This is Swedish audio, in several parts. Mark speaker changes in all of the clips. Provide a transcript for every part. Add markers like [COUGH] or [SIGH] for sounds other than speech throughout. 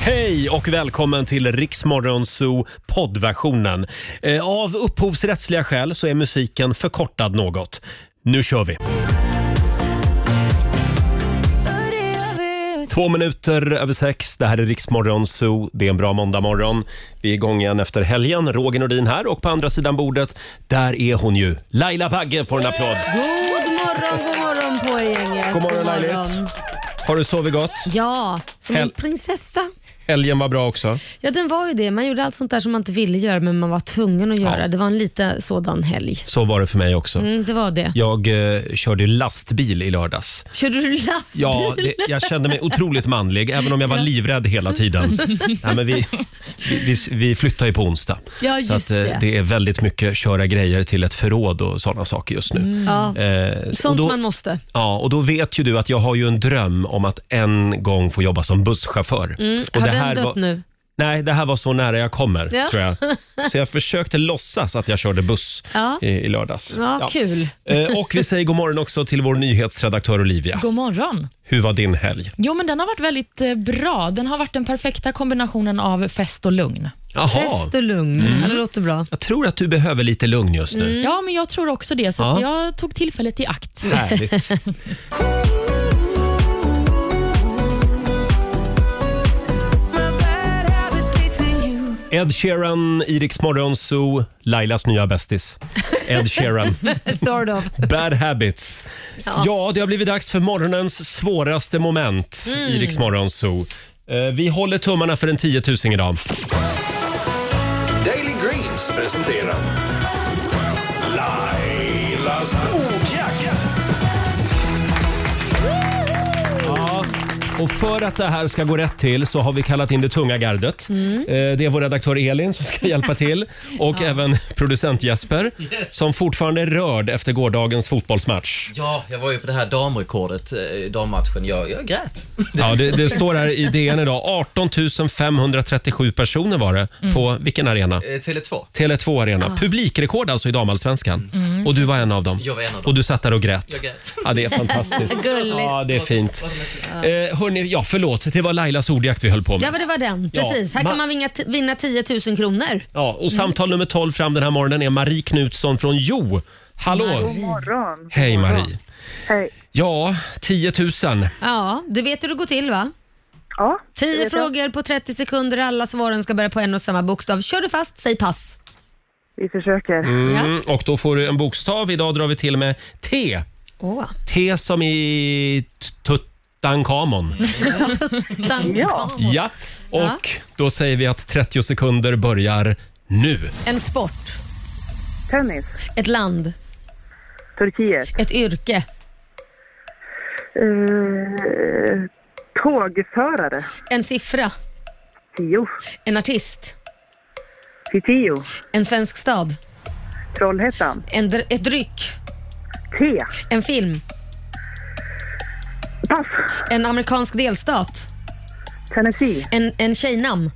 Speaker 1: Hej och välkommen till Riksmorgonzoo poddversionen. Eh, Av upphovsrättsliga skäl så är musiken förkortad något. Nu kör vi! Två minuter över sex. Det här är Riksmorgonzoo. Det är en bra måndagmorgon. Vi är igång igen efter helgen. Roger Nordin här och på andra sidan bordet, där är hon ju. Laila Bagge får en applåd.
Speaker 2: God morgon, god morgon på er gänget.
Speaker 1: God morgon Lailis. Har du sovit gott?
Speaker 2: Ja, som en
Speaker 1: Hel-
Speaker 2: prinsessa.
Speaker 1: Helgen var bra också.
Speaker 2: Ja, den var ju det. Man gjorde allt sånt där som man inte ville göra, men man var tvungen att göra.
Speaker 1: Ja.
Speaker 2: Det var en lite sådan helg.
Speaker 1: Så var det för mig också.
Speaker 2: Mm, det var det.
Speaker 1: Jag eh, körde ju lastbil i lördags.
Speaker 2: Körde du lastbil?
Speaker 1: Ja, det, jag kände mig otroligt manlig, även om jag var livrädd hela tiden. Nej, men vi, vi, vi, vi flyttar ju på onsdag.
Speaker 2: Ja,
Speaker 1: så
Speaker 2: just
Speaker 1: att, eh,
Speaker 2: det.
Speaker 1: det är väldigt mycket köra grejer till ett förråd och sådana saker just nu.
Speaker 2: Ja,
Speaker 1: Eh, och,
Speaker 2: Mm. sånt
Speaker 1: då,
Speaker 2: man måste. Mm,
Speaker 1: ja, och då vet ju du att jag har ju en dröm om att en gång få jobba som busschaufför. och
Speaker 2: Mm. Har
Speaker 1: det
Speaker 2: den
Speaker 1: här
Speaker 2: dött
Speaker 1: var,
Speaker 2: nu?
Speaker 1: Nej, det här var så nära jag kommer,
Speaker 2: Ja.
Speaker 1: tror jag. Så jag försökte låtsas att jag körde buss
Speaker 2: Ja.
Speaker 1: i, i lördags.
Speaker 2: Ja,
Speaker 1: Ja.
Speaker 2: kul.
Speaker 1: Eh, Och vi säger god morgon också till vår nyhetsredaktör Olivia.
Speaker 3: God morgon.
Speaker 1: Hur var din helg?
Speaker 3: Jo, men den har varit väldigt eh, bra. Den har varit den perfekta kombinationen av fest och lugn.
Speaker 1: Mm.
Speaker 2: Fest och lugn. Ja, det låter bra.
Speaker 1: Jag tror att du behöver lite lugn just nu.
Speaker 3: Ja, men jag tror också det, så att
Speaker 1: Ja.
Speaker 3: jag tog tillfället i akt.
Speaker 1: [LAUGHS] Härligt. Ed Sheeran, Iriks morgonzoo, Lailas nya bästis. Ed Sheeran,
Speaker 2: Sort of.
Speaker 1: Bad Habits. Ja. det har blivit dags för morgonens svåraste moment i Iriks morgonzoo. Eh, Vi håller tummarna för en 10 000 idag.
Speaker 4: Daily Greens presenterar Lailas ordjakt.
Speaker 1: Och för att det här ska gå rätt till så har vi kallat in det tunga gardet. Eh, Det är vår redaktör Elin som ska hjälpa till och även producent Jesper som fortfarande är rörd efter gårdagens fotbollsmatch.
Speaker 5: Ja, jag var ju på det här damrekordet, eh, dammatchen. Jag, jag grät.
Speaker 1: Ja, det, det står här i DN idag, 18 537 personer var det på vilken arena?
Speaker 5: Eh, Tele2.
Speaker 1: Tele2 Arena. Publikrekord alltså i damallsvenskan. och du var en av dem.
Speaker 5: Jag var en av dem.
Speaker 1: Och du satt där och grät.
Speaker 5: Jag grät.
Speaker 1: Ja, det är
Speaker 2: [LAUGHS]
Speaker 1: fantastiskt.
Speaker 2: Gulligt.
Speaker 1: Ja, det är fint. Eh, hörni, ja, förlåt. Det var Lailas ordjakt vi höll på med.
Speaker 2: Ja, men det var den.
Speaker 1: Ja.
Speaker 2: Precis. Här
Speaker 1: Ma-
Speaker 2: kan man vinna, t- vinna 10 000 kronor.
Speaker 1: Ja,
Speaker 6: Mm.
Speaker 1: och samtal nummer 12 fram den här morgonen är Marie Knutsson från Jo. Hallå!
Speaker 6: morgon.
Speaker 1: Hej Marie!
Speaker 6: Hej.
Speaker 1: Ja, 10 000.
Speaker 2: Ja, du vet hur det går till va?
Speaker 6: Ja, det
Speaker 2: Tio
Speaker 6: vet jag.
Speaker 2: frågor på 30 sekunder. Alla svaren ska börja på en och samma bokstav. Kör du fast, säg pass.
Speaker 6: Vi försöker.
Speaker 1: Mm, och då får du en bokstav. Idag drar vi till med T.
Speaker 2: Åh.
Speaker 1: T som i t-
Speaker 6: [LAUGHS]
Speaker 1: Tutankhamon.
Speaker 2: San-
Speaker 6: Ja.
Speaker 1: Ja, och då säger vi att 30 sekunder börjar
Speaker 6: [LAUGHS]
Speaker 1: nu.
Speaker 2: En sport,
Speaker 6: Tennis.
Speaker 2: ett land,
Speaker 6: Turkiet.
Speaker 2: ett yrke,
Speaker 6: Eh, tågförare.
Speaker 2: en siffra,
Speaker 6: Tio.
Speaker 2: en artist,
Speaker 6: Piteå.
Speaker 2: en svensk stad,
Speaker 6: Trollhättan.
Speaker 2: en dr- ett dryck,
Speaker 6: T.
Speaker 2: en film,
Speaker 6: Pass.
Speaker 2: en amerikansk delstat,
Speaker 6: Tennessee.
Speaker 2: en, en tjejnamn,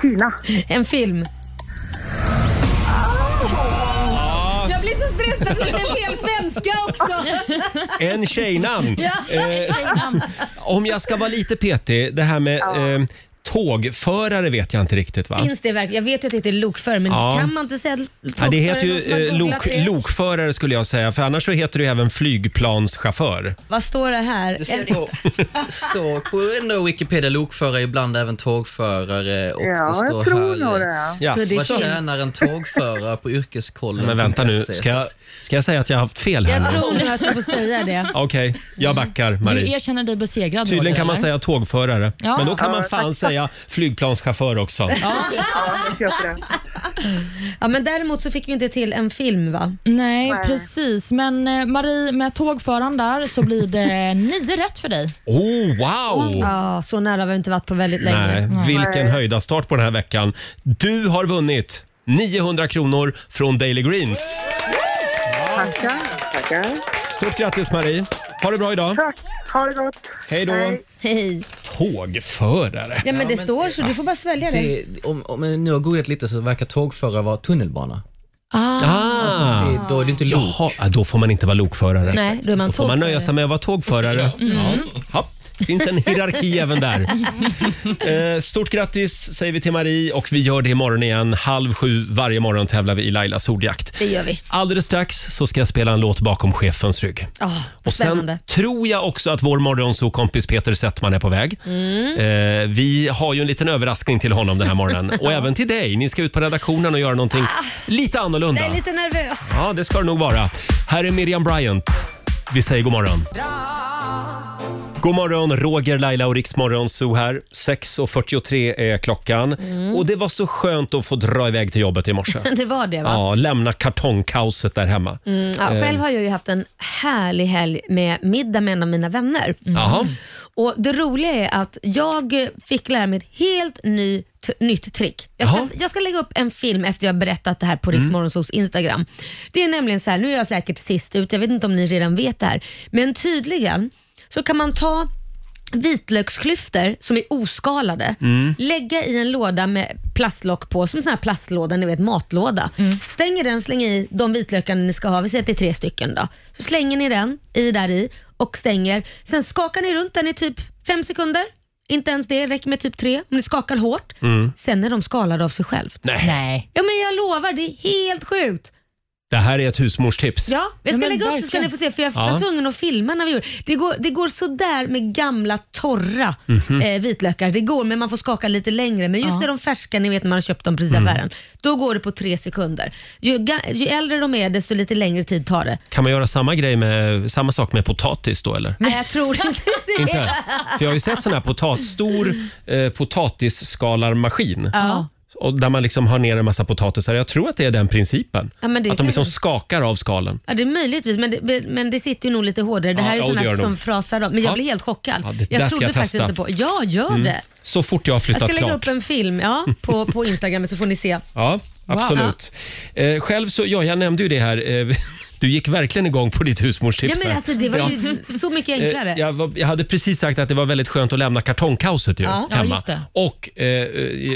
Speaker 6: Tina.
Speaker 2: en film. Jag blir så stressad att jag säger fel svenska också.
Speaker 1: En tjejnamn. Eh, om jag ska vara lite petig, det här med eh, tågförare vet jag inte riktigt va?
Speaker 2: Finns det verkligen? Jag vet ju att det heter lokförare, men
Speaker 1: Ja.
Speaker 2: kan man inte säga tågförare?
Speaker 1: Ja, det heter
Speaker 2: Någon som har
Speaker 1: ju eh,
Speaker 2: googlat
Speaker 1: lok,
Speaker 2: det?
Speaker 1: lokförare skulle jag säga, för annars så heter det ju även flygplanschaufför.
Speaker 2: Vad står det här?
Speaker 5: Det står, står på ändå Wikipedia lokförare, ibland även tågförare. Och det
Speaker 6: Ja,
Speaker 5: står
Speaker 6: jag tror
Speaker 5: här,
Speaker 6: nog
Speaker 5: eh,
Speaker 6: det.
Speaker 1: Ja.
Speaker 2: Så det
Speaker 5: Vad
Speaker 2: finns.
Speaker 5: tjänar en tågförare på yrkeskollen?
Speaker 1: Men vänta nu, ska jag, ska jag säga att jag har haft fel här
Speaker 2: Jag
Speaker 1: nu?
Speaker 2: tror nu att du får säga det.
Speaker 1: Okej, jag backar
Speaker 3: Du
Speaker 1: Marie.
Speaker 3: erkänner dig besegrad,
Speaker 1: Tydligen
Speaker 3: Roger,
Speaker 1: kan man
Speaker 3: eller?
Speaker 1: säga tågförare,
Speaker 3: Ja.
Speaker 1: men då kan man fan säga flygplanschaufför också.
Speaker 6: Jag köper det.
Speaker 2: Ja, men däremot så fick vi inte till en film va?
Speaker 3: Nej,
Speaker 6: Nej.
Speaker 3: precis. Men eh, Marie, med tågföraren där så
Speaker 1: [LAUGHS]
Speaker 3: blir det nio rätt för dig.
Speaker 1: Oh, wow!
Speaker 2: Ja, så nära har vi inte varit på väldigt länge.
Speaker 1: Nej, vilken höjda start på den här veckan. Du har vunnit 900 kronor från Daily Greens.
Speaker 6: Tackar. Tackar.
Speaker 1: Stort grattis Marie! Ha det bra idag!
Speaker 6: Tack. Ha det gott.
Speaker 1: Hej då!
Speaker 6: Hej.
Speaker 2: Hej.
Speaker 1: Tågförare.
Speaker 2: Ja, men det
Speaker 5: men-
Speaker 2: står så du får bara svälja det.
Speaker 5: Det, om, om jag nu har googlat lite så verkar tågförare vara tunnelbana.
Speaker 3: Ah,
Speaker 1: Ah.
Speaker 5: Det, då är det inte lok.
Speaker 1: Jaha, ja, då får man inte vara lokförare.
Speaker 2: Nej, då är man
Speaker 1: Då får man nöja
Speaker 2: tågförare. Mm.
Speaker 1: sig med att vara tågförare. Ja. Ja. Det finns en
Speaker 2: [LAUGHS]
Speaker 1: hierarki även där. Eh, Stort grattis säger vi till Marie och vi gör det imorgon igen. Halv sju varje morgon tävlar vi i Lailas ordjakt.
Speaker 2: Det gör vi.
Speaker 1: Alldeles strax så ska jag spela en låt bakom chefens rygg.
Speaker 2: Oh,
Speaker 1: Och
Speaker 2: spännande.
Speaker 1: sen tror jag också att vår morgonsokompis Peter Settman är på väg.
Speaker 2: Mm.
Speaker 1: Eh, vi har ju en liten överraskning till honom den här morgonen.
Speaker 2: [LAUGHS]
Speaker 1: Och även till dig. Ni ska ut på redaktionen och göra någonting lite annorlunda.
Speaker 2: Jag är Ah. lite nervös. [LAUGHS]
Speaker 1: Ja, det ska det nog vara. Här är Miriam Bryant. Vi säger god morgon. God morgon, Roger, Laila och Riksmorgon Zoo här. 6.43 är klockan. Och det var så skönt att få dra iväg till jobbet i morse.
Speaker 2: Det var det Mm. [LAUGHS] va?
Speaker 1: Ja, lämna kartongkaoset där hemma.
Speaker 2: Mm, ja,
Speaker 1: eh.
Speaker 2: själv har jag ju haft en härlig helg med middag med en av mina vänner.
Speaker 1: Jaha.
Speaker 2: Och Det roliga är att jag fick lära mig ett helt ny, t- nytt trick. Jag ska,
Speaker 1: Jaha.
Speaker 2: jag ska lägga upp en film efter jag har berättat det här på Riksmorgonsols Instagram. Det är nämligen så här, nu är jag säkert sist ut, jag vet inte om ni redan vet det här, men tydligen så kan man ta vitlöksklyftor som är oskalade, lägga i en låda med plastlock på, som sån här plastlåda, ni vet matlåda. Stänger den, slänger i de vitlökarna ni ska ha, vi säger att det är tre stycken då. Så slänger ni den i där i och stänger. Sen skakar ni runt den i typ fem sekunder. Inte ens det, räcker med typ tre om ni skakar hårt. Sen är de skalade av sig självt.
Speaker 1: Nej,
Speaker 3: Nej.
Speaker 2: Ja men jag lovar, det är helt sjukt.
Speaker 1: det här är ett husmorstips.
Speaker 2: Ja, jag ska
Speaker 3: Ja, men
Speaker 2: lägga upp det så ska
Speaker 3: verkligen.
Speaker 2: ni få se för jag
Speaker 1: Ja.
Speaker 2: var tvungen att filma när vi gjorde det. Går, det går sådär med gamla torra
Speaker 1: Mhm.
Speaker 2: eh, vitlökar. Det går men man får skaka lite längre. Men just när de färska, ni vet när man har köpt dem precis i
Speaker 1: Mm.
Speaker 2: affären, då går det på tre sekunder. Ju, ga- ju äldre de är desto lite längre tid tar det.
Speaker 1: Kan man göra samma, grej med, samma sak med potatis då eller?
Speaker 2: Nej, jag
Speaker 1: [LAUGHS]
Speaker 2: tror inte det. [LAUGHS]
Speaker 1: Inte? För jag har ju sett sån här potat, stor eh, potatisskalarmaskin.
Speaker 2: Ja.
Speaker 1: Och där man liksom har ner en massa potatisar. Jag tror att det är den principen.
Speaker 2: Ja, men det
Speaker 1: att de
Speaker 2: kan
Speaker 1: liksom
Speaker 2: det.
Speaker 1: skakar av skalen.
Speaker 2: Ja, det är möjligtvis, men det, men det sitter ju nog lite hårdare. Det
Speaker 1: Ja,
Speaker 2: här
Speaker 1: ja,
Speaker 2: är
Speaker 1: det gör
Speaker 2: sådana
Speaker 1: det
Speaker 2: som
Speaker 1: nog.
Speaker 2: frasar av. Men jag
Speaker 1: Ja.
Speaker 2: blir helt chockad.
Speaker 1: Ja, det där
Speaker 2: jag
Speaker 1: ska
Speaker 2: trodde
Speaker 1: jag
Speaker 2: faktiskt
Speaker 1: testa.
Speaker 2: inte på... Ja, gör det.
Speaker 1: Så fort jag har
Speaker 2: Jag
Speaker 1: flyttat
Speaker 2: ska lägga
Speaker 1: klart.
Speaker 2: upp en film ja, på, på Instagram så får ni se.
Speaker 1: Ja, absolut. Eh, själv så, ja, jag nämnde ju det här. Eh, [LAUGHS] du gick verkligen igång på ditt
Speaker 2: Ja,
Speaker 1: husmorstips.
Speaker 2: men
Speaker 1: här.
Speaker 2: alltså, det var
Speaker 1: Ja.
Speaker 2: ju så mycket
Speaker 1: Eh,
Speaker 2: enklare.
Speaker 1: Jag, var, jag hade precis sagt att det var väldigt skönt att lämna kartongkaoset ju,
Speaker 2: Ja.
Speaker 3: Ja,
Speaker 1: hemma.
Speaker 3: just det.
Speaker 1: Och eh,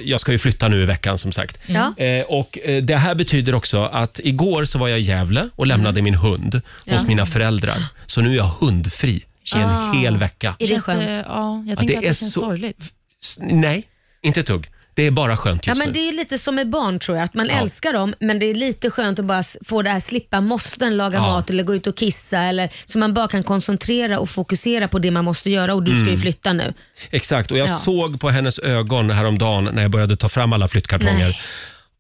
Speaker 1: jag ska ju flytta nu i veckan som sagt.
Speaker 2: Ja.
Speaker 1: Eh, och eh, Det här betyder också att igår så var jag i Gävle och
Speaker 2: Mm.
Speaker 1: lämnade min hund hos mina föräldrar. Så nu är jag hundfri i en
Speaker 2: Ah.
Speaker 1: hel vecka.
Speaker 2: Är det
Speaker 3: Känns
Speaker 2: skönt?
Speaker 3: ja, jag tänker
Speaker 1: det
Speaker 3: att det
Speaker 1: är
Speaker 3: känns
Speaker 1: så-
Speaker 3: sorgligt.
Speaker 1: S- Nej, inte ett tugg. Det är bara skönt
Speaker 2: Ja,
Speaker 1: just
Speaker 2: men det
Speaker 1: nu.
Speaker 2: är ju lite som med barn tror jag, att man
Speaker 1: Ja.
Speaker 2: älskar dem men det är lite skönt att bara s- få det här slippa måsten laga
Speaker 1: Ja.
Speaker 2: mat eller gå ut och kissa eller, så man bara kan koncentrera och fokusera på det man måste göra och du ska
Speaker 1: Mm.
Speaker 2: ju flytta nu.
Speaker 1: Exakt, och jag
Speaker 2: Ja.
Speaker 1: såg på hennes ögon häromdagen när jag började ta fram alla flyttkartonger.
Speaker 2: Nej.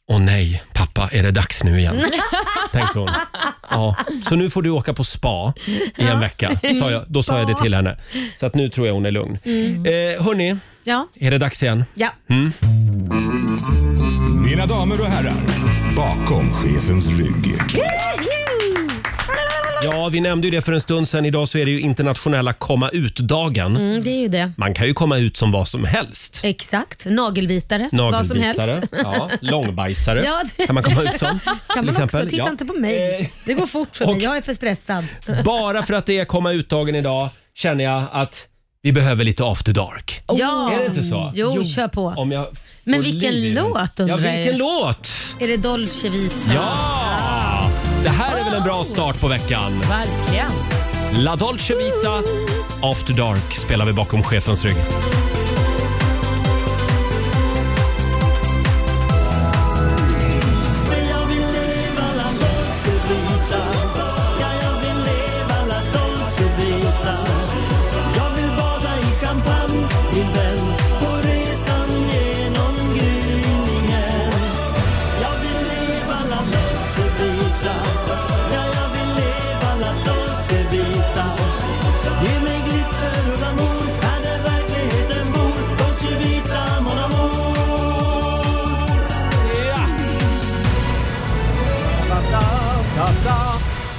Speaker 1: Åh nej, pappa, är det dags nu igen? [LAUGHS] Tänkte hon. Ja, så nu får du åka på spa i en vecka. Sa jag, då sa jag det till henne. Så att nu tror jag hon är lugn.
Speaker 2: Mm.
Speaker 1: Eh, hörni,
Speaker 2: Ja,
Speaker 1: är det dags igen?
Speaker 2: ja.
Speaker 4: Mina damer och herrar, bakom chefens rygg.
Speaker 1: Ja, vi nämnde ju det för en stund sedan. Idag så är det ju internationella komma ut-dagen.
Speaker 2: Mm, det är ju det.
Speaker 1: Man kan ju komma ut som vad som helst.
Speaker 2: Exakt. Nagelbitare, vad som helst.
Speaker 1: Nagelbitare, [LAUGHS] ja, långbajsare
Speaker 2: Ja, det-
Speaker 1: kan man komma ut som. till
Speaker 2: [LAUGHS] Kan man också,
Speaker 1: exempel.
Speaker 2: titta
Speaker 1: Ja. Eh.
Speaker 2: inte på mig. Det går fort för
Speaker 1: och-
Speaker 2: mig, jag är för stressad.
Speaker 1: Bara för att det är komma ut-dagen idag känner jag att vi behöver lite after dark.
Speaker 2: Ja.
Speaker 1: Oh. Är det inte så?
Speaker 2: Jo, kör på.
Speaker 1: Om jag får
Speaker 2: Men vilken
Speaker 1: liv i den.
Speaker 2: låt, undrar
Speaker 1: Ja, vilken
Speaker 2: jag.
Speaker 1: låt?
Speaker 2: Är det Dolce Vita?
Speaker 1: Ja! Det här är väl en bra start på veckan?
Speaker 2: Verkligen.
Speaker 1: La Dolce Vita, After Dark spelar vi bakom chefens rygg.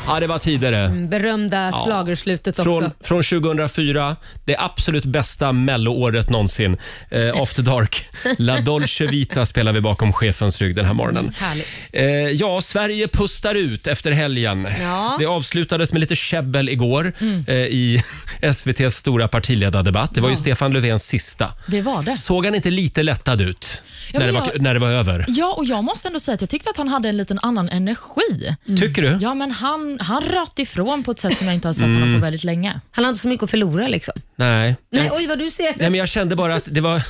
Speaker 1: Ja, det var tidigare.
Speaker 2: Berömda schlagerslutet
Speaker 1: Från,
Speaker 2: också.
Speaker 1: från 2004, det absolut bästa melloåret någonsin. Eh, After Dark, La Dolce Vita spelar vi bakom chefens rygg den här morgonen.
Speaker 2: Härligt.
Speaker 1: Eh, ja, Sverige pustar ut efter helgen.
Speaker 2: Ja.
Speaker 1: Det avslutades med lite käbbel igår eh, i [LAUGHS] SVTs stora partiledardebatt. Det var ju Stefan Löfvens sista.
Speaker 3: Det var det.
Speaker 1: Såg han inte lite lättad ut
Speaker 3: Ja,
Speaker 1: när, det
Speaker 3: men
Speaker 1: var,
Speaker 3: jag- Mm.
Speaker 1: när det var över? Mm.
Speaker 3: Ja, och jag måste ändå säga att jag tyckte att han hade en liten annan energi.
Speaker 1: Tycker du?
Speaker 3: Ja, men han, han röt ifrån på ett sätt som jag inte har sett honom
Speaker 1: Mm.
Speaker 3: på väldigt länge.
Speaker 2: Han har inte så mycket att förlora liksom.
Speaker 1: Nej.
Speaker 2: Nej, oj vad du ser.
Speaker 1: Nej, men jag kände bara att det var,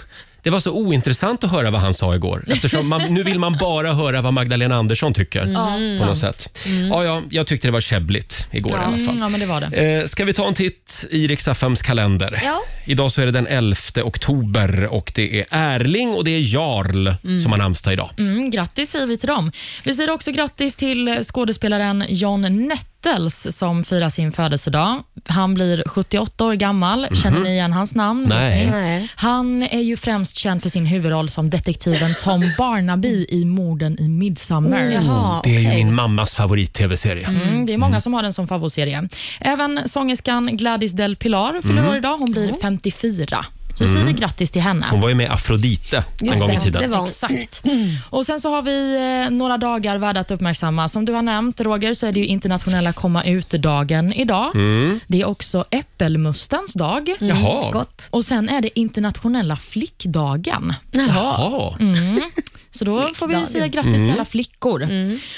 Speaker 1: det var så ointressant att höra vad han sa igår. Eftersom man, nu vill man bara höra vad Magdalena Andersson tycker.
Speaker 2: Mm.
Speaker 1: på något sätt. Ja, ja, jag tyckte det var käbbligt igår i alla
Speaker 3: Mm,
Speaker 1: fall.
Speaker 3: ja, men det var det.
Speaker 1: Eh, ska vi ta en titt i Riks-FMs kalender?
Speaker 2: Ja.
Speaker 1: Idag så är det den 11 oktober och det är Erling och det är Jarl som har namnsdag idag.
Speaker 3: Mm, grattis säger vi till dem. Vi säger också grattis till skådespelaren John Nettles som firar sin födelsedag. Han blir 78 år gammal. Känner ni igen hans namn? Mm.
Speaker 1: Nej.
Speaker 2: Nej.
Speaker 3: Han är ju främst känd för sin huvudroll som detektiven Tom Barnaby i morden i Midsummer.
Speaker 2: Mm. Jaha,
Speaker 1: Oh, Det är ju
Speaker 2: okej.
Speaker 1: min mammas favorit-tv-serie.
Speaker 3: Mm, det är många som har den som favoritserie. Även sångerskan Gladys Del Pilar fyller år idag. Hon blir 54. Så säger vi grattis till henne.
Speaker 1: Hon var ju med i Afrodite en
Speaker 2: Just
Speaker 1: gång i
Speaker 2: det, det
Speaker 1: tiden.
Speaker 2: var hon.
Speaker 3: Exakt. [CLEARS THROAT] Och Sen så har vi eh, några dagar värda att uppmärksamma. Som du har nämnt, Roger, så är det ju internationella komma ut-dagen idag.
Speaker 1: Mm.
Speaker 3: Det är också äppelmustens dag.
Speaker 1: Jaha.
Speaker 2: Gott.
Speaker 3: Och Sen är det internationella flickdagen.
Speaker 1: Jaha.
Speaker 3: Så då får vi säga grattis
Speaker 1: Mm.
Speaker 3: till alla flickor.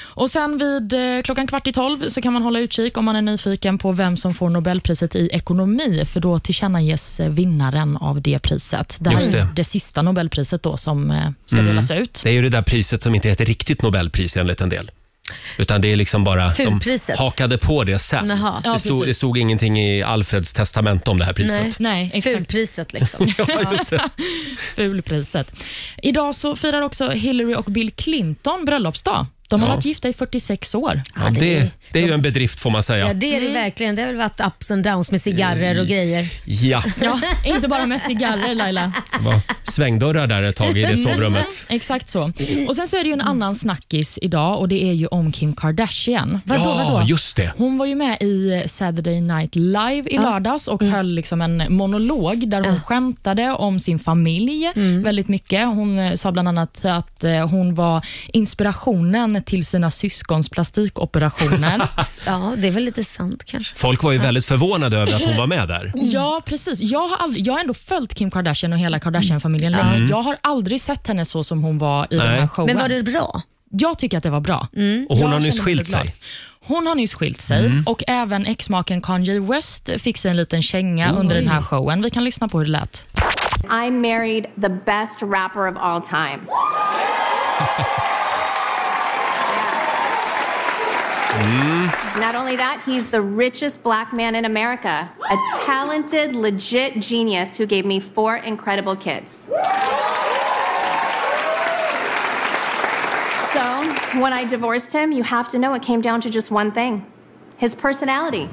Speaker 3: Och sen vid eh, klockan kvart i tolv så kan man hålla utkik om man är nyfiken på vem som får Nobelpriset i ekonomi, för då tillkännages eh, vinnaren av det priset. Det här
Speaker 1: Just
Speaker 3: är
Speaker 1: det. Mm.
Speaker 3: ju det sista Nobelpriset då som eh, ska delas ut.
Speaker 1: Det är ju det där priset som inte är ett riktigt Nobelpris enligt en del. Utan det är liksom bara...
Speaker 2: Fulpriset.
Speaker 1: De hakade på det sen.
Speaker 2: Jaha.
Speaker 1: det,
Speaker 3: Ja,
Speaker 1: stod,
Speaker 3: precis.
Speaker 1: det stod ingenting i Alfreds testamente om det här
Speaker 2: Nej.
Speaker 1: priset. [LAUGHS]
Speaker 3: Nej, exakt.
Speaker 2: Fulpriset liksom.
Speaker 3: Fulpriset. Idag så firar också Hillary och Bill Clinton bröllopsdag. De har
Speaker 1: Ja.
Speaker 3: varit gifta i 46 år.
Speaker 1: Ja, det, det är ju en bedrift får
Speaker 2: [LAUGHS]
Speaker 1: man
Speaker 2: Ja,
Speaker 1: säga.
Speaker 2: det är det verkligen. Det har väl varit ups and downs med cigarrer och grejer.
Speaker 1: Ja,
Speaker 3: Ja, inte bara med cigarrer Laila.
Speaker 1: det var svängdörrar där ett tag i det sovrummet.
Speaker 3: Exakt så. Och Sen så är det ju en annan snackis idag och det är ju om Kim Kardashian.
Speaker 2: Vadå,
Speaker 1: Ja,
Speaker 2: vadå?
Speaker 1: just det.
Speaker 3: Hon var ju med i Saturday Night Live i lördags och höll liksom en monolog där hon skämtade om sin familj väldigt mycket. Hon eh, sa bland annat att eh, hon var inspirationen till sina syskons plastikoperationer.
Speaker 2: Ja, det är väl lite sant kanske.
Speaker 1: Folk var ju väldigt förvånade över att hon var med där.
Speaker 3: Ja, precis. Jag har, aldrig, jag har ändå följt Kim Kardashian och hela Kardashian-familjen länge. Jag har aldrig sett henne så som hon var i den
Speaker 1: Nej.
Speaker 3: här showen.
Speaker 2: Men var det Mm. bra?
Speaker 3: Jag tycker att det var bra.
Speaker 1: Och hon har
Speaker 3: Jag
Speaker 1: nyss
Speaker 3: känner mig
Speaker 1: skilt
Speaker 3: glad.
Speaker 1: sig. [LAUGHS]
Speaker 3: Hon har nyss skilt sig och även exmaken Kanye West fick sig en liten känga under den här showen. Vi kan lyssna på hur det lät.
Speaker 7: I married the best rapper of all time. Not only that, he's the richest black man in America, a talented, legit genius who gave me four incredible kids. So, when I divorced him, you have to know it came down to just one thing his personality.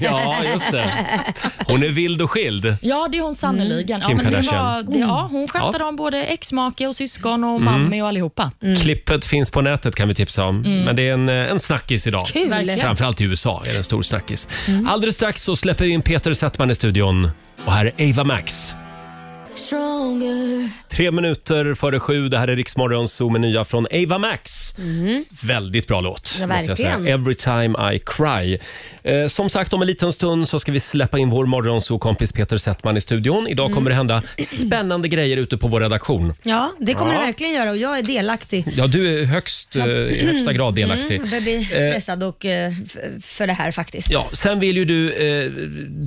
Speaker 1: Ja, just det. Hon är vild och skild.
Speaker 3: Ja, det är hon sannerligen.
Speaker 1: Kim
Speaker 3: ja, men det var,
Speaker 1: Kardashian.
Speaker 3: det, Mm. ja, Mm. hon skämtade om både exmake och syskon och mamma och allihopa.
Speaker 1: Klippet finns på nätet kan vi tipsa om. Men det är en, eh, en snackis idag.
Speaker 2: Kul.
Speaker 3: Verkligen.
Speaker 1: Framförallt i USA är det en stor snackis.
Speaker 2: Mm.
Speaker 1: Alldeles strax så släpper vi in Peter Settman i studion. Och här är Ava Max. Tre minuter före sju. Det här är Riksmorgon Zoo med nya från Ava Max. Väldigt bra låt.
Speaker 2: Mm. Ja,
Speaker 1: måste jag säga.
Speaker 2: verkligen.
Speaker 1: Every time I cry. Eh, som sagt, om en liten stund så ska vi släppa in vår morgonsokompis Peter Settman i studion.
Speaker 2: Mm.
Speaker 1: Idag kommer det hända spännande grejer ute på vår redaktion.
Speaker 2: Ja, det kommer
Speaker 1: Ja.
Speaker 2: det verkligen göra och jag är delaktig.
Speaker 1: Ja, du är högst, eh, i
Speaker 2: Mm.
Speaker 1: högsta grad delaktig.
Speaker 2: Jag börjar bli stressad och, eh, f- för det här faktiskt.
Speaker 1: Ja, sen vill ju du eh,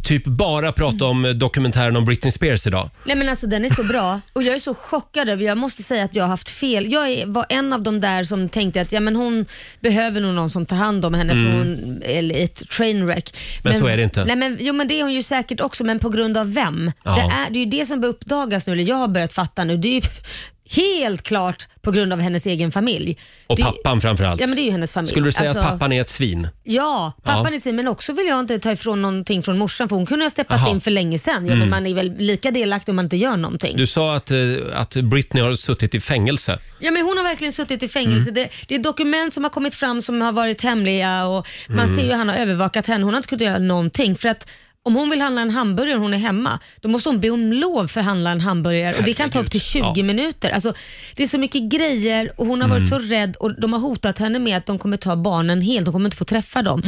Speaker 1: typ bara prata om eh, dokumentären om Britney Spears idag.
Speaker 2: Nej men alltså den är så bra och jag är så chockad över, jag måste säga att jag har haft fel. Jag är, var en av de där som tänkte att ja, men hon behöver nog någon som tar hand om henne för hon är i ett trainwreck.
Speaker 1: Mm. Men så är det inte.
Speaker 2: Nej, men, jo men det är hon ju säkert också men på grund av vem?
Speaker 1: Ja.
Speaker 2: Det, är, det är ju det som bör uppdagas nu, eller jag har börjat fatta nu. Det är ju [LAUGHS] helt klart på grund av hennes egen familj.
Speaker 1: Och
Speaker 2: det,
Speaker 1: pappan framförallt.
Speaker 2: Ja men det är ju hennes familj.
Speaker 1: Skulle du säga
Speaker 2: Alltså-
Speaker 1: att pappan är ett svin?
Speaker 2: Ja, pappan
Speaker 1: Ja.
Speaker 2: är sin, men också vill jag inte ta ifrån någonting från morsan för hon kunde ha steppat
Speaker 1: Aha. Mm.
Speaker 2: in för länge sedan. Ja, men man är väl lika delaktig om man inte gör någonting.
Speaker 1: Du sa att, eh, att Britney har suttit i fängelse.
Speaker 2: Ja, men hon har verkligen suttit i fängelse. Det, det är dokument som har kommit fram som har varit hemliga och man ser ju att han har övervakat henne. Hon har inte kunnat göra någonting. för att om hon vill handla en hamburgare och hon är hemma, då måste hon be om lov för att handla en hamburgare och det kan ta upp till 20
Speaker 1: Ja.
Speaker 2: minuter. Alltså, det är så mycket grejer och hon har varit så rädd och de har hotat henne med att de kommer ta barnen helt, de kommer inte få träffa dem.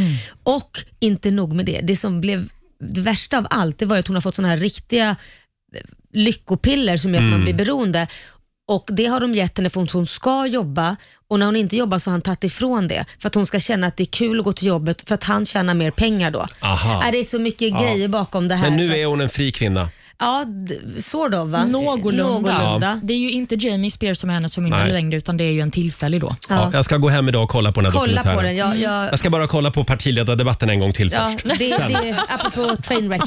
Speaker 2: Och inte nog med det, det som blev det värsta av allt, det var ju att hon har fått såna här riktiga
Speaker 1: Mm.
Speaker 2: lyckopiller som gör att man blir beroende. Och Det har de gett henne för att hon ska jobba och när hon inte jobbar så har han tagit ifrån det för att hon ska känna att det är kul att gå till jobbet för att han tjänar mer pengar då.
Speaker 1: Aha.
Speaker 2: Nej, Det är så mycket
Speaker 1: Ja.
Speaker 2: grejer bakom det här.
Speaker 1: Men
Speaker 2: så-
Speaker 1: nu är hon en fri kvinna.
Speaker 2: Ja, d- så då va?
Speaker 3: Någorlunda.
Speaker 2: Någorlunda.
Speaker 3: Det är ju inte Jamie Spears som är hennes
Speaker 1: Nej.
Speaker 3: förmyndare längre, utan det är ju en tillfällig då.
Speaker 1: Ja. jag ska gå hem idag och kolla på den här
Speaker 2: Kolla
Speaker 1: dokumentären.
Speaker 2: på den. Jag, jag,
Speaker 1: Jag ska bara kolla på partiledardebatten en gång till
Speaker 2: ja,
Speaker 1: först.
Speaker 2: det, det är apropå
Speaker 1: [LAUGHS]
Speaker 2: trainwreck.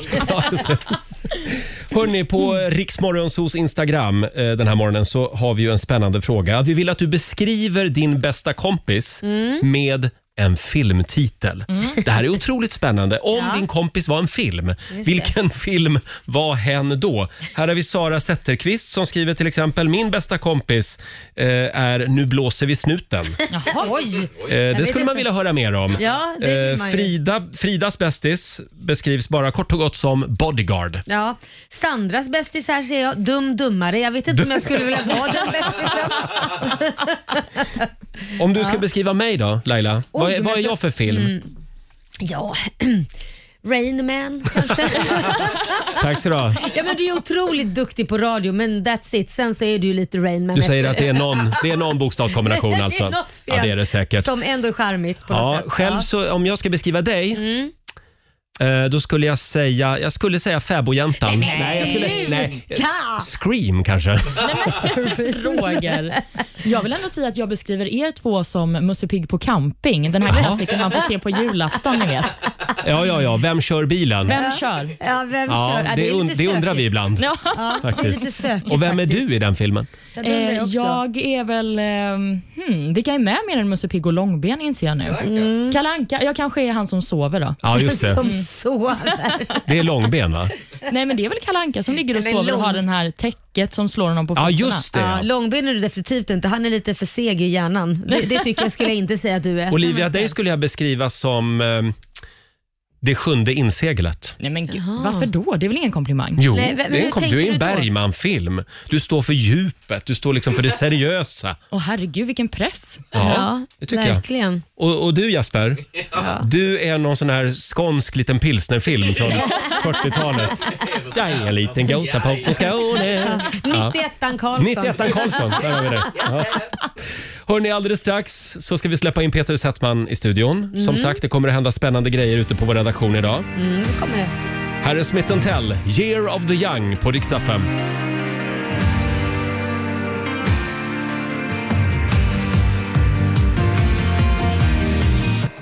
Speaker 1: Hörni, på Riksmorgonsos Instagram eh, den här morgonen så har vi ju en spännande fråga. Vi vill att du beskriver din bästa kompis
Speaker 2: Mm.
Speaker 1: med en filmtitel. Det här är otroligt spännande. Om din kompis var en film, vilken film var hen då? Här har vi Sara Zetterqvist som skriver till exempel “Min bästa kompis eh, är “Nu blåser vi snuten”.
Speaker 2: [LAUGHS] Oj!
Speaker 1: Eh, det
Speaker 2: vet
Speaker 1: skulle man
Speaker 2: inte.
Speaker 1: vilja höra mer om.
Speaker 2: Ja, det vill
Speaker 1: Eh,
Speaker 2: man ju.
Speaker 1: Frida, Fridas bästis beskrivs bara kort och gott som “bodyguard”.
Speaker 2: Ja, Sandras bästis här ser jag. Dum dummare. Jag vet inte om jag skulle vilja vara den bästisen.
Speaker 1: Om du ska beskriva mig då, Laila. vad är,
Speaker 2: men
Speaker 1: vad är
Speaker 2: så- Mm.
Speaker 1: jag för film?
Speaker 2: Ja, [CLEARS THROAT] Rain Man kanske.
Speaker 1: Tack så du ha.
Speaker 2: ja, men du är otroligt duktig på radio men that's it. Sen så är du ju lite Rain Man.
Speaker 1: Du säger att det är någon, det är någon bokstavskombination alltså.
Speaker 2: [LAUGHS] Det är något fel.
Speaker 1: ja, det är det säkert.
Speaker 2: Som ändå är charmigt på något
Speaker 1: Ja,
Speaker 2: sätt. Mm.
Speaker 1: själv så, om jag ska beskriva dig, eh, då skulle jag säga, jag skulle säga fäbodjäntan. Nej, jag skulle, nej.
Speaker 2: Ja.
Speaker 1: Scream kanske.
Speaker 3: Roger. Jag vill ändå säga att jag beskriver er två som Musse Pigg på camping. Den här klassikern man får se på julafton, ni vet.
Speaker 1: Ja, ja, ja. Vem kör bilen?
Speaker 3: Vem kör?
Speaker 2: Ja, vem kör?
Speaker 1: Ja,
Speaker 2: Ja,
Speaker 1: det,
Speaker 2: är
Speaker 1: und-
Speaker 2: lite
Speaker 1: det undrar vi
Speaker 2: stökigt.
Speaker 1: ibland.
Speaker 3: Ja.
Speaker 2: Ja, det är lite
Speaker 1: Faktiskt.
Speaker 2: stökigt
Speaker 1: Och vem är
Speaker 2: faktiskt.
Speaker 1: du i den filmen?
Speaker 2: Ja, det undrar
Speaker 3: Eh,
Speaker 2: jag också.
Speaker 3: jag är väl... ehm, hmm, vilka är med mer än Musse Pigg och Långben inser jag nu? Mm. Kalle Anka. Jag kanske är han som
Speaker 2: [LAUGHS]
Speaker 3: sover då.
Speaker 1: Ja, just det.
Speaker 2: Som sover.
Speaker 1: Det är långben va?
Speaker 3: Nej, men det är väl Kalle Anka som ligger och
Speaker 2: Men
Speaker 3: sover och
Speaker 2: Lång-
Speaker 3: har den här täcket som slår honom på
Speaker 1: Ja,
Speaker 3: fötterna.
Speaker 1: just det.
Speaker 2: Ja,
Speaker 1: ja.
Speaker 2: långben är du definitivt inte. Han är lite för seg i hjärnan. Det, det tycker jag skulle jag inte säga att du är.
Speaker 1: Olivia, dig skulle jag beskriva som eh, det sjunde inseglet.
Speaker 3: Nej, men gud, varför då? Det är väl ingen komplimang?
Speaker 1: Jo,
Speaker 2: Nej, men
Speaker 1: det är
Speaker 2: hur
Speaker 1: en, kom-
Speaker 2: tänker
Speaker 1: du är en
Speaker 2: du då?
Speaker 1: Bergman-film. Du står för djupet, du står
Speaker 2: [LAUGHS]
Speaker 1: liksom för det seriösa.
Speaker 3: Åh herregud, vilken press.
Speaker 1: Ja,
Speaker 2: Ja,
Speaker 1: det tycker jag.
Speaker 2: verkligen.
Speaker 1: Och, och du Jasper, du är någon sån här skånsk liten
Speaker 2: [LAUGHS]
Speaker 1: pilsnerfilm från 40-talet. Jag är en liten gåsapop från Skåne. Ja.
Speaker 2: 91an Karlsson.
Speaker 1: 91 Karlsson, där har vi det. Ja. Hörni, alldeles strax så ska vi släppa in Peter Settman i studion.
Speaker 2: Mm.
Speaker 1: Som sagt, det kommer att hända spännande grejer ute på vår redaktion idag.
Speaker 2: Kommer det.
Speaker 1: Här är Smith Tell, Year of the Young på Rix FM.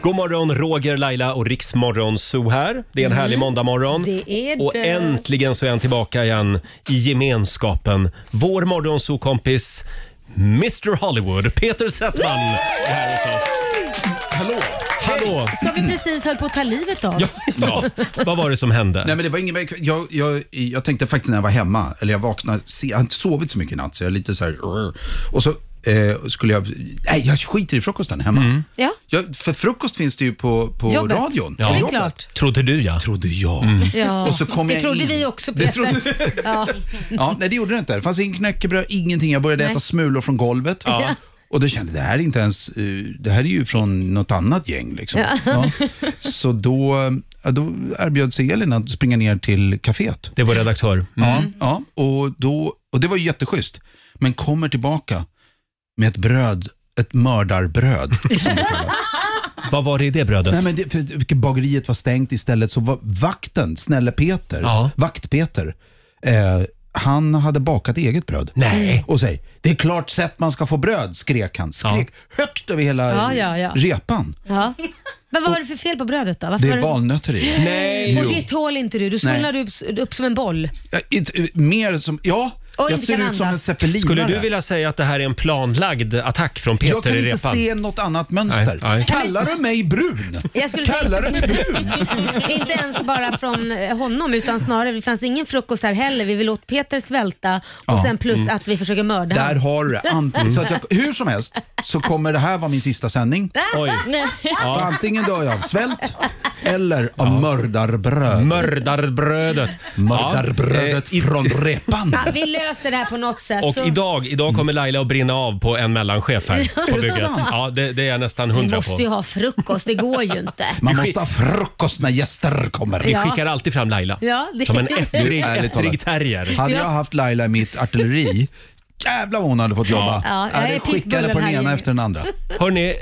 Speaker 1: God morgon, Roger, Laila och Riksmorgon Zoo här. Det är en härlig måndagmorgon.
Speaker 2: Mm. Det är
Speaker 1: Och
Speaker 2: det.
Speaker 1: äntligen så är han tillbaka igen i gemenskapen. Vår morgonzoo-kompis Mr Hollywood, Peter Settman, är här hos oss. Hallå! Hallå!
Speaker 2: Som vi precis höll på att ta livet av.
Speaker 1: Ja, ja. Vad var det som hände?
Speaker 8: Nej men det var ingen jag, jag, jag tänkte faktiskt när jag var hemma, eller jag vaknade, se, jag har inte sovit så mycket i natt så jag är lite så här, "Rrr." och så eh, skulle jag, nej jag skiter i frukosten hemma.
Speaker 2: Ja.
Speaker 8: Jag, för frukost finns det ju på, på
Speaker 2: Jobbet.
Speaker 8: radion.
Speaker 1: Ja.
Speaker 8: på
Speaker 2: Det är
Speaker 8: jobbet.
Speaker 2: klart. Mm.
Speaker 1: Trodde du ja.
Speaker 8: Trodde jag.
Speaker 2: Ja.
Speaker 8: Och så kom
Speaker 2: det
Speaker 8: jag
Speaker 2: trodde
Speaker 8: in.
Speaker 2: vi också
Speaker 8: Det
Speaker 2: Peter.
Speaker 8: trodde-
Speaker 2: ja.
Speaker 8: Ja, nej det gjorde det inte. Det fanns ingen knäckebröd, ingenting. Jag började äta smulor från golvet.
Speaker 2: Ja.
Speaker 8: Och då kände jag, det här är inte ens, eh, det här är ju från något annat gäng liksom. Ja. Så då, ja, då erbjöd sig Elin att springa ner till kaféet.
Speaker 1: Det var redaktör.
Speaker 8: Ja, ja och, då, och det var ju jätteschysst. Men kommer tillbaka med ett bröd, ett [LAUGHS] mördarbröd. som det kallas.
Speaker 1: Vad var det i det brödet?
Speaker 8: Nej, men det, för bageriet var stängt istället, så var vakten, snälle Peter,
Speaker 1: Ja.
Speaker 8: vakt-Peter, eh, han hade bakat eget bröd.
Speaker 1: Nej.
Speaker 8: Och säger, det är klart sätt man ska få bröd, skrek han. Skrek högt över hela
Speaker 2: Ja, ja, ja.
Speaker 8: repan.
Speaker 2: Ja. Men vad var det för fel på brödet då? Varför
Speaker 8: Det är
Speaker 2: var
Speaker 8: valnötter i.
Speaker 1: Nej.
Speaker 2: Och det tål inte du? Du svullnar upp, upp som en boll.
Speaker 8: Ja, it- Mer som, ja,
Speaker 2: Och
Speaker 8: jag
Speaker 2: inte
Speaker 8: ser
Speaker 2: kan
Speaker 8: ut som en
Speaker 2: andas.
Speaker 8: zeppelinare.
Speaker 1: Skulle du vilja säga att det här är en planlagd attack från Peter
Speaker 8: Jag kan
Speaker 1: i
Speaker 8: inte
Speaker 1: repan?
Speaker 8: se något annat mönster.
Speaker 1: Nej, nej.
Speaker 8: Kallar du mig brun?
Speaker 2: Jag skulle
Speaker 8: Kallar du
Speaker 2: säga-
Speaker 8: mig brun?
Speaker 2: Inte ens bara från eh, honom utan snarare, det fanns ingen frukost här heller. Vi vill åt Peter svälta och sen plus att vi försöker mörda
Speaker 8: Mm. Där
Speaker 2: honom.
Speaker 8: har du det. Antingen, så att jag, hur som helst så kommer det här vara min sista sändning.
Speaker 1: Oj.
Speaker 8: Och Antingen dör jag av svält eller av mördarbröd.
Speaker 1: Mördarbrödet.
Speaker 8: Mördarbrödet
Speaker 1: Ja, eh, i-
Speaker 8: från repan.
Speaker 2: Ja, vi löser det här på något sätt.
Speaker 1: eh, Och
Speaker 2: så-
Speaker 1: idag, idag kommer Laila att brinna av på en
Speaker 2: [LAUGHS]
Speaker 1: mellanchef här på
Speaker 8: det
Speaker 1: bygget.
Speaker 8: sant?
Speaker 1: Ja, det, det är jag nästan
Speaker 2: Vi
Speaker 1: hundra
Speaker 2: måste ju
Speaker 1: på.
Speaker 2: ha frukost, det går ju inte.
Speaker 8: Man måste ha frukost när gäster kommer.
Speaker 1: Vi
Speaker 2: Ja.
Speaker 1: skickar alltid fram Laila
Speaker 2: Ja, det- [LAUGHS]
Speaker 1: som en ettrig,
Speaker 8: Du, ärligt
Speaker 1: ettrig
Speaker 8: talat.
Speaker 1: terrier.
Speaker 8: Hade jag haft Laila i mitt artilleri jävlar vad hon hade fått jobba.
Speaker 2: Ja, jag är
Speaker 8: det skickade på
Speaker 2: pitbullen
Speaker 8: den
Speaker 2: här
Speaker 8: ena
Speaker 2: i-
Speaker 8: efter den andra.
Speaker 1: Hörni,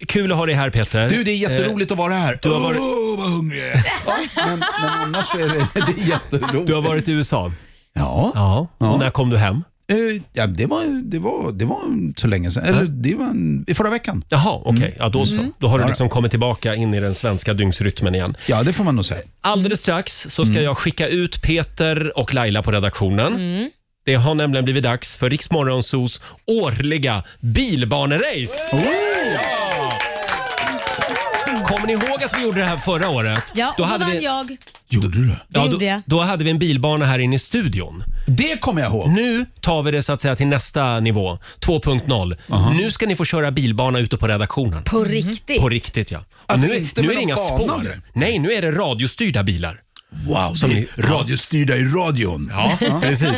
Speaker 1: eh, kul att ha dig här Peter.
Speaker 8: Du, det är jätteroligt att vara här. Du
Speaker 1: har varit-
Speaker 8: Åh, vad hungrig jag är. [LAUGHS] ja, men, men annars är det, det är jätteroligt.
Speaker 1: Du har varit i USA.
Speaker 8: Ja,
Speaker 1: Ja.
Speaker 8: Ja.
Speaker 1: Och när kom du hem?
Speaker 8: Eh, ja det, var, det, var, det var så länge sedan. Eller det var en, i förra veckan.
Speaker 1: Jaha, okej. Ja, då
Speaker 2: Mm.
Speaker 1: så. Då har du
Speaker 8: Mm. Ja,
Speaker 1: liksom kommit tillbaka in i den svenska dygnsrytmen igen.
Speaker 8: Ja, det får man nog säga.
Speaker 2: Mm.
Speaker 1: Alldeles strax så ska jag skicka ut Peter och Laila på redaktionen.
Speaker 2: Mm.
Speaker 1: Det har nämligen blivit dags för Riksmorgonsos årliga bilbanerace. Ja! Kommer ni ihåg att vi gjorde det här förra året?
Speaker 2: Ja, då,
Speaker 1: hade
Speaker 2: vann
Speaker 1: vi,
Speaker 2: jag.
Speaker 8: Gjorde du det?
Speaker 1: ja,
Speaker 2: gjorde
Speaker 1: då,
Speaker 2: jag.
Speaker 1: då hade vi en bilbana här inne i studion.
Speaker 8: Det kommer jag ihåg.
Speaker 1: Nu tar vi det så att säga till nästa nivå, 2.0. Nu ska ni få köra bilbana ute på redaktionen.
Speaker 2: På riktigt.
Speaker 1: Mhm. På riktigt ja. Och
Speaker 8: Alltså,
Speaker 1: nu,
Speaker 8: inte
Speaker 1: nu är
Speaker 8: med
Speaker 1: det
Speaker 8: någon
Speaker 1: inga
Speaker 8: bana och
Speaker 1: spår.
Speaker 8: grejer.
Speaker 1: Nej, nu är det radiostyrda bilar.
Speaker 8: Wow, som
Speaker 1: ni-
Speaker 8: radiostyrda i radion.
Speaker 1: Ja, precis.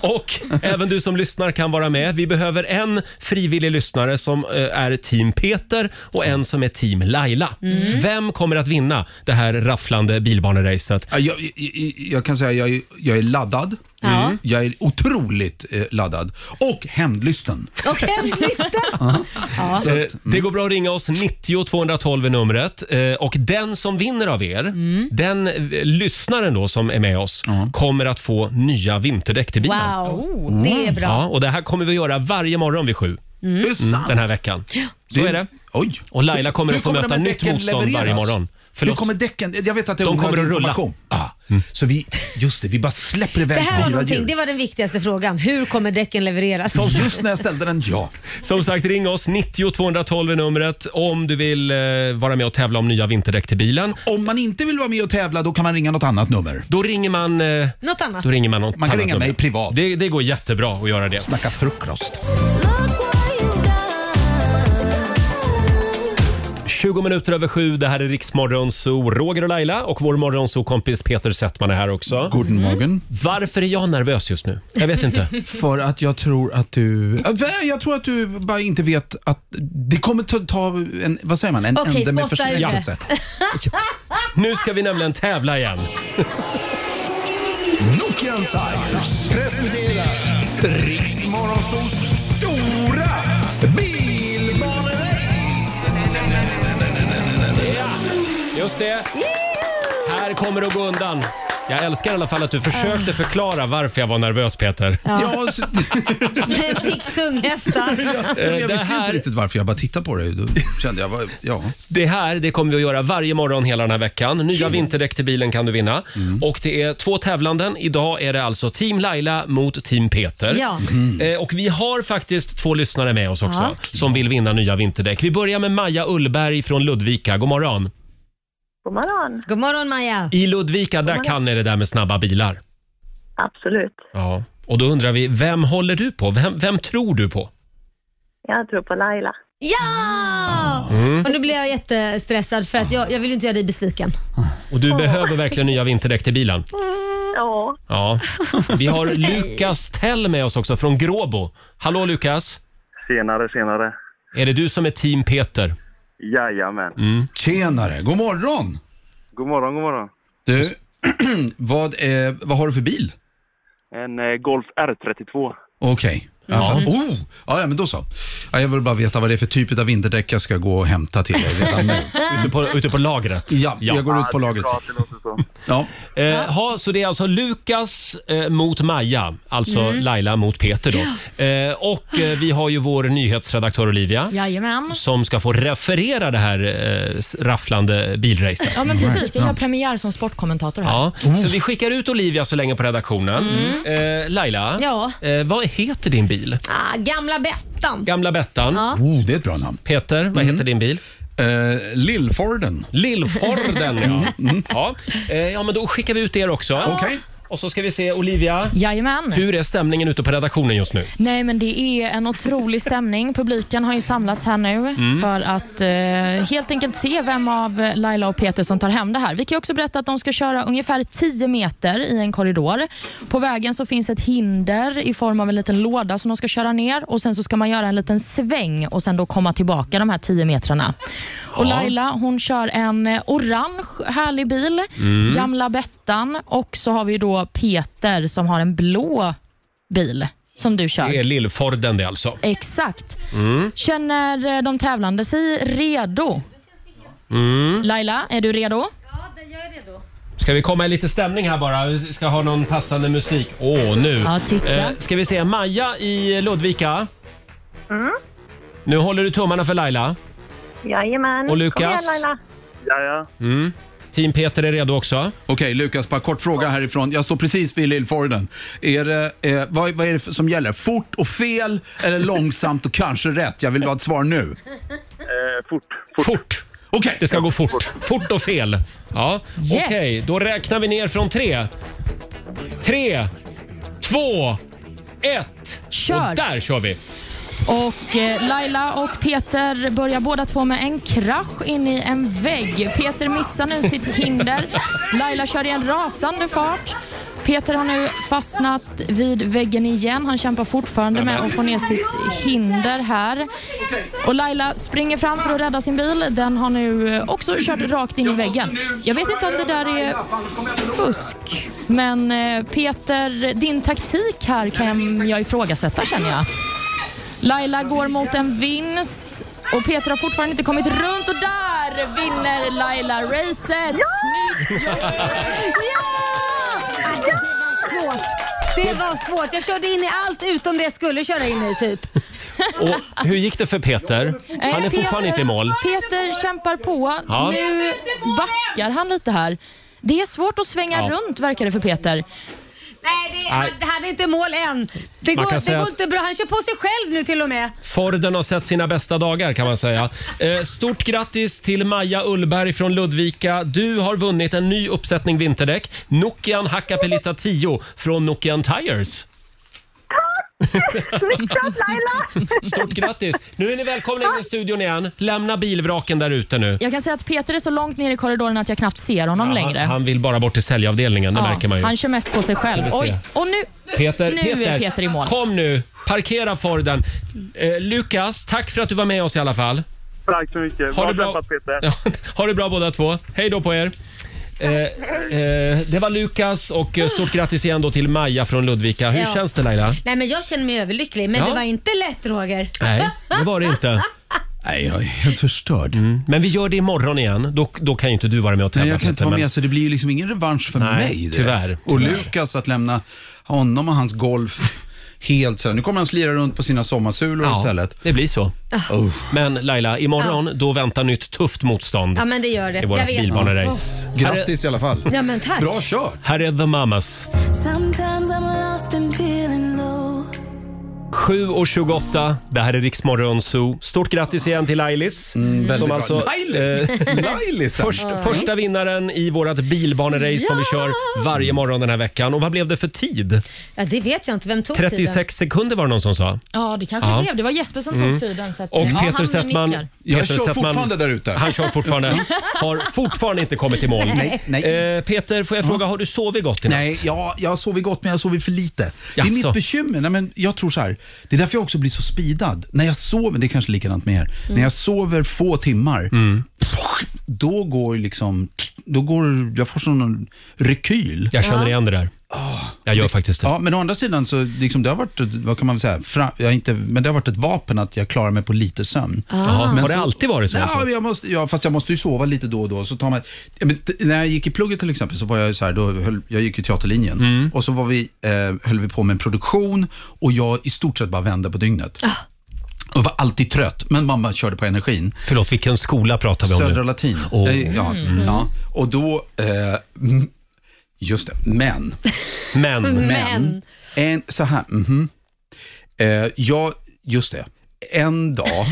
Speaker 1: Och även du som lyssnar kan vara med. Vi behöver en frivillig lyssnare som eh, är team Peter och en som är team Laila.
Speaker 2: Mm.
Speaker 1: Vem kommer att vinna det här rafflande bilbaneracet?
Speaker 8: Ja, Jag, jag, jag- jag kan säga jag är, jag är laddad.
Speaker 2: Ja.
Speaker 8: Jag är otroligt eh, laddad. Och hämndlysten.
Speaker 2: Och
Speaker 8: [LAUGHS]
Speaker 2: hemlisten.
Speaker 1: Eh, Det går bra att ringa oss, 90 212 är numret. Eh, Och den som vinner av er,
Speaker 2: Mm.
Speaker 1: den eh, lyssnaren då som är med oss, kommer att få nya vinterdäck till bilen.
Speaker 8: Mm.
Speaker 2: Wow, det är bra.
Speaker 1: Ja, och det här kommer vi att göra varje morgon vid sju
Speaker 8: Det är sant.
Speaker 1: den här veckan. Så är det.
Speaker 8: Oj.
Speaker 1: Och Laila kommer
Speaker 8: Hur
Speaker 1: att få möta
Speaker 8: de här
Speaker 1: nytt
Speaker 8: däcken
Speaker 1: motstånd varje morgon.
Speaker 8: Hur
Speaker 1: Förlåt.
Speaker 8: kommer däcken... Jag vet att det är
Speaker 1: De kommer
Speaker 8: onödig
Speaker 1: att rulla. Mm.
Speaker 8: information. Ah. Så vi... Just det, vi bara släpper iväg
Speaker 2: Det här var
Speaker 8: fyra
Speaker 2: någonting,
Speaker 8: djur.
Speaker 2: det var den viktigaste frågan. Hur kommer däcken levereras?
Speaker 8: Just när jag ställde den, ja.
Speaker 1: Som sagt, ring oss. 90 212 är numret om du vill eh, vara med och tävla om nya vinterdäck till bilen.
Speaker 8: Om man inte vill vara med och tävla, då kan man ringa något annat nummer.
Speaker 1: Då ringer man... Eh,
Speaker 2: Något annat?
Speaker 1: då ringer man något
Speaker 8: Man kan
Speaker 1: annat
Speaker 8: ringa
Speaker 1: nummer.
Speaker 8: mig privat.
Speaker 1: Det, det går jättebra att göra det.
Speaker 8: Snacka frukost.
Speaker 1: 20 minuter över sju. Det här är Riksmorgon Zoo. Roger och Laila och vår morgonzoo-kompis Peter Settman är här också.
Speaker 8: Guten Morgen.
Speaker 1: Varför är jag nervös just nu? Jag vet
Speaker 8: [LAUGHS]
Speaker 1: inte.
Speaker 8: För att jag tror att du... Äh, Jag tror att du bara inte vet att... Det kommer ta, ta en... Vad säger man? En
Speaker 2: Okej,
Speaker 8: ände med
Speaker 2: spotta ur det.
Speaker 8: förskräckelse.
Speaker 1: Nu ska vi nämligen tävla igen.
Speaker 4: Nokian Tigers presenterar Riksmorgonsols stora bilbanerace.
Speaker 1: Just det. Här kommer det att gå undan. Jag älskar i alla fall att du försökte förklara varför jag var nervös, Peter.
Speaker 8: Ja, så, [LAUGHS]
Speaker 2: Men [LAUGHS] fick tunghäfta.
Speaker 8: jag
Speaker 1: det
Speaker 8: visste ju
Speaker 1: här-
Speaker 8: inte riktigt varför jag bara tittade på dig. Då kände jag, vad- ja.
Speaker 1: Det här det kommer vi att göra varje morgon hela den här veckan. Nya vinterdäck till bilen kan du vinna. Och Det är två tävlanden. Idag är det alltså Team Laila mot Team Peter.
Speaker 2: Ja.
Speaker 1: Eh, Och Vi har faktiskt två lyssnare med oss också som vill vinna nya vinterdäck. Vi börjar med Maja Ullberg från Ludvika. God morgon.
Speaker 6: God morgon.
Speaker 2: God morgon Maja.
Speaker 1: I Ludvika där kan ni det där med snabba bilar.
Speaker 6: Absolut.
Speaker 1: Ja. Och Då undrar vi, vem håller du på? Vem, vem tror du på?
Speaker 6: Jag tror på Laila.
Speaker 2: Ja!
Speaker 1: Mm.
Speaker 2: Och nu blir jag jättestressad för att jag, jag vill ju inte göra dig besviken.
Speaker 1: Och Du behöver verkligen nya vinterdäck till bilen.
Speaker 6: Ja,
Speaker 1: Ja. Vi har Lukas Tell med oss också från Gråbo. Hallå Lukas!
Speaker 9: Senare, senare.
Speaker 1: Är det du som är team Peter?
Speaker 9: Jajamän.
Speaker 8: Tjenare, god morgon.
Speaker 9: God morgon, god morgon.
Speaker 8: Du, [CLEARS THROAT] vad, eh, vad har du för bil?
Speaker 9: En eh, Golf R32.
Speaker 8: Okej. Ja. Oh, ja, ja, men då så. Ja, jag vill bara veta vad det är för typ av vinterdäck jag ska gå och hämta till dig redan nu.
Speaker 1: Ute på, ute på lagret?
Speaker 8: [LAUGHS] Ja, jag går ut på lagret.
Speaker 9: Ja, det låter så.
Speaker 8: Ja.
Speaker 1: Eh, ha, så det är alltså Lukas eh, mot Maja, alltså Laila mot Peter då. Eh, och eh, vi har ju vår nyhetsredaktör Olivia
Speaker 3: Jajamän.
Speaker 1: som ska få referera det här eh, s- rafflande bilracet.
Speaker 3: Ja, men precis. Jag har premiär som sportkommentator här.
Speaker 1: Ja, så vi skickar ut Olivia så länge på redaktionen. Eh, Laila,
Speaker 2: Ja.
Speaker 1: eh, vad heter din bil?
Speaker 2: Ah, gamla Bettan.
Speaker 1: Gamla Bettan.
Speaker 8: Oh, det är ett bra namn.
Speaker 1: Peter, vad heter din bil?
Speaker 8: Eh, Lillforden.
Speaker 1: Lillforden, ja. Ja. Eh, ja, men då skickar vi ut er också.
Speaker 8: Okej.
Speaker 1: Och så ska vi se, Olivia.
Speaker 3: Jajamän.
Speaker 1: Hur är stämningen ute på redaktionen just nu?
Speaker 3: Nej, men det är en otrolig stämning. Publiken har ju samlats här nu för att eh, helt enkelt se vem av Laila och Peter som tar hem det här. Vi kan ju också berätta att de ska köra ungefär 10 meter i en korridor. På vägen så finns ett hinder i form av en liten låda som de ska köra ner och sen så ska man göra en liten sväng och sen då komma tillbaka de här 10 metrarna. Och
Speaker 1: Ja.
Speaker 3: Laila hon kör en eh, orange härlig bil, gamla Bettan och så har vi då Peter som har en blå bil som du kör.
Speaker 1: Det är Lillforden det alltså.
Speaker 3: Exakt.
Speaker 1: Mm.
Speaker 3: Känner eh, de tävlande sig redo?
Speaker 1: Mm.
Speaker 3: Laila, är du redo?
Speaker 1: Ska vi komma i lite stämning här bara? Vi ska ha någon passande musik. Åh, nu. Eh,
Speaker 3: Ja, titta.
Speaker 1: ska vi se, Maja i Ludvika. Nu håller du tummarna för Laila.
Speaker 6: Jajamän.
Speaker 1: Och Lukas?
Speaker 6: Kom igen, Laila.
Speaker 9: Ja, ja.
Speaker 1: Mm. Team Peter är redo också.
Speaker 8: Okej, Lukas, bara kort fråga härifrån. Jag står precis vid Lillforden. Är det, eh, vad, vad är det för- som gäller? Fort och fel eller långsamt och kanske rätt? Jag vill ha ett svar nu.
Speaker 9: Eh, fort.
Speaker 1: Fort!
Speaker 8: Okej,
Speaker 1: Det ska gå fort. Fort och fel. Ja. Okej,
Speaker 3: Yes.
Speaker 1: då räknar vi ner från tre. Tre, två, ett.
Speaker 3: Kör.
Speaker 1: Och där kör vi!
Speaker 3: Och eh, Laila och Peter börjar båda två med en krasch in i en vägg. Peter missar nu sitt hinder. Laila kör i en rasande fart. Peter har nu fastnat vid väggen igen. Han kämpar fortfarande med att få ner sitt hinder här. Och Laila springer fram för att rädda sin bil. Den har nu eh, också kört rakt in i väggen. Jag vet inte om det där är fusk, men eh, Peter, din taktik här kan jag ifrågasätta känner jag. Laila går mot en vinst och Peter har fortfarande inte kommit runt och där vinner Laila racet. Snyggt jobbat!
Speaker 2: Alltså, det var svårt. Det var svårt. Jag körde in i allt utom det jag skulle köra in i typ.
Speaker 1: Och hur gick det för Peter? Han är
Speaker 3: Eh,
Speaker 1: fortfarande inte i mål.
Speaker 3: Peter kämpar på.
Speaker 1: Ja.
Speaker 3: Nu backar han lite här. Det är svårt att svänga
Speaker 1: Ja.
Speaker 3: runt verkar det för Peter.
Speaker 2: Nej, det,
Speaker 1: Nej.
Speaker 2: Han, han är inte i mål än. Det
Speaker 1: Man
Speaker 2: går,
Speaker 1: kan
Speaker 2: det
Speaker 1: säga
Speaker 2: går
Speaker 1: att-
Speaker 2: inte bra. Han kör på sig själv nu till och med.
Speaker 1: Forden har sett sina bästa dagar kan man säga. Eh, stort grattis till Maja Ullberg från Ludvika. Du har vunnit en ny uppsättning vinterdäck. Nokian Hakkapelita 10 från Nokian Tires.
Speaker 6: Snyggt jobbat, Laila!
Speaker 1: Stort grattis! Nu är ni välkomna in i studion igen. Lämna bilvraken där ute nu.
Speaker 3: Jag kan säga att Peter är så långt ner i korridoren att jag knappt ser honom
Speaker 1: Ja,
Speaker 3: längre.
Speaker 1: Han, han vill bara bort till säljavdelningen, det
Speaker 3: Ja,
Speaker 1: märker man ju.
Speaker 3: han kör mest på sig själv.
Speaker 1: Ska vi se.
Speaker 3: Oj, och nu...
Speaker 1: Peter,
Speaker 3: Nu är Peter i mål.
Speaker 1: kom nu! Parkera Forden. Eh, Lukas, tack för att du var med oss i alla fall.
Speaker 9: Tack så mycket.
Speaker 1: Ha
Speaker 9: Bra
Speaker 1: det bra,
Speaker 9: träffat, Peter.
Speaker 1: Ja, ha det bra båda två. Hej då på er. Eh, eh, det var Lukas och eh, stort grattis igen då till Maja från Ludvika. Hur
Speaker 2: Ja.
Speaker 1: känns det Laila?
Speaker 2: Nej, men jag känner mig överlycklig. Men
Speaker 1: Ja.
Speaker 2: det var inte lätt Roger.
Speaker 1: Nej, det var det inte.
Speaker 8: Nej, jag är helt förstörd.
Speaker 1: Men vi gör det imorgon igen. Då, då kan ju inte du vara med och tävla
Speaker 8: Nej, jag kan inte
Speaker 1: Peter,
Speaker 8: vara
Speaker 1: men-
Speaker 8: med, så det blir ju liksom ingen revansch för
Speaker 1: Nej,
Speaker 8: mig. direkt.
Speaker 1: tyvärr,
Speaker 8: Och
Speaker 1: tyvärr.
Speaker 8: Lukas, att lämna honom och hans golf helt sådär. Nu kommer han slira runt på sina sommarsulor
Speaker 1: [LAUGHS]
Speaker 8: istället.
Speaker 1: det blir så.
Speaker 8: Oh.
Speaker 1: Men Laila, imorgon då väntar nytt tufft motstånd
Speaker 2: Ja, men det gör det.
Speaker 1: i våra
Speaker 2: Jag vet.
Speaker 1: bilbanerace. Här, är-
Speaker 8: Grattis i alla fall.
Speaker 2: Ja, men tack.
Speaker 8: Bra kört!
Speaker 2: [LAUGHS]
Speaker 1: här är The Mamas.
Speaker 10: Sometimes I'm lost and feeling low.
Speaker 1: 7.28, det här är Riksmorgon Zoo. Stort grattis igen till Lailis.
Speaker 8: Mm, Väldigt
Speaker 1: som
Speaker 8: bra.
Speaker 1: alltså,
Speaker 8: Lailis! Lailisen!
Speaker 1: Först, Första vinnaren i vårt bilbanerace som vi kör varje morgon den här veckan. Och vad blev det för tid?
Speaker 2: Ja, det vet jag inte. Vem tog tiden?
Speaker 1: 36 sekunder var det någon som sa.
Speaker 3: Ja, det kanske
Speaker 1: Ja. Mm.
Speaker 3: blev. Det var Jesper som tog tiden. Så att,
Speaker 1: Och
Speaker 3: ja,
Speaker 1: Peter
Speaker 3: han
Speaker 1: Settman...
Speaker 3: nickar.
Speaker 8: Jag
Speaker 1: Peter
Speaker 8: kör
Speaker 1: Settman-
Speaker 8: fortfarande där ute.
Speaker 1: Han kör
Speaker 8: [LAUGHS]
Speaker 1: fortfarande. Har fortfarande inte kommit i mål.
Speaker 8: Nej, nej.
Speaker 1: Eh, Peter, får jag fråga, har du sovit gott i natt?
Speaker 8: Nej, jag, jag har sovit gott men jag har sovit för lite. Det är
Speaker 1: Jaså?
Speaker 8: mitt bekymmer. Nej, men jag tror så här, det är därför jag också blir så speedad. När jag sover, det är kanske likadant med er, när jag sover få timmar, då går liksom, då går, jag får sån rekyl.
Speaker 1: Jag känner igen det där.
Speaker 8: Ah.
Speaker 1: Jag gör faktiskt det.
Speaker 8: Ja, men å andra sidan så liksom, det har varit, ett- vad kan man säga, fra, jag är inte, men det har varit ett vapen att jag klarar mig på lite sömn.
Speaker 1: Jaha,
Speaker 8: Men
Speaker 1: har det
Speaker 8: så-
Speaker 1: alltid varit så?
Speaker 8: Ah. Ja,
Speaker 1: alltså?
Speaker 8: men jag måste, ja, fast jag måste ju sova lite då och då. Så tar man, ja, men t- när jag gick i plugget till exempel så var jag ju så här, då höll, jag gick ju teaterlinjen
Speaker 1: Mm.
Speaker 8: och så var vi, eh, höll vi på med en produktion och jag i stort sett bara vände på dygnet. Och var alltid trött, men mamma körde på energin.
Speaker 1: Förlåt, vilken skola pratar vi om
Speaker 8: Södra
Speaker 1: nu?
Speaker 8: Latin.
Speaker 1: Åh.
Speaker 8: Eh, Ja, ja. Och då, eh, mm, just det, men.
Speaker 1: Men,
Speaker 8: Men, en, så här, mhm. eh, jag, just det,
Speaker 1: [LAUGHS]
Speaker 8: en dag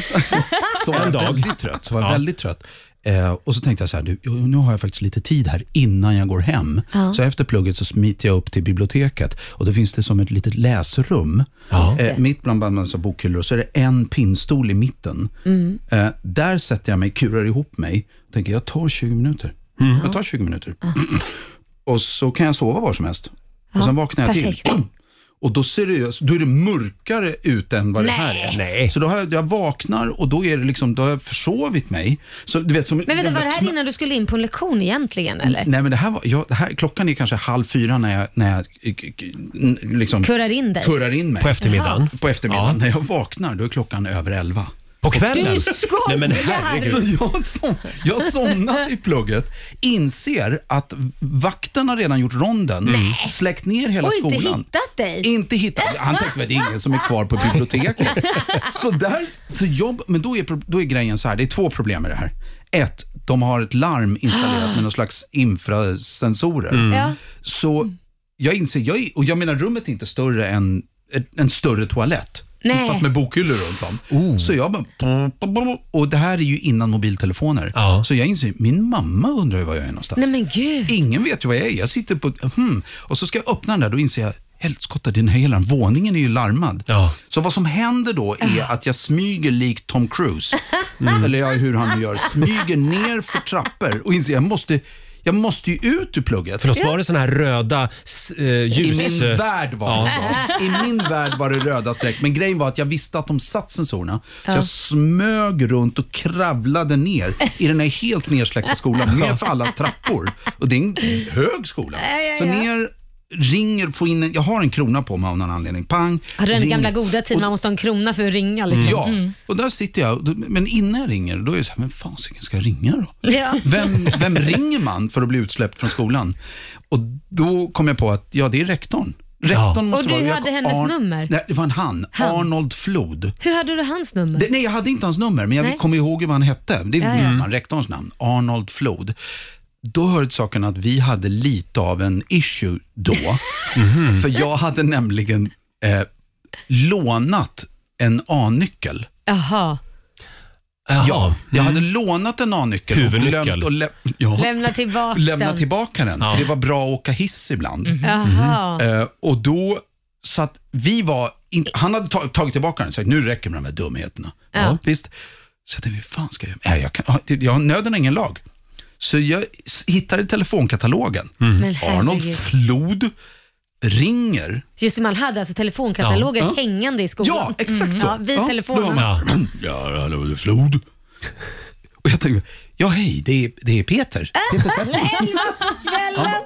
Speaker 8: så var jag
Speaker 1: En dag.
Speaker 8: väldigt trött. Så var jag
Speaker 1: Ja.
Speaker 8: väldigt trött. Eh, och så tänkte jag så här, du, nu har jag faktiskt lite tid här innan jag går hem. Så efter plugget så smiter jag upp till biblioteket och då finns det som ett litet läsrum. Eh, mitt bland en massa bokhyllor och så är det en pinnstol i mitten. Eh, där sätter jag mig, kurar ihop mig och tänker jag tar 20 minuter.
Speaker 2: Mm-hmm.
Speaker 8: Jag
Speaker 2: Ah.
Speaker 8: [CLEARS THROAT] tar 20 minuter. Och så kan jag sova var som helst. Och sen vaknar jag till.
Speaker 2: perfekt.
Speaker 8: [CLEARS THROAT] Och då ser det, då är det mörkare ut än vad
Speaker 2: Nej.
Speaker 8: det här är. Så då har jag, jag vaknar och då, är det liksom, då har jag försovit mig. Så, du vet, som
Speaker 2: Men vänta,
Speaker 8: jävla
Speaker 2: var det här
Speaker 8: knö-
Speaker 2: innan du skulle in på en lektion egentligen eller?
Speaker 8: Nej, men det här var, jag, det här, klockan är kanske halv fyra när jag, när jag eh, k- k- n- liksom,
Speaker 2: Kurrar in dig?
Speaker 8: kurrar in mig.
Speaker 2: På eftermiddagen? Jaha.
Speaker 8: På eftermiddagen. När jag vaknar, då är klockan över elva.
Speaker 1: På
Speaker 2: kvällen? Du skojar! Nej, men herregud.
Speaker 8: Så jag, som, jag har somnat i plugget, inser att vakten har redan gjort ronden,
Speaker 2: Nej.
Speaker 8: släckt ner hela
Speaker 2: och
Speaker 8: skolan.
Speaker 2: inte hittat dig?
Speaker 8: Inte hittat. Han tänkte väl det är ingen som är kvar på
Speaker 2: [LAUGHS]
Speaker 8: biblioteket. så där, så jobb, men då är, pro- då är grejen så här, det är två problem med det här. Ett, de har ett larm
Speaker 2: Ah.
Speaker 8: installerat med någon slags infrasensorer.
Speaker 10: Mm. Ja.
Speaker 8: Så jag inser, jag är, och jag menar rummet är inte större än ett- en större toalett.
Speaker 10: Nej.
Speaker 8: Fast med bokhyllor runt om. Så jag bara... Och det här är ju innan mobiltelefoner. Så jag inser, min mamma undrar ju var jag är någonstans.
Speaker 2: Nej, men gud.
Speaker 8: Ingen vet ju var jag är. Jag sitter på... Hmm. Och så ska jag öppna den där, då inser jag, helskotta, den här hela våningen är ju larmad. Så vad som händer då är att jag smyger likt Tom Cruise, Mm. eller ja, hur han nu gör, smyger ner för trappor och inser jag måste, jag måste ju ut ur plugget.
Speaker 1: Förlåt, var det såna här röda s- eh, ljus...
Speaker 8: I min
Speaker 1: eh,
Speaker 8: värld var det så. I min värld var det röda streck. Men grejen var att jag visste att de satt sensorerna. Så
Speaker 10: Ja.
Speaker 8: jag smög runt och kravlade ner i den här helt nersläckta skolan. Nerför alla trappor. Och det är en hög skola.
Speaker 2: Ja, ja,
Speaker 8: Så
Speaker 2: ja.
Speaker 8: ner, ringer, får in en, jag har en krona på mig av någon anledning. Pang.
Speaker 2: Har du den
Speaker 8: ringer.
Speaker 2: gamla goda tiden man måste ha en krona för att ringa liksom?
Speaker 8: Ja,
Speaker 2: Mm.
Speaker 8: och där sitter jag. Men innan jag ringer, då är det så här, men fasiken ska jag ringa då?
Speaker 2: Ja.
Speaker 8: Vem, vem ringer man för att bli utsläppt från skolan? Och då kom jag på att, ja det är rektorn. Rektorn
Speaker 2: Ja.
Speaker 8: måste
Speaker 2: Och du
Speaker 8: vara, jag-
Speaker 2: hade hennes nummer?
Speaker 8: Nej, det var en han.
Speaker 2: Han.
Speaker 8: Arnold Flod.
Speaker 2: Hur hade du hans nummer?
Speaker 8: Det, nej, jag hade inte hans nummer, men jag
Speaker 2: Nej.
Speaker 8: kommer ihåg vad han hette. Det
Speaker 2: Ja, Mm. ja.
Speaker 8: visste man, rektorns namn. Arnold Flod. Då hör till saken att vi hade lite av en issue då. För jag hade nämligen eh, lånat en A-nyckel.
Speaker 2: Jaha.
Speaker 8: Ja, jag hade lånat en A-nyckel och
Speaker 1: Huvudnyckel.
Speaker 8: glömt att lä- ja,
Speaker 2: Lämna tillbaka
Speaker 8: [LAUGHS] lämna
Speaker 2: den.
Speaker 8: tillbaka den. För det var bra att åka hiss ibland.
Speaker 2: Mhm. Jaha.
Speaker 8: Eh, och då, så att vi var, in, han hade ta, tagit tillbaka den och sagt nu räcker det med de här dumheterna. Ja.
Speaker 10: Ja.
Speaker 8: visst. Så jag tänkte, hur fan ska jag göra? Nej, jag kan, ja, det- jag, nöden har ingen lag. Så jag s- hittade telefonkatalogen.
Speaker 2: Men
Speaker 8: Arnold
Speaker 2: herregud.
Speaker 8: Flod ringer.
Speaker 2: Just det, man hade alltså telefonkatalogen
Speaker 8: Ja.
Speaker 2: hängande i skolan.
Speaker 8: Ja, exakt
Speaker 2: Mm.
Speaker 8: så.
Speaker 2: Ja, vid
Speaker 8: Ja,
Speaker 2: telefonen.
Speaker 8: då har man- [CLEARS THROAT] Ja, hallå, det är Flod. Och jag tänkte, ja hej, det är, det är Peter.
Speaker 2: Äh,
Speaker 8: Peter Settman.
Speaker 10: Elva
Speaker 2: på kvällen!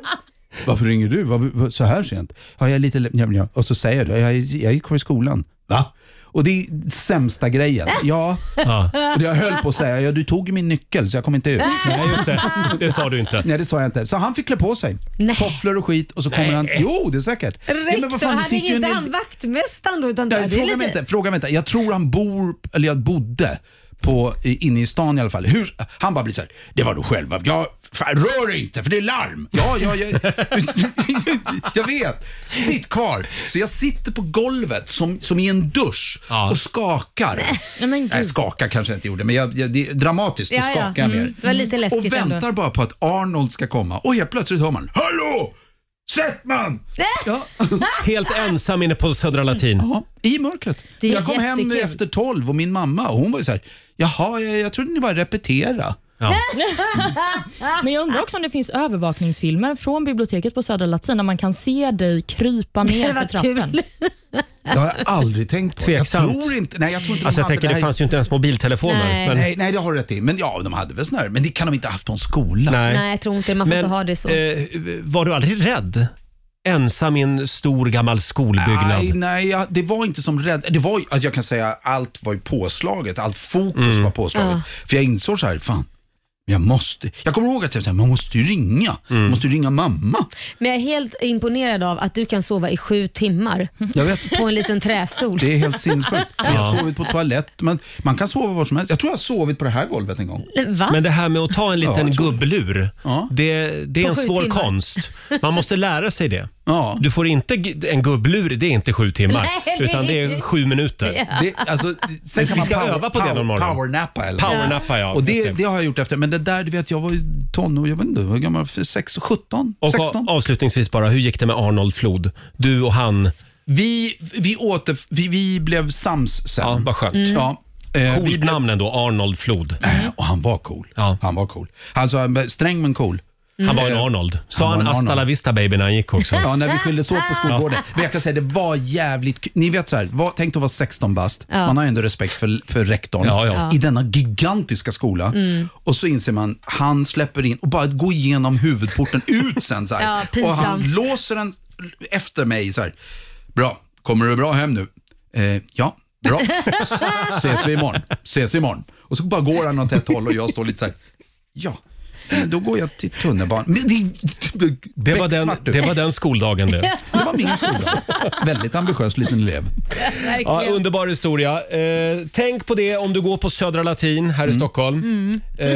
Speaker 8: Varför ringer du? Var, var, så här sent? Ja, jag är lite... Ja, men ja. Och så säger du, jag, är- jag gick kvar i skolan. Va? Och det är sämsta grejen.
Speaker 2: Äh. [LAUGHS]
Speaker 8: Ja.
Speaker 1: Ja.
Speaker 8: Och jag höll på att säga, ja, du tog min nyckel så jag kom inte ut.
Speaker 2: Äh.
Speaker 1: Nej, just det. Det sa du inte.
Speaker 8: Nej, det sa jag inte. Så han fick klä på sig. Tofflor och skit och så kommer
Speaker 1: Nej.
Speaker 8: han... Jo, det är säkert.
Speaker 2: Rektor,
Speaker 8: men vad
Speaker 2: han
Speaker 8: fan, det
Speaker 2: hade
Speaker 8: sitter ju
Speaker 2: inte
Speaker 8: en-
Speaker 2: han vaktmästaren då? Utan det
Speaker 8: Nej,
Speaker 2: är
Speaker 8: fråga, mig
Speaker 2: lite-
Speaker 8: inte, fråga mig inte. Jag tror han bor, eller jag bodde, på, i- inne i stan i alla fall. Hur, han bara blir så här, det var du själv. Jag, fan, rör inte för det är larm. Ja, ja, [LAUGHS] jag, jag vet. Sitt kvar. Så jag sitter på golvet som, som i en dusch och skakar.
Speaker 2: Nej, men gud.
Speaker 8: Nej, skaka kanske jag inte gjorde, men jag, jag, det är dramatiskt så
Speaker 2: Ja, ja.
Speaker 8: skakar jag
Speaker 2: Mm.
Speaker 8: mer.
Speaker 2: Det var lite läskigt
Speaker 8: Och väntar
Speaker 2: ändå.
Speaker 8: bara på att Arnold ska komma och helt plötsligt hör man, hallå! Sättman! Ja.
Speaker 1: Helt ensam inne på Södra Latin.
Speaker 8: Ja, i mörkret.
Speaker 1: Det är
Speaker 8: jag kom hem
Speaker 1: jättekul.
Speaker 8: efter tolv och min mamma hon var ju så här, jaha, jag, jag trodde ni bara repetera.
Speaker 3: Men jag undrar också om det finns övervakningsfilmer från biblioteket på Södra Latin där man kan se dig
Speaker 8: [LAUGHS]
Speaker 3: krypa
Speaker 8: Det
Speaker 3: ner
Speaker 8: hade
Speaker 3: för
Speaker 8: varit
Speaker 3: trappen.
Speaker 8: Det har jag aldrig tänkt på.
Speaker 1: Tveksamt.
Speaker 8: Jag tror inte, nej, jag tror inte de
Speaker 1: Alltså jag
Speaker 8: hade
Speaker 1: tänker, det
Speaker 8: här.
Speaker 1: fanns ju inte ens mobiltelefoner.
Speaker 8: Nej.
Speaker 1: men-
Speaker 8: Nej, nej, det har du rätt i. Men ja, de hade väl sån här, men det kan de inte ha haft på en skola.
Speaker 1: Nej.
Speaker 2: Nej, jag tror inte det. Man får
Speaker 1: Men,
Speaker 2: inte ha det så.
Speaker 1: eh, var du aldrig rädd? Ensam i en stor gammal skolbyggnad.
Speaker 8: Nej, nej jag, det var inte som rädd. Det var, ju- alltså jag kan säga allt var ju påslaget, allt fokus
Speaker 1: Mm.
Speaker 8: var påslaget.
Speaker 10: Ja.
Speaker 8: För jag insåg så här, fan, jag måste, jag kommer ihåg att jag sa, man måste ju ringa,
Speaker 1: Mm.
Speaker 8: man måste ju ringa mamma.
Speaker 2: Men jag är helt imponerad av att du kan sova i sju timmar
Speaker 8: Jag vet.
Speaker 2: på en liten trästol.
Speaker 8: Det är helt sinnessjukt. Jag har
Speaker 1: [LAUGHS] Ja.
Speaker 8: sovit på toalett. Man, man kan sova var som helst. Jag tror jag har sovit på det här golvet en gång.
Speaker 2: Va?
Speaker 1: Men det här med att ta en
Speaker 8: Ja,
Speaker 1: liten
Speaker 8: jag tror det.
Speaker 1: gubblur, det, det är
Speaker 8: På
Speaker 1: en
Speaker 8: sju
Speaker 1: svår
Speaker 8: timmar.
Speaker 1: konst. Man måste lära sig det. Du får inte, g- en gubblur det är inte sju timmar,
Speaker 8: Nej.
Speaker 1: utan det är sju minuter.
Speaker 8: Ja. Det- alltså,
Speaker 1: vi ska öva på det någon morgon.
Speaker 8: Powernappa eller
Speaker 1: Powernappa, ja.
Speaker 8: Och
Speaker 1: Just
Speaker 8: det,
Speaker 1: det.
Speaker 8: det har jag gjort efter. Men det där, du vet, jag var ju tonåring. Jag vet inte, hur gammal? 6, 17?
Speaker 1: Och
Speaker 8: 16?
Speaker 1: a- avslutningsvis bara, hur gick det med Arnold Flod? Du och han?
Speaker 8: Vi, vi, åter, vi, vi blev sams sen.
Speaker 1: Ja, vad skönt. Mm.
Speaker 8: Mm. Ja. Eh,
Speaker 1: Coolt
Speaker 8: vi- Eh,
Speaker 1: namn ändå, Arnold Flod.
Speaker 8: Och han var cool. Han var cool. Alltså, han var sträng men cool.
Speaker 2: Mm.
Speaker 1: Han var en Arnold. Sa han,
Speaker 8: var en
Speaker 1: hasta la
Speaker 8: Arnold.
Speaker 1: vista baby när han
Speaker 2: [LAUGHS]
Speaker 1: gick också?
Speaker 8: Ja, när vi skildes åt på
Speaker 1: [LAUGHS]
Speaker 8: skolgården. Men jag kan säga, det var jävligt k- Ni vet så här, var, tänk att vara 16 bast.
Speaker 1: Ja.
Speaker 8: Man har ju ändå respekt för, för rektorn
Speaker 1: Ja, ja.
Speaker 8: i denna gigantiska skola.
Speaker 1: Mm.
Speaker 8: Och så inser man, han släpper in och bara att gå igenom huvudporten ut
Speaker 1: [LAUGHS]
Speaker 8: sen så
Speaker 2: Ja,
Speaker 8: här. och
Speaker 2: pinsamt.
Speaker 8: han låser den efter mig så här. Bra, kommer du bra hem nu? Eh, ja.
Speaker 1: [LAUGHS]
Speaker 8: Bra, ses vi imorgon. Ses imorgon. Och så bara går han åt ett håll och jag står lite så här, ja, men då går jag till tunnelbanan. Men det, typ
Speaker 1: Det var, den,
Speaker 8: becksvart ut.
Speaker 1: det var den
Speaker 2: [LAUGHS]
Speaker 1: skoldagen det.
Speaker 8: Det var min skola. Väldigt ambitiös liten elev.
Speaker 1: Ja,
Speaker 2: Verkligen.
Speaker 1: underbar historia. Eh, tänk på det om du går på Södra Latin här i Stockholm.
Speaker 2: Mm. [LAUGHS]
Speaker 1: Eh,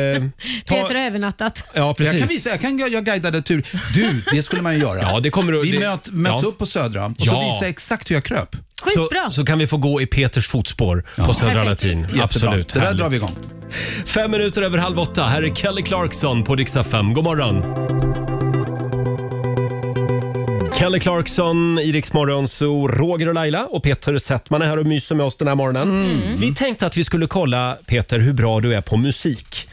Speaker 1: ta-
Speaker 2: Peter har övernattat.
Speaker 1: Ja, precis.
Speaker 8: Jag kan visa, jag, kan, jag guidade tur. Du, det skulle man ju göra.
Speaker 1: Ja, det kommer,
Speaker 8: Vi
Speaker 1: det,
Speaker 8: möt, möts
Speaker 1: ja.
Speaker 8: upp på Södra och så
Speaker 1: Ja.
Speaker 8: visar jag exakt hur jag kröp.
Speaker 1: Så, så kan vi få gå i Peters fotspår på Södra
Speaker 8: Perfekt.
Speaker 1: Latin.
Speaker 8: Jättebra.
Speaker 1: Absolut.
Speaker 8: Det där
Speaker 1: härligt.
Speaker 8: drar vi igång.
Speaker 1: Fem minuter över halv åtta. Här är Kelly Clarkson på riksdag 5. God morgon! Kelly Clarkson, i Rix Morgon Zoo, Roger och Laila och Peter Settman är här och myser med oss den här morgonen.
Speaker 8: Mm.
Speaker 1: Vi tänkte att vi skulle kolla, Peter, hur bra du är på
Speaker 8: [LAUGHS]
Speaker 1: musik.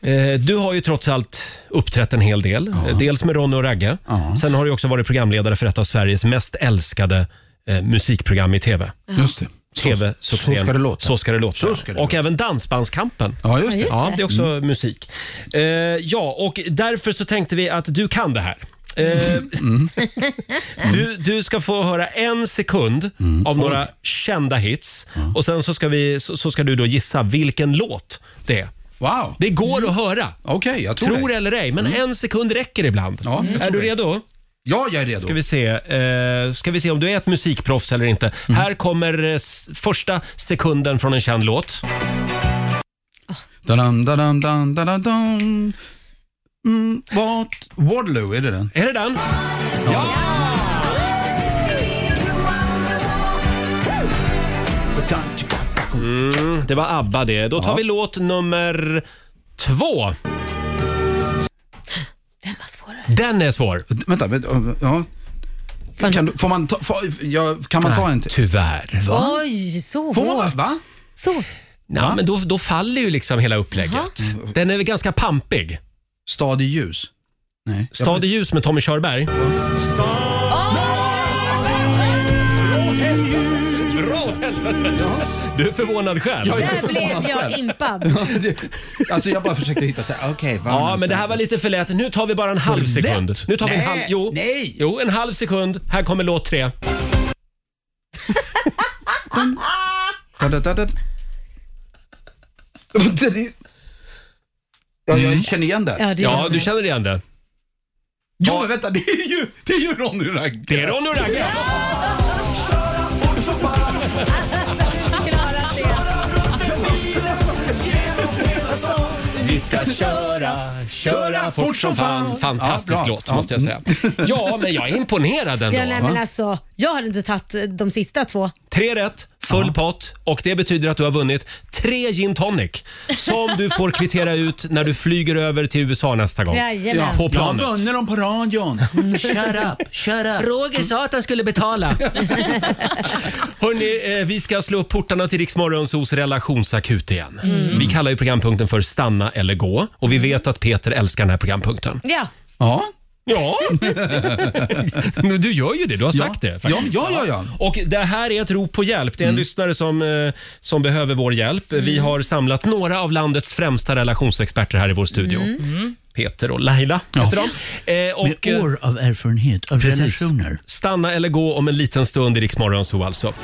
Speaker 1: Eh, Du har ju trots allt uppträtt en hel del. Eh, Dels med Ronny och Ragge. Sen har du också varit programledare för ett av Sveriges mest älskade eh, musikprogram i TV.
Speaker 8: Just det.
Speaker 1: TV-succén.
Speaker 8: Så ska det låta.
Speaker 1: Så ska det låta. och även Dansbandskampen.
Speaker 8: Ja, just det. Ja,
Speaker 1: Ja,
Speaker 8: just det. Mm.
Speaker 1: det är också musik. Eh, ja, och därför så tänkte vi att du kan det här. Eh,
Speaker 8: Mm.
Speaker 1: [LAUGHS] du, du ska få höra en sekund
Speaker 8: Mm.
Speaker 1: av några kända hits och sen så ska, vi, så, så ska du då gissa vilken låt det är.
Speaker 8: Wow.
Speaker 1: Det går att höra.
Speaker 8: Okej, jag Mm. tror,
Speaker 1: Tror
Speaker 8: det. Mm.
Speaker 1: eller ej, men en sekund räcker ibland.
Speaker 8: jag
Speaker 1: är
Speaker 8: tror
Speaker 1: du
Speaker 8: det.
Speaker 1: redo?
Speaker 8: Ja, jag är redo.
Speaker 1: Ska vi, se, eh, ska vi se om du är ett musikproffs eller inte.
Speaker 8: Mm.
Speaker 1: Här kommer eh, s- första sekunden från en känd låt.
Speaker 8: Da-dam, da-dam, da-dam, da-dam. Mm, what? Waterloo, är det den?
Speaker 1: Är det den? Ja! Mm, det var ABBA det. Då tar vi låt nummer två.
Speaker 2: Den var svårare.
Speaker 1: Den är svår.
Speaker 8: Vänta, vänta ja. Kan, du- får man ta, får, ja, kan man ta en
Speaker 1: typ.
Speaker 8: till?
Speaker 1: Tyvärr.
Speaker 8: Va?
Speaker 2: Oj, så
Speaker 8: Får man,
Speaker 2: hårt.
Speaker 8: va?
Speaker 2: Så.
Speaker 1: Ja, men då, då faller ju liksom hela upplägget. Den är väl ganska pampig.
Speaker 8: Stad i ljus. Nej.
Speaker 1: Stad i ljus med Tommy Körberg. Dra åt helvete! Du är förvånad själv.
Speaker 8: Ja,
Speaker 2: Där blev jag impad.
Speaker 8: Alltså jag bara försökte hitta så här, okej, var
Speaker 1: Ja, men det här var lite för lätt. Nu tar vi bara en halv sekund. Nu tar vi en
Speaker 8: Nej,
Speaker 1: halv... Jo,
Speaker 8: nej.
Speaker 1: jo, en halv sekund. Här kommer låt tre.
Speaker 8: någonstans? Da, da, da, da. Ja,
Speaker 1: Mm.
Speaker 8: jag känner igen det.
Speaker 2: Ja, det gör
Speaker 1: Ja,
Speaker 2: jag.
Speaker 1: du känner igen det.
Speaker 8: Jo, men vänta, det är ju, det är ju Ronny Ragge.
Speaker 1: Det är Ronny och Ragge. Vi ska köra, köra fort som fan. Fantastisk
Speaker 8: Ja, bra.
Speaker 1: låt måste jag säga. Ja, men jag är imponerad ändå.
Speaker 2: Ja, nej, men alltså, jag hade inte tagit eh, de sista två.
Speaker 1: Tre rätt, full pott och det betyder att du har vunnit tre gin tonic som du får kvittera ut när du flyger över till USA nästa gång.
Speaker 2: Jajamän.
Speaker 1: På planet.
Speaker 8: Jag vann dem på radion. Shut up, shut up.
Speaker 1: Roger sa att han skulle betala. [LAUGHS] Hörrni, eh, vi ska slå upp portarna till Riksmorgonsos relationsakut igen. Vi kallar ju programpunkten för Stanna eller gå och vi vet att Peter älskar den här programpunkten.
Speaker 2: Ja.
Speaker 8: Ja,
Speaker 1: Ja, [LAUGHS] Men du gör ju det. Du har
Speaker 8: Ja.
Speaker 1: sagt det.
Speaker 8: ja,
Speaker 1: faktiskt.
Speaker 8: ja, ja. ja.
Speaker 1: Och Det här är ett rop på hjälp. Det är en lyssnare som, eh, som behöver vår hjälp. Vi har samlat några av landets främsta relationsexperter här i vår studio. Peter och Laila heter de. Eh, och, eh,
Speaker 8: av erfarenhet av relationer.
Speaker 1: Stanna eller gå om en liten stund i Rix Morgonzoo alltså.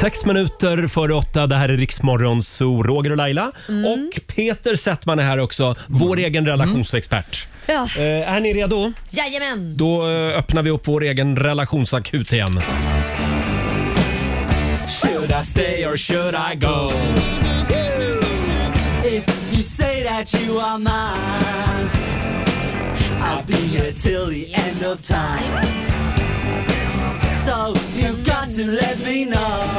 Speaker 1: Sex minuter före åtta, det här är Riksmorgonzoo, Roger och Laila. Och Peter Settman är här också, vår egen relationsexpert.
Speaker 2: ja.
Speaker 1: Eh, är ni redo?
Speaker 2: Jajamän.
Speaker 1: Då eh, öppnar vi upp vår egen relationsakut igen. Should I stay or should I go?
Speaker 11: If you say that you are mine, I'll be here till the end of time. So you got to let me know.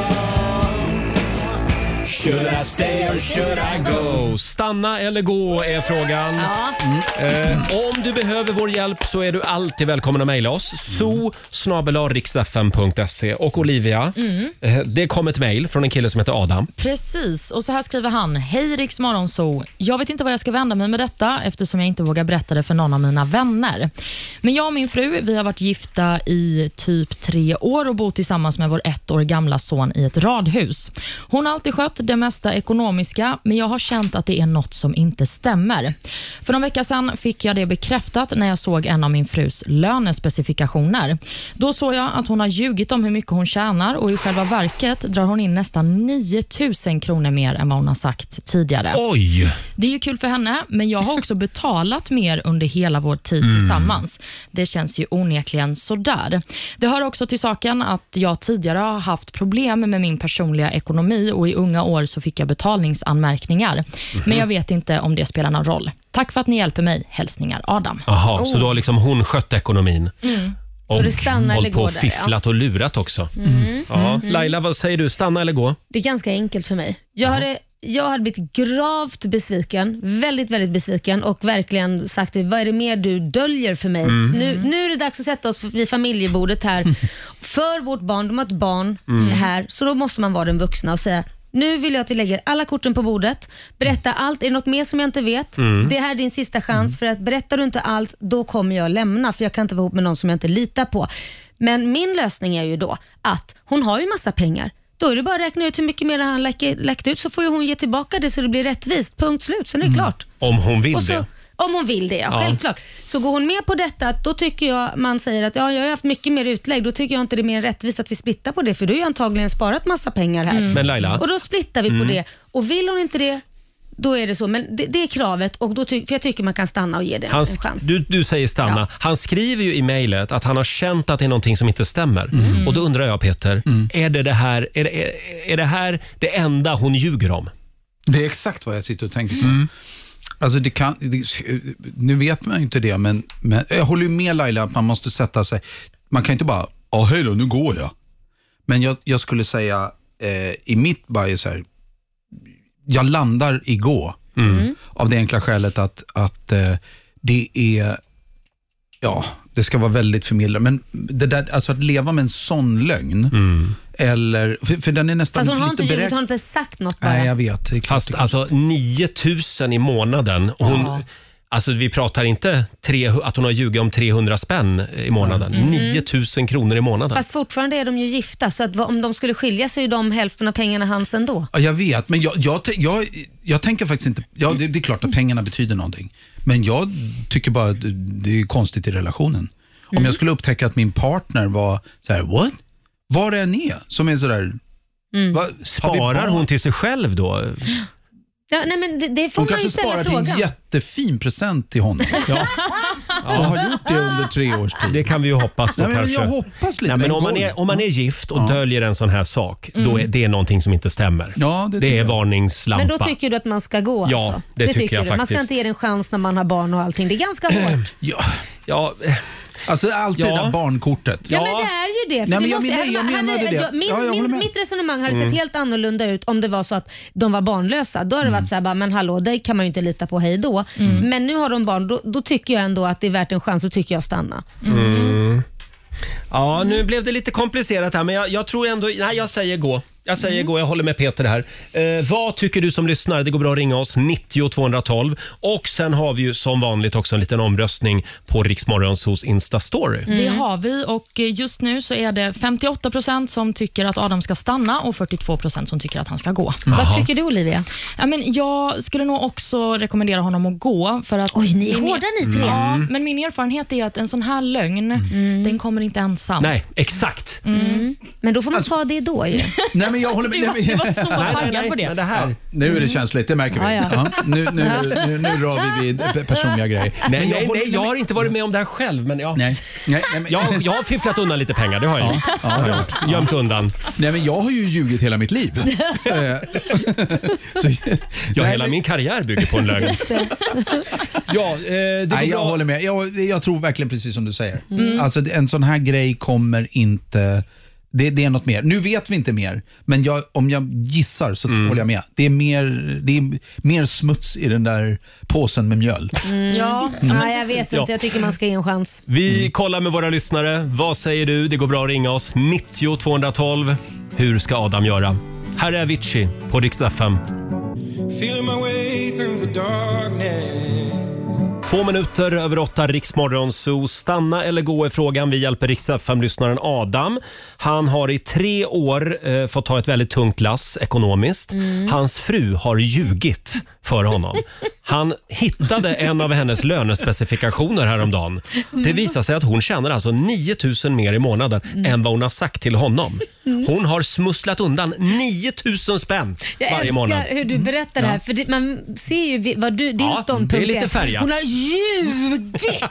Speaker 1: Should I stay or should I go? Stanna eller gå är frågan. Mm. Eh, om du behöver vår hjälp så är du alltid välkommen att mejla oss.
Speaker 3: Mm.
Speaker 1: so Och Olivia,
Speaker 3: Mm.
Speaker 1: eh, det kom ett mejl från en kille som heter Adam.
Speaker 3: Precis, och så här skriver han. Hej Riks Morgonzoo. Jag vet inte vad jag ska vända mig med detta eftersom jag inte vågar berätta det för någon av mina vänner. Men jag och min fru vi har varit gifta i typ tre år och bott tillsammans med vår ett år gamla son i ett radhus. Hon har alltid skött det mesta ekonomiska, men jag har känt att det är något som inte stämmer. För någon vecka sedan fick jag det bekräftat när jag såg en av min frus lönespecifikationer. Då såg jag att hon har ljugit om hur mycket hon tjänar och i själva verket drar hon in nästan 9 000 kronor mer än vad hon har sagt tidigare.
Speaker 1: Oj!
Speaker 3: Det är ju kul för henne, men jag har
Speaker 2: [LAUGHS]
Speaker 3: också betalat mer under hela vår tid
Speaker 12: Mm.
Speaker 3: tillsammans. Det känns ju onekligen sådär. Det hör också till saken att jag tidigare har haft problem med min personliga ekonomi och i unga år så fick jag betalningsanmärkningar.
Speaker 2: Mhm.
Speaker 3: Men jag vet inte om det spelar någon roll. Tack för att ni hjälper mig. Hälsningar Adam.
Speaker 1: Jaha, så då har liksom hon skött ekonomin.
Speaker 3: Oh. Mm. Och
Speaker 1: Och
Speaker 3: det stannar
Speaker 1: hållit
Speaker 3: eller
Speaker 1: på
Speaker 3: går
Speaker 1: och
Speaker 3: där,
Speaker 1: fifflat och lurat också.
Speaker 2: Mm.
Speaker 1: Ja.
Speaker 2: Mm.
Speaker 1: Laila, vad säger du? Stanna eller gå?
Speaker 2: Det är ganska enkelt för mig. Jag hade, jag hade blivit gravt besviken, väldigt, väldigt besviken och verkligen sagt vad är det mer du döljer för mig?
Speaker 12: Mm.
Speaker 2: Nu, nu är det dags att sätta oss vid
Speaker 12: [LAUGHS]
Speaker 2: familjebordet här för vårt barn. De har ett barn
Speaker 12: Mm.
Speaker 2: här, så då måste man vara den vuxna och säga nu vill jag att vi lägger alla korten på bordet. Berätta allt. Är det något mer som jag inte vet?
Speaker 12: Mm.
Speaker 2: Det här är din sista chans för att berättar du inte allt, då kommer jag lämna för jag kan inte vara ihop med någon som jag inte litar på. Men min lösning är ju då att hon har ju massa pengar. Då är det bara att räkna ut hur mycket mer han läckt läckt ut så får ju hon ge tillbaka det så det blir rättvist. Punkt slut, sen är det klart.
Speaker 1: Om hon Mm. vill
Speaker 2: Och så,
Speaker 1: det.
Speaker 2: Om hon vill det, ja,
Speaker 1: Ja.
Speaker 2: Självklart. Så går hon med på detta, då tycker jag man säger att ja, jag har haft mycket mer utlägg. Då tycker jag inte det är mer rättvist att vi splittar på det för du har ju antagligen sparat massa pengar här.
Speaker 1: Mm. Men Laila?
Speaker 2: Och då splittar vi på
Speaker 1: Mm.
Speaker 2: det. Och vill hon inte det, då är det så. Men det, det är kravet och då ty- för jag tycker man kan stanna och ge det
Speaker 1: Han,
Speaker 2: en
Speaker 1: sk-
Speaker 2: chans.
Speaker 1: du, du säger stanna.
Speaker 2: Ja.
Speaker 1: Han skriver ju i mejlet att han har känt att det är någonting som inte stämmer. Och då undrar jag Peter,
Speaker 8: Mm.
Speaker 1: är, det det här, är, det, är, är det här det enda hon ljuger om?
Speaker 8: Det är exakt vad jag sitter och tänker på. Alltså det kan, det, nu vet man ju inte det, men, men jag håller ju med Laila att man måste sätta sig. Man kan inte bara, ja hej då, nu går jag. Men jag, jag skulle säga eh, i mitt bias här, jag landar i gå.
Speaker 12: Mm.
Speaker 8: Av det enkla skälet att, att eh, det är, ja, det ska vara väldigt förmedlande. Men det där, alltså att leva med en sån lögn, eller, för, för den är nästan
Speaker 2: Fast hon har
Speaker 8: lite
Speaker 2: inte ljugit,
Speaker 8: beräk-
Speaker 2: hon har inte sagt något bara.
Speaker 8: Nej, jag vet. Det är klart,
Speaker 1: Fast alltså 9 000 i månaden. Hon,
Speaker 2: Ja.
Speaker 1: Alltså vi pratar inte tre, att hon har ljugit om 300 spänn i månaden.
Speaker 2: Mm.
Speaker 1: 9 000 kronor i månaden.
Speaker 2: Fast fortfarande är de ju gifta så att vad- om de skulle skilja så är ju de hälften av pengarna hans ändå.
Speaker 8: Ja, jag vet, men jag, jag, te- jag, jag tänker faktiskt inte... Ja, det, det är klart att pengarna betyder någonting. Men jag tycker bara att det- det är konstigt i relationen.
Speaker 2: Mm.
Speaker 8: Om jag skulle upptäcka att min partner var så här, what? Var det än är, som är så där...
Speaker 2: Mm.
Speaker 8: "Va? Har vi
Speaker 1: Sparar
Speaker 8: barn?"
Speaker 1: hon till sig själv då?
Speaker 2: Ja, nej, men det, det får
Speaker 8: Hon
Speaker 2: man ju
Speaker 8: kanske
Speaker 2: ställa
Speaker 8: sparar till
Speaker 2: frågan.
Speaker 8: en jättefin present
Speaker 1: [LAUGHS]
Speaker 8: till honom. Ja. Och har gjort det under tre års tid.
Speaker 1: Det kan vi ju hoppas då
Speaker 8: Nej, men
Speaker 1: kanske.
Speaker 8: jag hoppas lite.
Speaker 1: Nej, men
Speaker 8: men
Speaker 1: om, man
Speaker 8: golv.
Speaker 1: är, om man är gift och döljer en sån här sak, då är
Speaker 2: Mm.
Speaker 1: det någonting som inte stämmer. det är varningslampa.
Speaker 2: Men då tycker du att man ska gå
Speaker 1: Ja,
Speaker 2: alltså?
Speaker 1: det tycker jag
Speaker 2: du. Man ska
Speaker 1: faktiskt.
Speaker 2: inte ge det en chans när man har barn och allting. Det är
Speaker 1: [CLEARS THROAT]
Speaker 2: ganska hårt.
Speaker 8: Ja.
Speaker 1: ja. eh,
Speaker 8: Alltså alltid
Speaker 1: Ja.
Speaker 8: det där barnkortet.
Speaker 2: Ja, men det är ju det. För
Speaker 8: Nej, men
Speaker 2: det
Speaker 8: jag menar-
Speaker 2: hade
Speaker 8: jag
Speaker 2: man-
Speaker 8: menade
Speaker 2: hade-
Speaker 8: det.
Speaker 2: min,
Speaker 8: Ja, jag håller
Speaker 2: min,
Speaker 8: med.
Speaker 2: mitt resonemang hade
Speaker 8: Mm.
Speaker 2: sett helt annorlunda ut om det var så att de var barnlösa. Då hade det
Speaker 8: Mm.
Speaker 2: varit så här, bara, men hallå, dig kan man ju inte lita på, hej då. Men nu har de barn, då, då tycker jag ändå att det är värt en chans, då tycker jag stanna.
Speaker 1: Mm. Ja, nu blev det lite komplicerat här, men jag, jag tror ändå... Nej, jag säger gå. Jag säger
Speaker 2: Mm.
Speaker 1: gå, jag håller med Peter här. Eh, vad tycker du som lyssnar? Det går bra att ringa oss, 90 212. Och sen har vi ju som vanligt också en liten omröstning på Riksmorgons hos Insta-story.
Speaker 2: Mm.
Speaker 3: Det har vi och eh, just nu så är det 58 procent som tycker att Adam ska stanna och 42 procent som tycker att han ska gå.
Speaker 2: Vad Jaha. tycker du Olivia?
Speaker 3: Ja, men jag skulle nog också rekommendera honom att gå. För att
Speaker 2: Oj, ni är
Speaker 3: min-
Speaker 2: hårda ni tre.
Speaker 3: Ja,
Speaker 2: Mm.
Speaker 3: men min erfarenhet är att en sån här lögn, den kommer inte ensam.
Speaker 1: Nej, exakt.
Speaker 2: Mm. Men då får man
Speaker 8: Alltså-
Speaker 2: ta det då ju.
Speaker 8: Nej, men jag
Speaker 2: [LAUGHS]
Speaker 8: håller med.
Speaker 3: Du var-
Speaker 8: nej, men-
Speaker 3: du var så Nej, nej, taggad nej, på det. men det här-
Speaker 8: Ja, nu är det känsligt, det märker vi.
Speaker 2: Mm. Ja,
Speaker 8: Ja,
Speaker 2: ja.
Speaker 8: nu, nu, nu, nu rör vi vid pe- personliga grejer.
Speaker 1: Nej, nej, nej, jag har
Speaker 8: inte varit
Speaker 1: med om det här själv. Men ja.
Speaker 8: nej, nej, nej, men,
Speaker 1: Jag, jag har fifflat undan lite pengar, det har jag gjort. Det har jag gjort. Gömt undan.
Speaker 8: Nej, men jag har ju ljugit hela
Speaker 1: [LAUGHS]
Speaker 8: mitt liv.
Speaker 1: Ja, hela min karriär bygger på en lögn. [LAUGHS] Ja, eh, det
Speaker 8: nej, jag
Speaker 1: bra.
Speaker 8: håller med. Jag, jag tror verkligen precis som du säger.
Speaker 1: Mm.
Speaker 8: Alltså, en sån här grej kommer inte Det, det är något mer. Nu vet vi inte mer, men jag, om jag gissar så
Speaker 1: Mm.
Speaker 8: håller jag med. Det är, mer, det är mer smuts i den där påsen med mjöl.
Speaker 2: Mm. Ja.
Speaker 8: Mm.
Speaker 2: ja, jag vet
Speaker 1: Ja.
Speaker 2: inte. Jag tycker man ska ge en chans.
Speaker 1: Vi kollar med våra lyssnare. Vad säger du? Det går bra att ringa oss. 90 212. Hur ska Adam göra? Här är Avicii på Dix FM.
Speaker 12: Feeling my way through the darkness.
Speaker 1: Två minuter över åtta, Riksmorgon, så stanna eller gå är frågan. Vi hjälper Rix lyssnaren Adam. Han har i tre år eh, fått ta ett väldigt tungt lass ekonomiskt.
Speaker 13: Mm.
Speaker 1: Hans fru har ljugit för honom. Han hittade en av hennes lönespecifikationer häromdagen. Det visar sig att hon tjänar alltså 9 000 mer i månaden
Speaker 2: Mm.
Speaker 1: än vad hon har sagt till honom. Hon har smusslat undan 9 000 spänn
Speaker 2: Jag
Speaker 1: varje
Speaker 2: älskar
Speaker 1: månad.
Speaker 2: hur du berättar det här,
Speaker 1: Ja.
Speaker 2: för det, man ser ju vi- vad du, din
Speaker 1: Ja,
Speaker 2: ståndpunkt
Speaker 1: det är lite färgat.
Speaker 2: Hon har
Speaker 1: [LAUGHS]
Speaker 2: ljugit!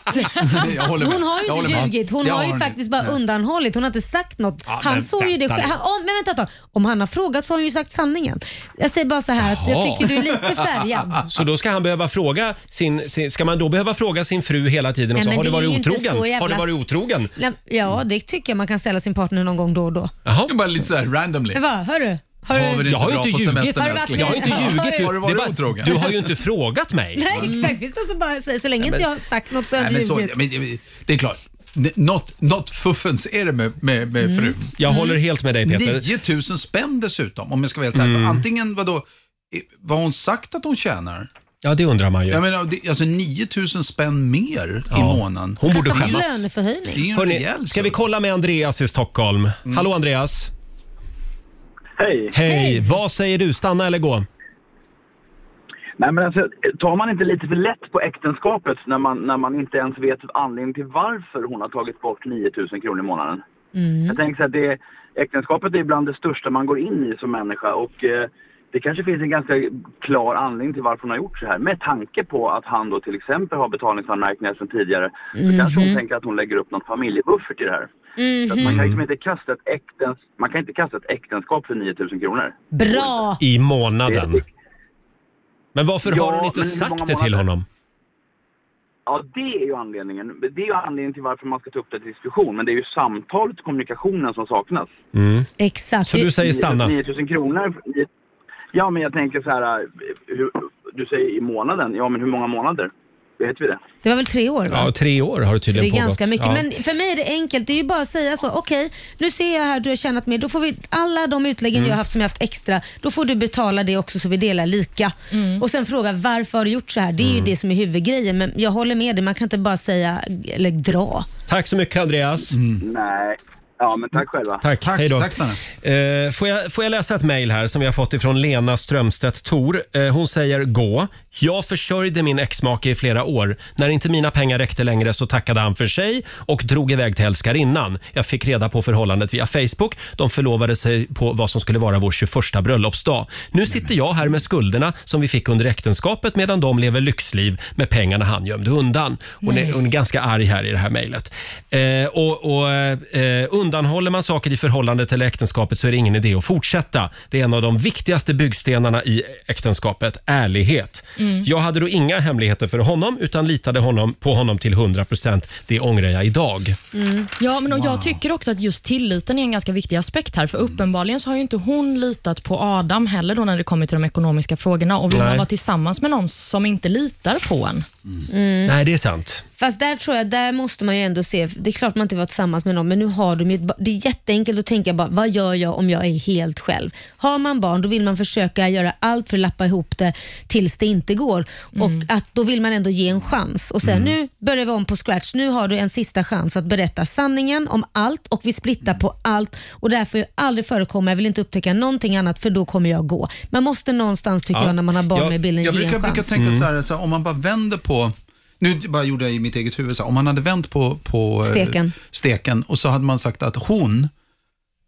Speaker 1: Jag håller med.
Speaker 2: hon har ju
Speaker 1: Jag
Speaker 2: inte
Speaker 1: håller med.
Speaker 2: ljugit. Hon
Speaker 1: Jag
Speaker 2: har
Speaker 1: har
Speaker 2: ju
Speaker 1: hon
Speaker 2: faktiskt
Speaker 1: inte.
Speaker 2: bara
Speaker 1: Nej.
Speaker 2: undanhållit. Hon har inte sagt något.
Speaker 1: Ja,
Speaker 2: han
Speaker 1: men
Speaker 2: såg ju det
Speaker 1: vänta
Speaker 2: själv.
Speaker 1: nu.
Speaker 2: Han- Om, men vänta ett tag. Om han har frågat så har han ju sagt sanningen. Jag säger bara så här att jag
Speaker 1: Jaha.
Speaker 2: tycker du är lite färgad.
Speaker 1: [LAUGHS] Så då ska han behöva fråga sin, sin ska man då behöva fråga sin fru hela tiden och
Speaker 2: Nej,
Speaker 1: så,
Speaker 2: men
Speaker 1: har
Speaker 2: det
Speaker 1: du
Speaker 2: är
Speaker 1: varit
Speaker 2: ju inte
Speaker 1: otrogen?
Speaker 2: så jävla-
Speaker 1: Har du varit otrogen?
Speaker 2: Nej, Ja, det tycker jag man kan ställa sin partner någon gång då och då.
Speaker 1: Jaha.
Speaker 8: [LAUGHS] Bara lite så här randomly.
Speaker 2: Men vad, hörru? Har
Speaker 8: Har vi
Speaker 2: du...
Speaker 8: det
Speaker 1: Jag har ju
Speaker 8: bra
Speaker 1: inte
Speaker 8: på
Speaker 1: ljugit.
Speaker 8: semestern,
Speaker 1: Jag
Speaker 8: älskling?
Speaker 1: har ju inte ljugit.
Speaker 8: Har du
Speaker 1: Det är
Speaker 8: varit
Speaker 1: bara-
Speaker 8: otrogen?
Speaker 1: Du har ju inte frågat mig.
Speaker 2: [LAUGHS] Nej, exakt. Visst, alltså bara, så, så länge
Speaker 8: Nej, men-
Speaker 2: inte jag har sagt något så har
Speaker 8: Nej,
Speaker 2: jag
Speaker 8: men så,
Speaker 2: ljugit.
Speaker 8: men det, det är klart. N- Något, något fuffens är det med, med, med
Speaker 2: Mm.
Speaker 8: frun.
Speaker 1: Jag Mm. håller helt med dig, Peter.
Speaker 8: 9000 spänn dessutom, om jag ska vara helt ärlig.
Speaker 1: Mm.
Speaker 8: Antingen vadå, eh, vad har hon sagt att hon tjänar?
Speaker 1: Ja, det undrar man ju.
Speaker 8: Jag menar, det, alltså 9000 spänn mer i
Speaker 1: Ja.
Speaker 8: månaden.
Speaker 1: Hon borde skämmas.
Speaker 2: Löneförhöjning.
Speaker 8: Det är ju en
Speaker 1: Hörrni,
Speaker 8: rejäl Mm.
Speaker 1: ska vi kolla med Andreas i Stockholm? Hallå Andreas!
Speaker 14: Hej!
Speaker 1: Hej! Vad säger du, stanna eller gå?
Speaker 14: Nej, men alltså, tar man inte lite för lätt på äktenskapet när man, när man inte ens vet anledningen till varför hon har tagit bort 9 000 kronor i månaden? Jag tänker så här, det, äktenskapet är bland det största man går in i som människa och eh, det kanske finns en ganska klar anledning till varför hon har gjort så här. Med tanke på att han då till exempel har betalningsanmärkningar sedan tidigare så kanske hon
Speaker 9: Mhm.
Speaker 14: tänker att hon lägger upp någon familjebuffert i det här. Så att man kan liksom inte kasta ett, äktens, man kan inte kasta ett äktenskap för 9 000 kronor.
Speaker 2: Bra!
Speaker 1: I månaden. Men varför
Speaker 14: Ja,
Speaker 1: har hon
Speaker 14: men
Speaker 1: inte
Speaker 14: hur många
Speaker 1: sagt det till
Speaker 14: månader?
Speaker 1: honom?
Speaker 14: Ja, det är ju anledningen. Det är ju anledningen till varför man ska ta upp det till diskussion. Men det är ju samtalet och kommunikationen som saknas.
Speaker 2: Exakt.
Speaker 1: Så du säger stanna?
Speaker 14: 9 000 kronor. Ja, men jag tänker så här. eh, Hur, du säger i månaden. Ja, men hur många månader? Vet vi det?
Speaker 2: Det var väl tre år? Va?
Speaker 1: Ja, tre år har det
Speaker 2: Så det
Speaker 1: tydligen
Speaker 2: är
Speaker 1: pågått.
Speaker 2: ganska mycket.
Speaker 1: Ja.
Speaker 2: Men för mig är det enkelt. Det är ju bara att säga så. Okej, nu ser jag här du har tjänat mer. Då får vi alla de utläggen
Speaker 1: Mm.
Speaker 2: jag har haft som jag haft extra. Då får du betala det också så vi delar lika. Och sen fråga varför har du gjort så här? Det är
Speaker 1: Mm.
Speaker 2: ju det som är huvudgrejen. Men jag håller med dig. Man kan inte bara säga eller dra.
Speaker 1: Tack så mycket Andreas.
Speaker 14: Nej. Ja, men tack själva.
Speaker 1: Tack, hej då.
Speaker 8: tack,
Speaker 1: eh, får, jag, får jag läsa ett mejl här som vi har fått ifrån Lena Strömstedt Tor. Eh, hon säger gå. Jag försörjde min exmake i flera år. När inte mina pengar räckte längre så tackade han för sig och drog iväg till älskarinnan. Jag fick reda på förhållandet via Facebook. De förlovade sig på vad som skulle vara vår 21 bröllopsdag. Nu sitter jag här med skulderna som vi fick under äktenskapet medan de lever lyxliv med pengarna han gömde undan. Hon är,
Speaker 13: Nej.
Speaker 1: hon är ganska arg här i det här mejlet. Eh, och, och, eh, undanhåller man saker i förhållandet eller äktenskapet så är det ingen idé att fortsätta. Det är en av de viktigaste byggstenarna i äktenskapet, ärlighet.
Speaker 13: Mm.
Speaker 1: Jag hade då inga hemligheter för honom utan litade honom, på honom till 100%. Det ångrar jag idag.
Speaker 3: Ja, men och Jag tycker också att just tilliten är en ganska viktig aspekt här, för uppenbarligen så har ju inte hon litat på Adam heller då när det kommer till de ekonomiska frågorna och vill
Speaker 1: Nej.
Speaker 3: man vara tillsammans med någon som inte litar på en?
Speaker 2: Mm.
Speaker 1: Nej, det är sant.
Speaker 2: Fast där tror jag, där måste man ju ändå se, det är klart man inte var tillsammans med någon, men nu har de ju ett barn. Det är jätteenkelt att tänka bara, vad gör jag om jag är helt själv? Har man barn, då vill man försöka göra allt för att lappa ihop det tills det inte går.
Speaker 8: Mm.
Speaker 2: Och att, då vill man ändå ge en chans. Och sen nu börjar vi om på scratch. Nu har du en sista chans att berätta sanningen om allt och vi splittar på allt. Och det här får ju aldrig förekomma. Jag vill inte upptäcka någonting annat för då kommer jag gå. Man måste någonstans, tycker
Speaker 8: Ja.
Speaker 2: jag, när man har barn med i bilden,
Speaker 8: jag
Speaker 2: ge
Speaker 8: brukar,
Speaker 2: en
Speaker 8: brukar
Speaker 2: chans.
Speaker 8: tänka så här, så här, om man bara vänder på, nu bara gjorde jag i mitt eget huvud, så här, om man hade vänt på, på eh,
Speaker 2: Steken.
Speaker 8: steken och så hade man sagt att hon,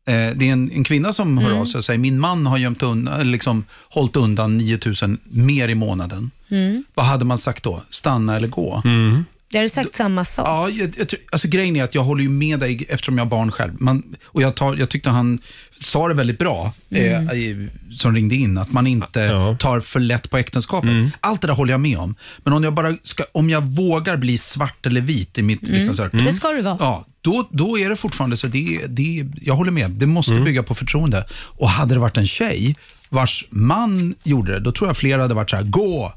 Speaker 8: eh, det är en, en kvinna som hör
Speaker 2: Mm.
Speaker 8: av sig och säger, min man har gömt undan, eller liksom, hållit undan 9 000 mer i månaden.
Speaker 2: Mm.
Speaker 8: Vad hade man sagt då? Stanna eller gå?
Speaker 2: Jag hade sagt samma sak.
Speaker 8: Ja, jag, jag, tror- alltså, grejen är att jag håller ju med dig eftersom jag har barn själv. Man, och jag, tar, jag tyckte han sa det väldigt bra,
Speaker 4: Mm.
Speaker 8: eh, i- som ringde in, att man inte tar för lätt på äktenskapet.
Speaker 2: Mm.
Speaker 8: Allt det där håller jag med om. Men om jag, bara ska, om jag vågar bli svart eller vit i mitt...
Speaker 2: Mm.
Speaker 8: Liksom, så här,
Speaker 2: Det ska du vara.
Speaker 8: Ja, då, då är det fortfarande så. Det, det, jag håller med, det måste
Speaker 2: Mm.
Speaker 8: bygga på förtroende. Och hade det varit en tjej vars man gjorde det, då tror jag flera hade varit så här, gå,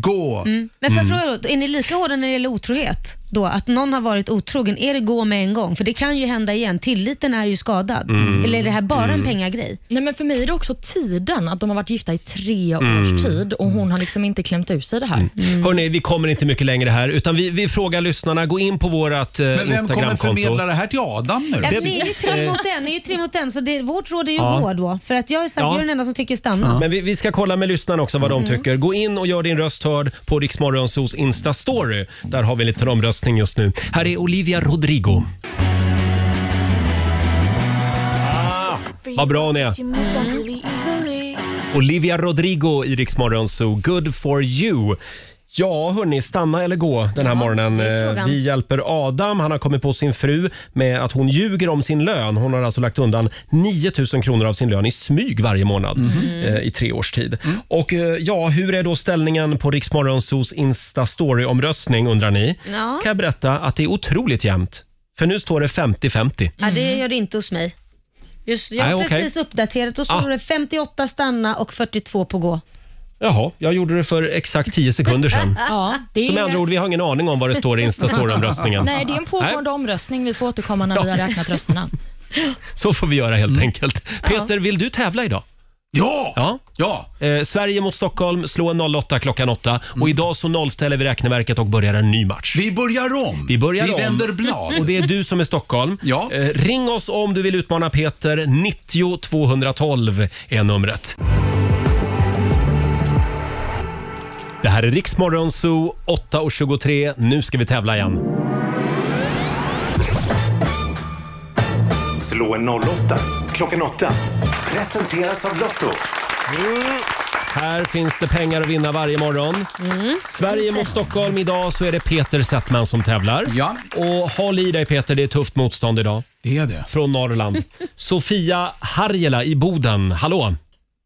Speaker 8: gå.
Speaker 2: Mm. Men får jag fråga då, är ni lika hårda när det gäller otrohet? Då, att någon har varit otrogen, är det gå med en gång? För det kan ju hända igen. Tilliten är ju skadad.
Speaker 3: Mm.
Speaker 2: Eller är det här bara en
Speaker 3: Mm.
Speaker 2: pengagrej?
Speaker 3: Nej, men för mig är det också tiden, att de har varit gifta i tre
Speaker 1: Mm.
Speaker 3: års tid och hon har liksom inte klämt ut sig det här.
Speaker 8: Mm.
Speaker 1: Hörni, vi kommer inte mycket längre här utan vi, vi frågar lyssnarna. Gå in på vårt eh,
Speaker 8: Men vem
Speaker 1: Instagramkonto.
Speaker 8: kommer förmedla det här till Adam nu?
Speaker 2: Ja, men Alltså, ni är ju tre mot en, ni är ju tre mot en så det, vårt råd är ju
Speaker 1: Eh. Ja.
Speaker 2: gå då. För att jag är, sagt,
Speaker 1: Ja.
Speaker 2: jag är den enda som tycker stanna.
Speaker 1: Men vi, vi ska kolla med lyssnarna också vad de
Speaker 2: Mm.
Speaker 1: tycker. Gå in och gör din röst hörd på Riksmorgonsos Insta-story. Där har vi en liten omröstning just nu. Här är Olivia Rodrigo. Ah, vad bra hon är. Olivia Rodrigo i Riksmorgonso. Good for you. Ja, hörni, stanna eller gå den här morgonen. Eh, Vi hjälper Adam. Han har kommit på sin fru med att hon ljuger om sin lön. Hon har alltså lagt undan 9 000 kronor av sin lön i smyg varje månad eh, i tre års tid. Och eh, ja, hur är då ställningen på Riksmorgonsos Insta-story-omröstning undrar ni?
Speaker 2: Ja.
Speaker 1: Kan jag berätta att det är otroligt jämnt. För nu står det 50-50.
Speaker 2: Ja, det gör det inte hos mig. Just, jag har
Speaker 1: Nej, okej.
Speaker 2: precis uppdaterat och så
Speaker 1: Ah.
Speaker 2: står det 58 stanna och 42 på gå.
Speaker 1: Jaha, jag gjorde det för exakt 10 sekunder [LAUGHS] sedan.
Speaker 3: Ja, det
Speaker 1: Så med
Speaker 3: är-
Speaker 1: andra ord, vi har ingen aning om vad det står i Instastory-omröstningen.
Speaker 3: [LAUGHS] Nej, det är en pågående omröstning. Vi får återkomma när vi har räknat rösterna.
Speaker 1: Så får vi göra helt
Speaker 3: Mm.
Speaker 1: enkelt. Peter, vill du tävla idag?
Speaker 8: Ja!
Speaker 1: ja. Eh, Sverige mot Stockholm, slå en 08 klockan 8.
Speaker 3: Mm.
Speaker 1: Och idag så nollställer vi räkneverket och börjar en ny match.
Speaker 8: Vi börjar om.
Speaker 1: Vi börjar
Speaker 8: Vi
Speaker 1: om.
Speaker 8: vänder blad.
Speaker 1: Och det är du som är
Speaker 3: [LAUGHS]
Speaker 1: Stockholm. Ja. Eh, ring oss om du vill utmana Peter. 90 212 är numret. Det här är Riksmorgon Zoo, 8.23. Nu ska vi tävla igen.
Speaker 4: Slå en 08 klockan 8. Presenteras av Lotto.
Speaker 1: Här finns det pengar att vinna varje morgon.
Speaker 6: Mm.
Speaker 1: Sverige mot Stockholm. Idag så är det Peter Settman som tävlar. Ja. Och håll i dig Peter, det är tufft motstånd idag.
Speaker 8: Det är det.
Speaker 1: Från
Speaker 6: [LAUGHS]
Speaker 1: Norrland. Sofia Harjela i Boden. Hallå!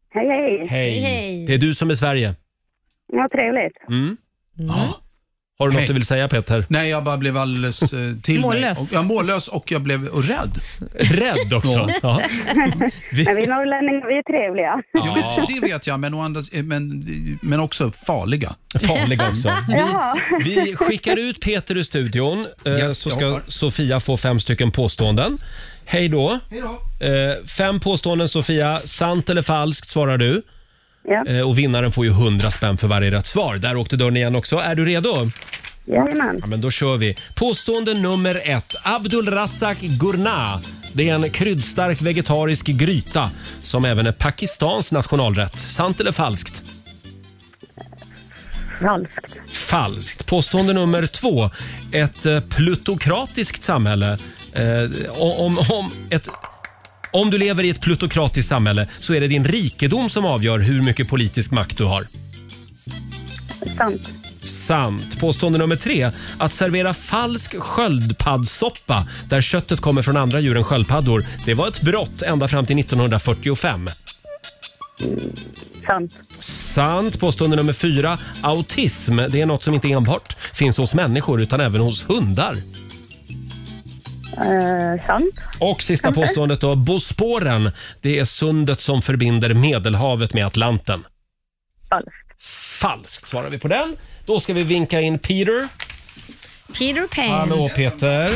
Speaker 6: Hej, hej.
Speaker 1: Det är du som är Sverige.
Speaker 6: Ja, trevligt.
Speaker 1: Mm. Har du något du vill säga Peter?
Speaker 8: Nej, jag bara blev alldeles eh, till
Speaker 6: Mållös.
Speaker 8: Mig. Och, ja, mållös och jag blev och rädd.
Speaker 1: Rädd också? Ja. Vi-
Speaker 6: Men vi norrlänningar, vi är trevliga.
Speaker 8: Ja, det vet jag, men, å andra, eh, men, men också farliga.
Speaker 1: Farliga också.
Speaker 6: [LAUGHS] Jaha.
Speaker 1: Vi skickar ut Peter ur studion eh,
Speaker 8: Yes,
Speaker 1: så
Speaker 8: jag
Speaker 1: ska
Speaker 8: hoppar.
Speaker 1: Sofia få fem stycken påståenden. Hej då. Eh, Fem påståenden Sofia. Sant eller falskt svarar du.
Speaker 6: Ja.
Speaker 1: Eh, Och vinnaren får ju 100 spänn för varje rätt svar. Där åkte dörren igen också. Är du redo?
Speaker 6: Jajamän.
Speaker 1: Ja, men då kör vi. Påstående nummer ett. Abdulrazak Gurna. Det är en kryddstark vegetarisk gryta som även är Pakistans nationalrätt. Sant eller falskt?
Speaker 6: Falskt.
Speaker 1: Falskt. Påstående nummer två. Ett eh, plutokratiskt samhälle. Eh, om, om- om, ett, om du lever i ett plutokratiskt samhälle så är det din rikedom som avgör hur mycket politisk makt du har.
Speaker 6: Sant.
Speaker 1: Sant. Påstående nummer tre. Att servera falsk sköldpaddsoppa där köttet kommer från andra djur än sköldpaddor, det var ett brott ända fram till 1945.
Speaker 6: Sant.
Speaker 1: Sant. Påstående nummer fyra. Autism, det är något som inte enbart finns hos människor utan även hos hundar.
Speaker 6: Eh, sant.
Speaker 1: Och sista påståendet då. Bosporen, det är sundet som förbinder Medelhavet med Atlanten. Falskt. Falskt svarar vi på den. Då ska vi vinka in Peter.
Speaker 2: Peter Pan.
Speaker 1: Hallå Peter.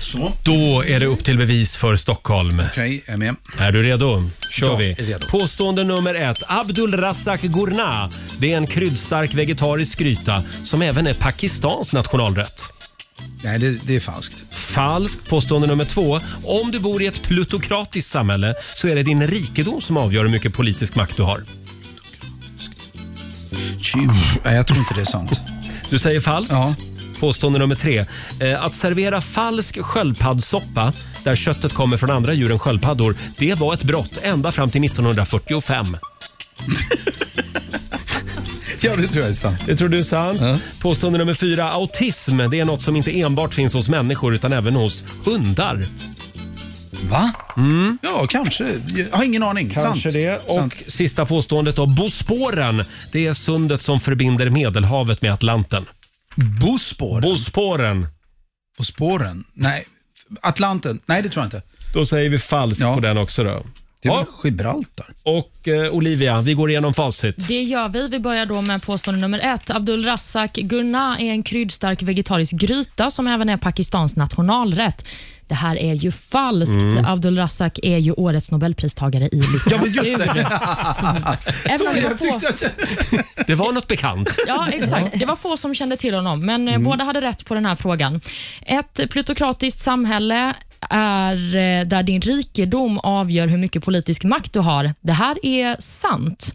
Speaker 1: Så. Då är det upp till bevis för Stockholm.
Speaker 8: Okej, jag är med.
Speaker 1: Är du redo? kör
Speaker 8: Ja,
Speaker 1: vi.
Speaker 8: är redo.
Speaker 1: Påstående nummer ett. Abdulrazak Gurna. Det är en kryddstark vegetarisk gryta som även är Pakistans nationalrätt.
Speaker 8: Nej, det, det är falskt.
Speaker 1: Falskt. Påstående nummer två. Om du bor i ett plutokratiskt samhälle så är det din rikedom som avgör hur mycket politisk makt du har.
Speaker 8: Tju. Nej, jag tror inte det är sant.
Speaker 1: Du säger falskt. Påstående nummer tre. Eh, att servera falsk sköldpaddsoppa där köttet kommer från andra djur än sköldpaddor, det var ett brott ända fram till 1945.
Speaker 8: [LAUGHS] Ja, det tror jag är sant.
Speaker 1: Det tror du är sant. Påstående nummer fyra. Autism det är något som inte enbart finns hos människor utan även hos hundar.
Speaker 8: Va? Ja, kanske. Jag har ingen aning.
Speaker 1: Mm. Kanske
Speaker 8: sant.
Speaker 1: det. Och
Speaker 8: Sant.
Speaker 1: sista påståendet då. Bosporen, det är sundet som förbinder Medelhavet med Atlanten.
Speaker 8: Bosporen?
Speaker 1: Bosporen.
Speaker 8: Bosporen? Nej. Atlanten? Nej, det tror jag inte.
Speaker 1: Då säger vi falskt på den också då.
Speaker 8: Det är väl Gibraltar?
Speaker 1: Och eh, Olivia, vi går igenom facit.
Speaker 3: Det gör vi. Vi börjar då med påstående nummer ett. Abdul Razak Gurna är en kryddstark vegetarisk gryta som även är Pakistans nationalrätt. Det här är ju falskt.
Speaker 1: Mm.
Speaker 3: Abdul Razak är ju årets nobelpristagare i
Speaker 8: [LAUGHS]
Speaker 3: litteratur.
Speaker 1: Ja, men just det.
Speaker 3: Även om det var få-
Speaker 1: Det var något bekant.
Speaker 3: Ja, exakt. Det var få som kände till honom, men eh,
Speaker 1: Mm.
Speaker 3: båda hade rätt på den här frågan. Ett plutokratiskt samhälle är eh, där din rikedom avgör hur mycket politisk makt du har. Det här är sant.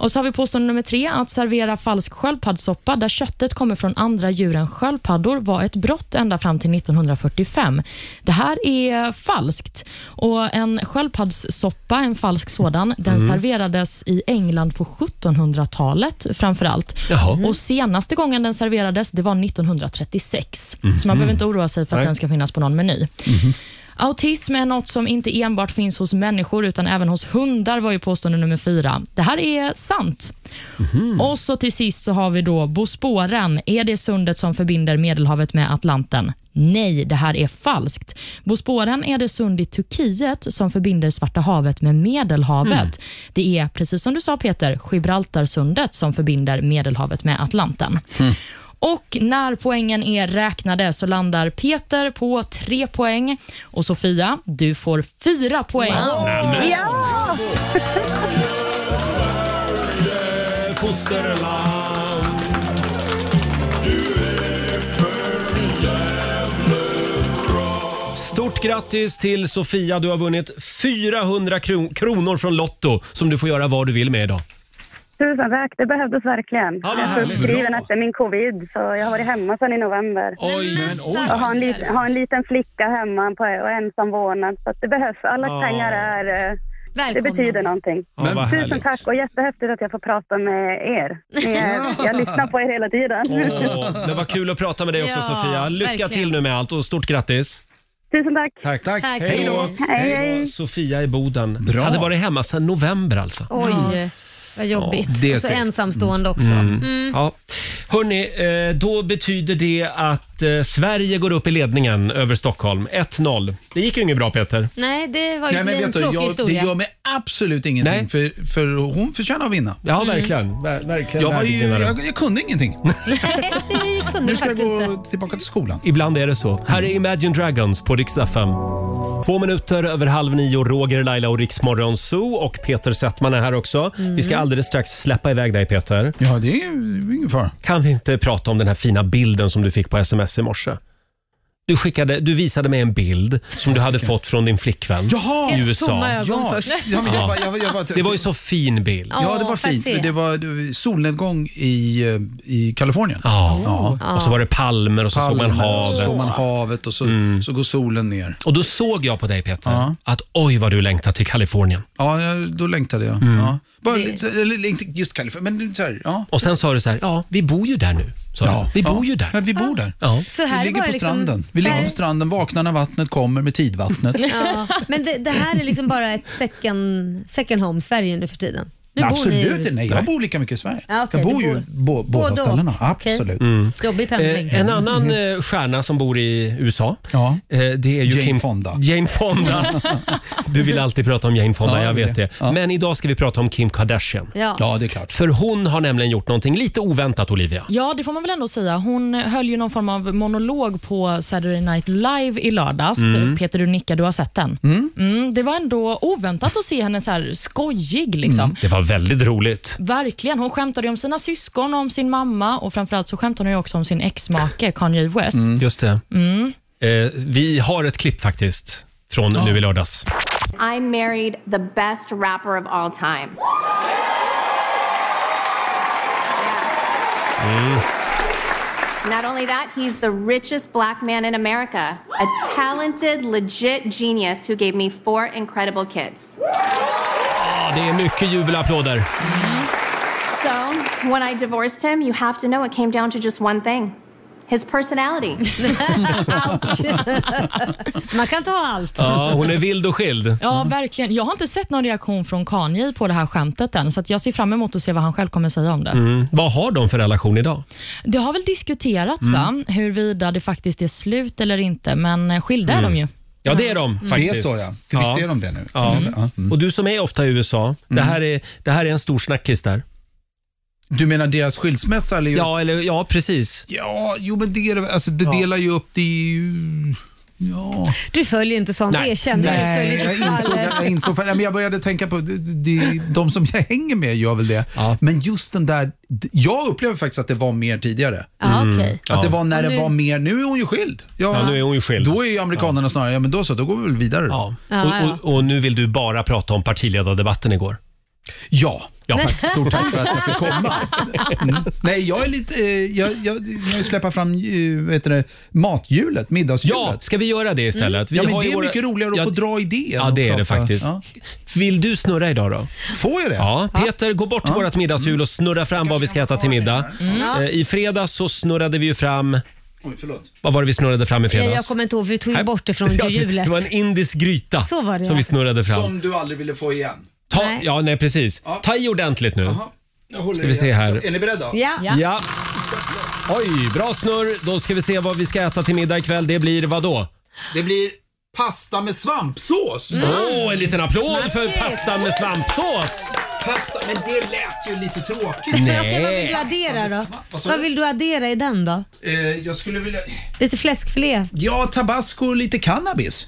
Speaker 3: Och så har vi påstående nummer tre, att servera falsk sköldpaddsoppa där köttet kommer från andra djur än sköldpaddor var ett brott ända fram till 1945. Det här är falskt. Och En sköldpaddssoppa, en falsk sådan, den
Speaker 13: Mm.
Speaker 3: serverades i England på 1700-talet framför allt.
Speaker 13: Jaha. Mm.
Speaker 3: Och Senaste gången den serverades det var 1936, så
Speaker 13: Mhm.
Speaker 3: man behöver inte oroa sig för att
Speaker 13: Nej.
Speaker 3: den ska finnas på någon meny. Autism är något som inte enbart finns hos människor utan även hos hundar var ju påstående nummer fyra. Det här är sant. Och så till sist så har vi då Bosporen. Är det sundet som förbinder Medelhavet med Atlanten? Nej, det här är falskt. Bosporen är det sund i Turkiet som förbinder Svarta havet med Medelhavet.
Speaker 13: Mm.
Speaker 3: Det är, precis som du sa Peter, Gibraltarsundet som förbinder Medelhavet med Atlanten. Och när poängen är räknade så landar Peter på tre poäng och Sofia, du får fyra poäng.
Speaker 11: Ja!
Speaker 1: Fosterland Stort grattis till Sofia. Du har vunnit 400 kro- kronor från Lotto som du får göra vad du vill med idag.
Speaker 6: Tusen tack, det behövdes verkligen.
Speaker 1: Ja,
Speaker 6: Jag
Speaker 1: vad
Speaker 6: är
Speaker 1: härligt.
Speaker 6: sjukskriven
Speaker 1: Bra.
Speaker 6: efter min covid, så jag har varit hemma sedan i november.
Speaker 1: Oj, men oj.
Speaker 6: Och har en, li- har en liten flicka hemma på, och ensam vårdnad, så att det behövs. Alla
Speaker 1: Ja.
Speaker 6: pengar är... eh, Det betyder någonting.
Speaker 1: Ja, vad
Speaker 6: Tusen
Speaker 1: härligt.
Speaker 6: tack och jättehäftigt att jag får prata med er. Ni
Speaker 1: [LAUGHS]
Speaker 6: är, jag lyssnar på er hela tiden.
Speaker 1: Åh, det var kul att prata med dig också
Speaker 6: Ja,
Speaker 1: Sofia. Lycka
Speaker 6: verkligen.
Speaker 1: till nu med allt och stort grattis.
Speaker 6: Tusen tack.
Speaker 1: Tack.
Speaker 6: Tack.
Speaker 1: Hej då.
Speaker 6: Hej, hej.
Speaker 1: Sofia i Boden. Bra. Hade varit hemma sedan november alltså.
Speaker 2: Oj, vad jobbigt.
Speaker 1: Ja, det är
Speaker 2: och så
Speaker 1: segt.
Speaker 2: ensamstående också.
Speaker 1: Mm.
Speaker 2: Mm.
Speaker 1: Ja. Hörni, eh, då betyder det att eh, Sverige går upp i ledningen över Stockholm. 1-0. Det gick ju inget bra Peter.
Speaker 2: Nej, det var ju
Speaker 8: Nej, men
Speaker 2: en
Speaker 8: vet du,
Speaker 2: tråkig
Speaker 8: jag, det
Speaker 2: historia.
Speaker 8: gör mig absolut ingenting, för, för hon förtjänar att vinna.
Speaker 1: Ja,
Speaker 6: Mm.
Speaker 1: verkligen. verkligen
Speaker 8: jag, var ju,
Speaker 1: värdig vinnare.
Speaker 8: jag, jag kunde ingenting.
Speaker 2: Nej, det kunde
Speaker 8: [LAUGHS] Nu
Speaker 2: du
Speaker 8: ska jag
Speaker 2: faktiskt inte.
Speaker 8: gå tillbaka till skolan.
Speaker 1: Ibland är det så. Här är Imagine Dragons på Rix FM. Två minuter över halv nio, Roger, Laila och Rix Morgon Zoo och Peter Settman är här också. Vi
Speaker 6: Mm.
Speaker 1: ska alldeles strax släppa iväg dig Peter.
Speaker 8: Ja, det är ingen fara.
Speaker 1: Kan vi inte prata om den här fina bilden som du fick på sms i morse? Du, skickade, du visade mig en bild som du hade fått från din flickvän
Speaker 8: Jaha!
Speaker 1: i
Speaker 8: Helt
Speaker 1: USA.
Speaker 8: tomma ögon Ja, först. ja, men jag var- jag var- jag var-
Speaker 1: det var ju så fin bild.
Speaker 8: Ja, det var
Speaker 1: får jag
Speaker 8: fint.
Speaker 1: se?
Speaker 8: Det var det var solnedgång i, eh, i Kalifornien.
Speaker 1: Ja. Och så var det palmer och så såg man
Speaker 8: Palmer, och så
Speaker 1: havet. Mm.
Speaker 8: såg man havet och så, så går solen ner.
Speaker 1: Och då såg jag på dig Peter att oj vad du längtar till Kalifornien.
Speaker 8: Ja, jag- då längtade jag.
Speaker 1: Mm.
Speaker 8: Ja. Bara, lite så- eller, inte just Kalifornien, men så här, ja.
Speaker 1: Och sen sa du så här, ja vi bor ju där nu. Sa
Speaker 8: Ja,
Speaker 1: du. Vi
Speaker 8: ja.
Speaker 1: bor ju där.
Speaker 8: Ja, vi bor där.
Speaker 1: Ja.
Speaker 2: Så här
Speaker 8: vi ligger
Speaker 2: var
Speaker 8: på
Speaker 2: det liksom-
Speaker 8: stranden. Vi ligger
Speaker 2: här-
Speaker 8: på stranden, vaknar när vattnet kommer
Speaker 2: [LAUGHS]
Speaker 8: med tidvattnet.
Speaker 2: Ja, men det, det här är liksom bara ett second, second home Sverige nu för tiden. Nu
Speaker 8: Nej,
Speaker 2: bor ni i
Speaker 8: absolut
Speaker 2: hus.
Speaker 8: inte. Nej, jag bor lika mycket i Sverige.
Speaker 2: Ja, okej,
Speaker 8: jag
Speaker 2: du
Speaker 8: bor ju
Speaker 2: bor-
Speaker 8: bo, båda
Speaker 2: Både och.
Speaker 8: ställena.
Speaker 2: Okej.
Speaker 8: Absolut.
Speaker 1: Mm.
Speaker 2: Jobbig pendling.
Speaker 1: Eh, en annan eh, stjärna som bor i USA, eh, det är ju
Speaker 8: Mm. Jane
Speaker 1: Kim,
Speaker 8: Fonda.
Speaker 1: Jane
Speaker 8: [LAUGHS]
Speaker 1: Fonda. Du vill alltid prata om Jane Fonda,
Speaker 8: Ja,
Speaker 1: jag
Speaker 8: jag vill
Speaker 1: vet det. Men idag ska vi prata om Kim Kardashian.
Speaker 2: Ja. Ja,
Speaker 8: det är klart.
Speaker 1: För hon har nämligen gjort någonting lite oväntat, Olivia.
Speaker 3: Ja, det får man väl ändå säga. Hon höll ju någon form av monolog på Saturday Night Live i lördags.
Speaker 1: Mm.
Speaker 3: Peter, du nickar, du har sett den.
Speaker 1: Mm.
Speaker 3: det var ändå oväntat att se henne så här skojig. Liksom.
Speaker 1: Det var väldigt roligt.
Speaker 3: Verkligen. Hon skämtade ju om sina syskon och om sin mamma och framförallt så skämtade hon ju också om sin exmake Kanye West.
Speaker 1: Mm. Just det.
Speaker 3: Mm.
Speaker 1: Eh, vi har ett klipp faktiskt från nu i lördags.
Speaker 7: I married the best rapper of all time.
Speaker 1: Mm.
Speaker 7: Not only that, he's the richest black man in America, a talented, legit genius who gave me four incredible kids.
Speaker 1: Ja, det är mycket jubelapplåder.
Speaker 7: So, When I divorced him, you have to know it came down to just one thing his personality.
Speaker 2: Man kan ta allt.
Speaker 1: Ja, [LAUGHS] hon är vild och skild.
Speaker 8: Mm.
Speaker 3: Ja, verkligen. Jag har inte sett någon reaktion från Kanye på det här skämtet än, så att jag ser fram emot att se vad han själv kommer säga om det.
Speaker 1: Mm. Vad har de för relation idag?
Speaker 3: Det har väl diskuterats
Speaker 1: Mm.
Speaker 3: va? huruvida det faktiskt är slut eller inte, men eh, skilda är
Speaker 1: Mm.
Speaker 3: de ju.
Speaker 1: Ja, det är de
Speaker 3: Mm.
Speaker 1: faktiskt.
Speaker 8: Det är så, ja. Visst är de det nu?
Speaker 1: Ja.
Speaker 8: Mm.
Speaker 1: Och du som är ofta i USA, det, här är, det här är en stor snackis där.
Speaker 8: Du menar deras skilsmässa? Eller
Speaker 1: ja, eller, ja, precis.
Speaker 8: Ja, jo men det, är det- alltså, det delar ju upp det i... Ja.
Speaker 2: Du följer inte sånt,
Speaker 8: Nej.
Speaker 2: erkänn det. Du
Speaker 8: Nej,
Speaker 2: följer
Speaker 8: jag
Speaker 2: inte
Speaker 8: insåg,
Speaker 2: fallet.
Speaker 8: jag insåg för, nej, men jag började tänka på de, de, de som jag hänger med gör väl det. Men just den där, jag upplever faktiskt att det var mer tidigare.
Speaker 2: Ja, Mm. okej.
Speaker 8: Att det var när
Speaker 2: Och
Speaker 8: det
Speaker 2: nu-
Speaker 8: var mer, nu är hon ju skild.
Speaker 1: Ja, nu är hon ju skild.
Speaker 8: Då är ju amerikanerna snarare, ja men då så, då går vi väl vidare då. Ja,
Speaker 2: Ja, ja.
Speaker 1: Och, och, och nu vill du bara prata om partiledardebatten igår.
Speaker 8: Ja,
Speaker 1: ja.
Speaker 8: Tack, stort tack för att
Speaker 1: [LAUGHS]
Speaker 8: jag fick komma. Mm. Nej, jag är lite, eh, jag, jag, jag släppa fram eh, vad heter det, mathjulet, middagshjulet.
Speaker 1: Ja, ska vi göra det istället? Vi
Speaker 8: Mm. ja, men
Speaker 1: har
Speaker 8: det
Speaker 1: ju
Speaker 8: är
Speaker 1: våra-
Speaker 8: mycket roligare att
Speaker 1: Ja,
Speaker 8: få dra idéer.
Speaker 1: Ja,
Speaker 8: än
Speaker 1: det
Speaker 8: att
Speaker 1: är det
Speaker 8: prata.
Speaker 1: faktiskt.
Speaker 8: Ja.
Speaker 1: Vill du snurra idag då?
Speaker 8: Får jag det?
Speaker 1: Ja, Peter, gå bort till vårt middagshjul och snurra fram vad vi ska äta till middag.
Speaker 2: Mm. Ja.
Speaker 1: Eh, I fredags så snurrade vi ju fram...
Speaker 8: Oj, förlåt.
Speaker 1: Vad var det vi snurrade fram i
Speaker 2: Eh, Jag,
Speaker 1: fredags?
Speaker 2: jag kommer inte ihåg, för vi tog ju
Speaker 1: Nej.
Speaker 2: bort det från
Speaker 1: [LAUGHS] Ja,
Speaker 2: hjulet.
Speaker 1: Det var en indisk gryta
Speaker 2: Så var det,
Speaker 1: som
Speaker 2: ja.
Speaker 1: vi snurrade fram.
Speaker 8: Som du aldrig ville få igen.
Speaker 1: Ta, Ja, nej precis. Ta i ordentligt nu.
Speaker 8: Jag håller
Speaker 1: Ska vi
Speaker 8: i
Speaker 1: se
Speaker 8: den.
Speaker 1: här.
Speaker 8: Så, Är ni beredda?
Speaker 2: Ja.
Speaker 1: Ja. Oj, bra snurr. Då ska vi se vad vi ska äta till middag ikväll. Det blir vad då?
Speaker 8: Det blir pasta med svampsås.
Speaker 1: Åh, en liten applåd för pastan med svampsås!
Speaker 8: Pasta, men det lät ju lite tråkigt.
Speaker 1: Nej.
Speaker 2: [LAUGHS] Okej, vad vill du addera då?
Speaker 8: Vad sa
Speaker 2: Vad
Speaker 8: du?
Speaker 2: vill du addera i den då?
Speaker 8: Eh, jag skulle vilja...
Speaker 2: Lite fläskfilé?
Speaker 8: Ja, tabasco och
Speaker 1: [LAUGHS]
Speaker 8: lite cannabis.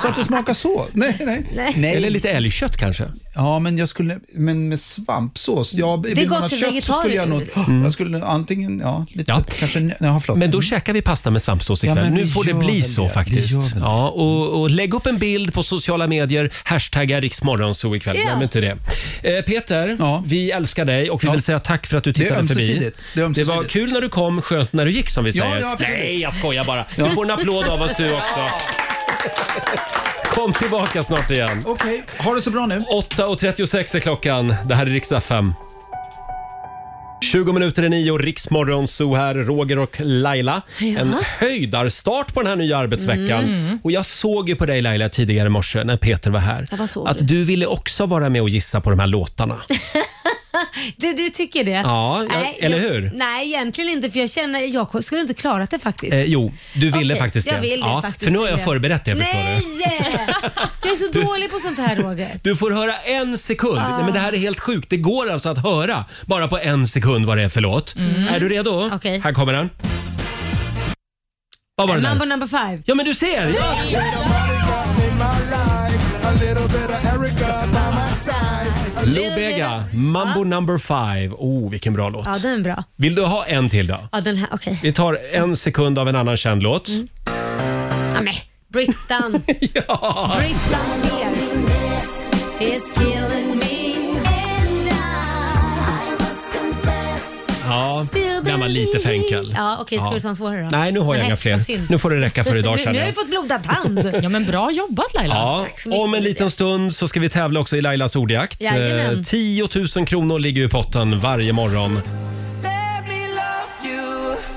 Speaker 8: Så att det smakar så. Nej, nej.
Speaker 2: Nej.
Speaker 1: Eller lite älgkött kanske?
Speaker 8: Ja, men jag skulle... Men med svampsås? Ja,
Speaker 1: Det är
Speaker 8: vill man
Speaker 1: gott
Speaker 8: ha
Speaker 1: för
Speaker 8: kött så skulle jag nog...
Speaker 1: vegetarier. Mm.
Speaker 8: Jag skulle antingen... Ja, lite... Kanske... Ja, förlåt. Mm.
Speaker 1: Men då käkar vi pasta med svampsås
Speaker 8: Ja,
Speaker 1: ikväll.
Speaker 8: men
Speaker 1: nu
Speaker 8: vi
Speaker 1: får det
Speaker 8: gör
Speaker 1: bli
Speaker 8: väl
Speaker 1: så
Speaker 8: det. Vi gör
Speaker 1: faktiskt.
Speaker 8: väl det.
Speaker 1: Ja, och, och lägg upp en bild på sociala medier, hashtagga riksmorgonso ikväll.
Speaker 8: Ja.
Speaker 1: Glöm inte det. Eh, Peter, vi älskar dig och vi
Speaker 8: Ja.
Speaker 1: vill säga tack för att du
Speaker 8: Det är
Speaker 1: tittade förbi.
Speaker 8: ömsesidigt. Det är ömsesidigt.
Speaker 1: var kul när du kom, skönt när du gick som vi
Speaker 8: Ja,
Speaker 1: säger.
Speaker 8: ja, absolut.
Speaker 1: Nej, jag skojar bara.
Speaker 8: Ja.
Speaker 1: Du får en applåd av oss du också. Kom tillbaka snart igen.
Speaker 8: Okej, ha det så bra nu.
Speaker 1: 8.36 är klockan. Det här är riksdag 5. 20 minuter i nio, Riksmorgon så här, Roger och Laila.
Speaker 2: Ja.
Speaker 1: En höjdarstart på den här nya arbetsveckan.
Speaker 2: Mm.
Speaker 1: Och jag såg ju på dig Laila tidigare i morse när Peter var här.
Speaker 2: Ja, vad såg
Speaker 1: att
Speaker 2: du?
Speaker 1: du ville också vara med och gissa på de
Speaker 2: [LAUGHS]
Speaker 1: här låtarna.
Speaker 2: Du, du tycker det?
Speaker 1: Ja, jag- eller
Speaker 2: jag,
Speaker 1: hur?
Speaker 2: Nej, egentligen inte för jag känner jag skulle inte klarat det faktiskt.
Speaker 1: Eh, jo, du ville
Speaker 2: Okej,
Speaker 1: faktiskt det.
Speaker 2: Jag vill det
Speaker 1: Ja,
Speaker 2: faktiskt.
Speaker 1: för nu har jag
Speaker 2: Julia.
Speaker 1: förberett det förstår
Speaker 2: Nej!
Speaker 1: du.
Speaker 2: Jag är så dålig på sånt här Roger.
Speaker 1: Du får höra en sekund.
Speaker 2: Ah.
Speaker 1: Nej, men det här är helt sjukt. Det går alltså att höra bara på en sekund vad det är för låt.
Speaker 2: Mm.
Speaker 1: Är du redo?
Speaker 2: Okej.
Speaker 1: Här kommer den. Vad var det där?
Speaker 2: Mambo number five.
Speaker 1: Ja men du ser! Lou Bega, Mambo number five. Oh, vilken bra låt.
Speaker 2: Ja, den är bra.
Speaker 1: Vill du ha en till då?
Speaker 2: Ja, den här, okej.
Speaker 1: Vi tar en sekund av en annan känd låt.
Speaker 2: Mm. Ja, men Brittan.
Speaker 1: [LAUGHS] ja.
Speaker 2: Brittan Spears. It's killing me.
Speaker 1: Ja, den var lite för enkel.
Speaker 2: Ja, okej, ska du ta en svårare då?
Speaker 1: Nej, nu har jag
Speaker 2: Nej,
Speaker 1: inga
Speaker 2: vad
Speaker 1: fler.
Speaker 2: synd.
Speaker 1: Nu får det räcka för idag
Speaker 2: Nu, nu
Speaker 1: känner
Speaker 2: har
Speaker 1: jag.
Speaker 2: jag fått blodad tand.
Speaker 1: [LAUGHS]
Speaker 3: Ja, men bra jobbat Laila.
Speaker 1: Ja, om en liten stund så ska vi tävla också i Lailas ordjakt.
Speaker 3: Jajamän.
Speaker 1: Eh, 10 000 kronor ligger i potten varje morgon.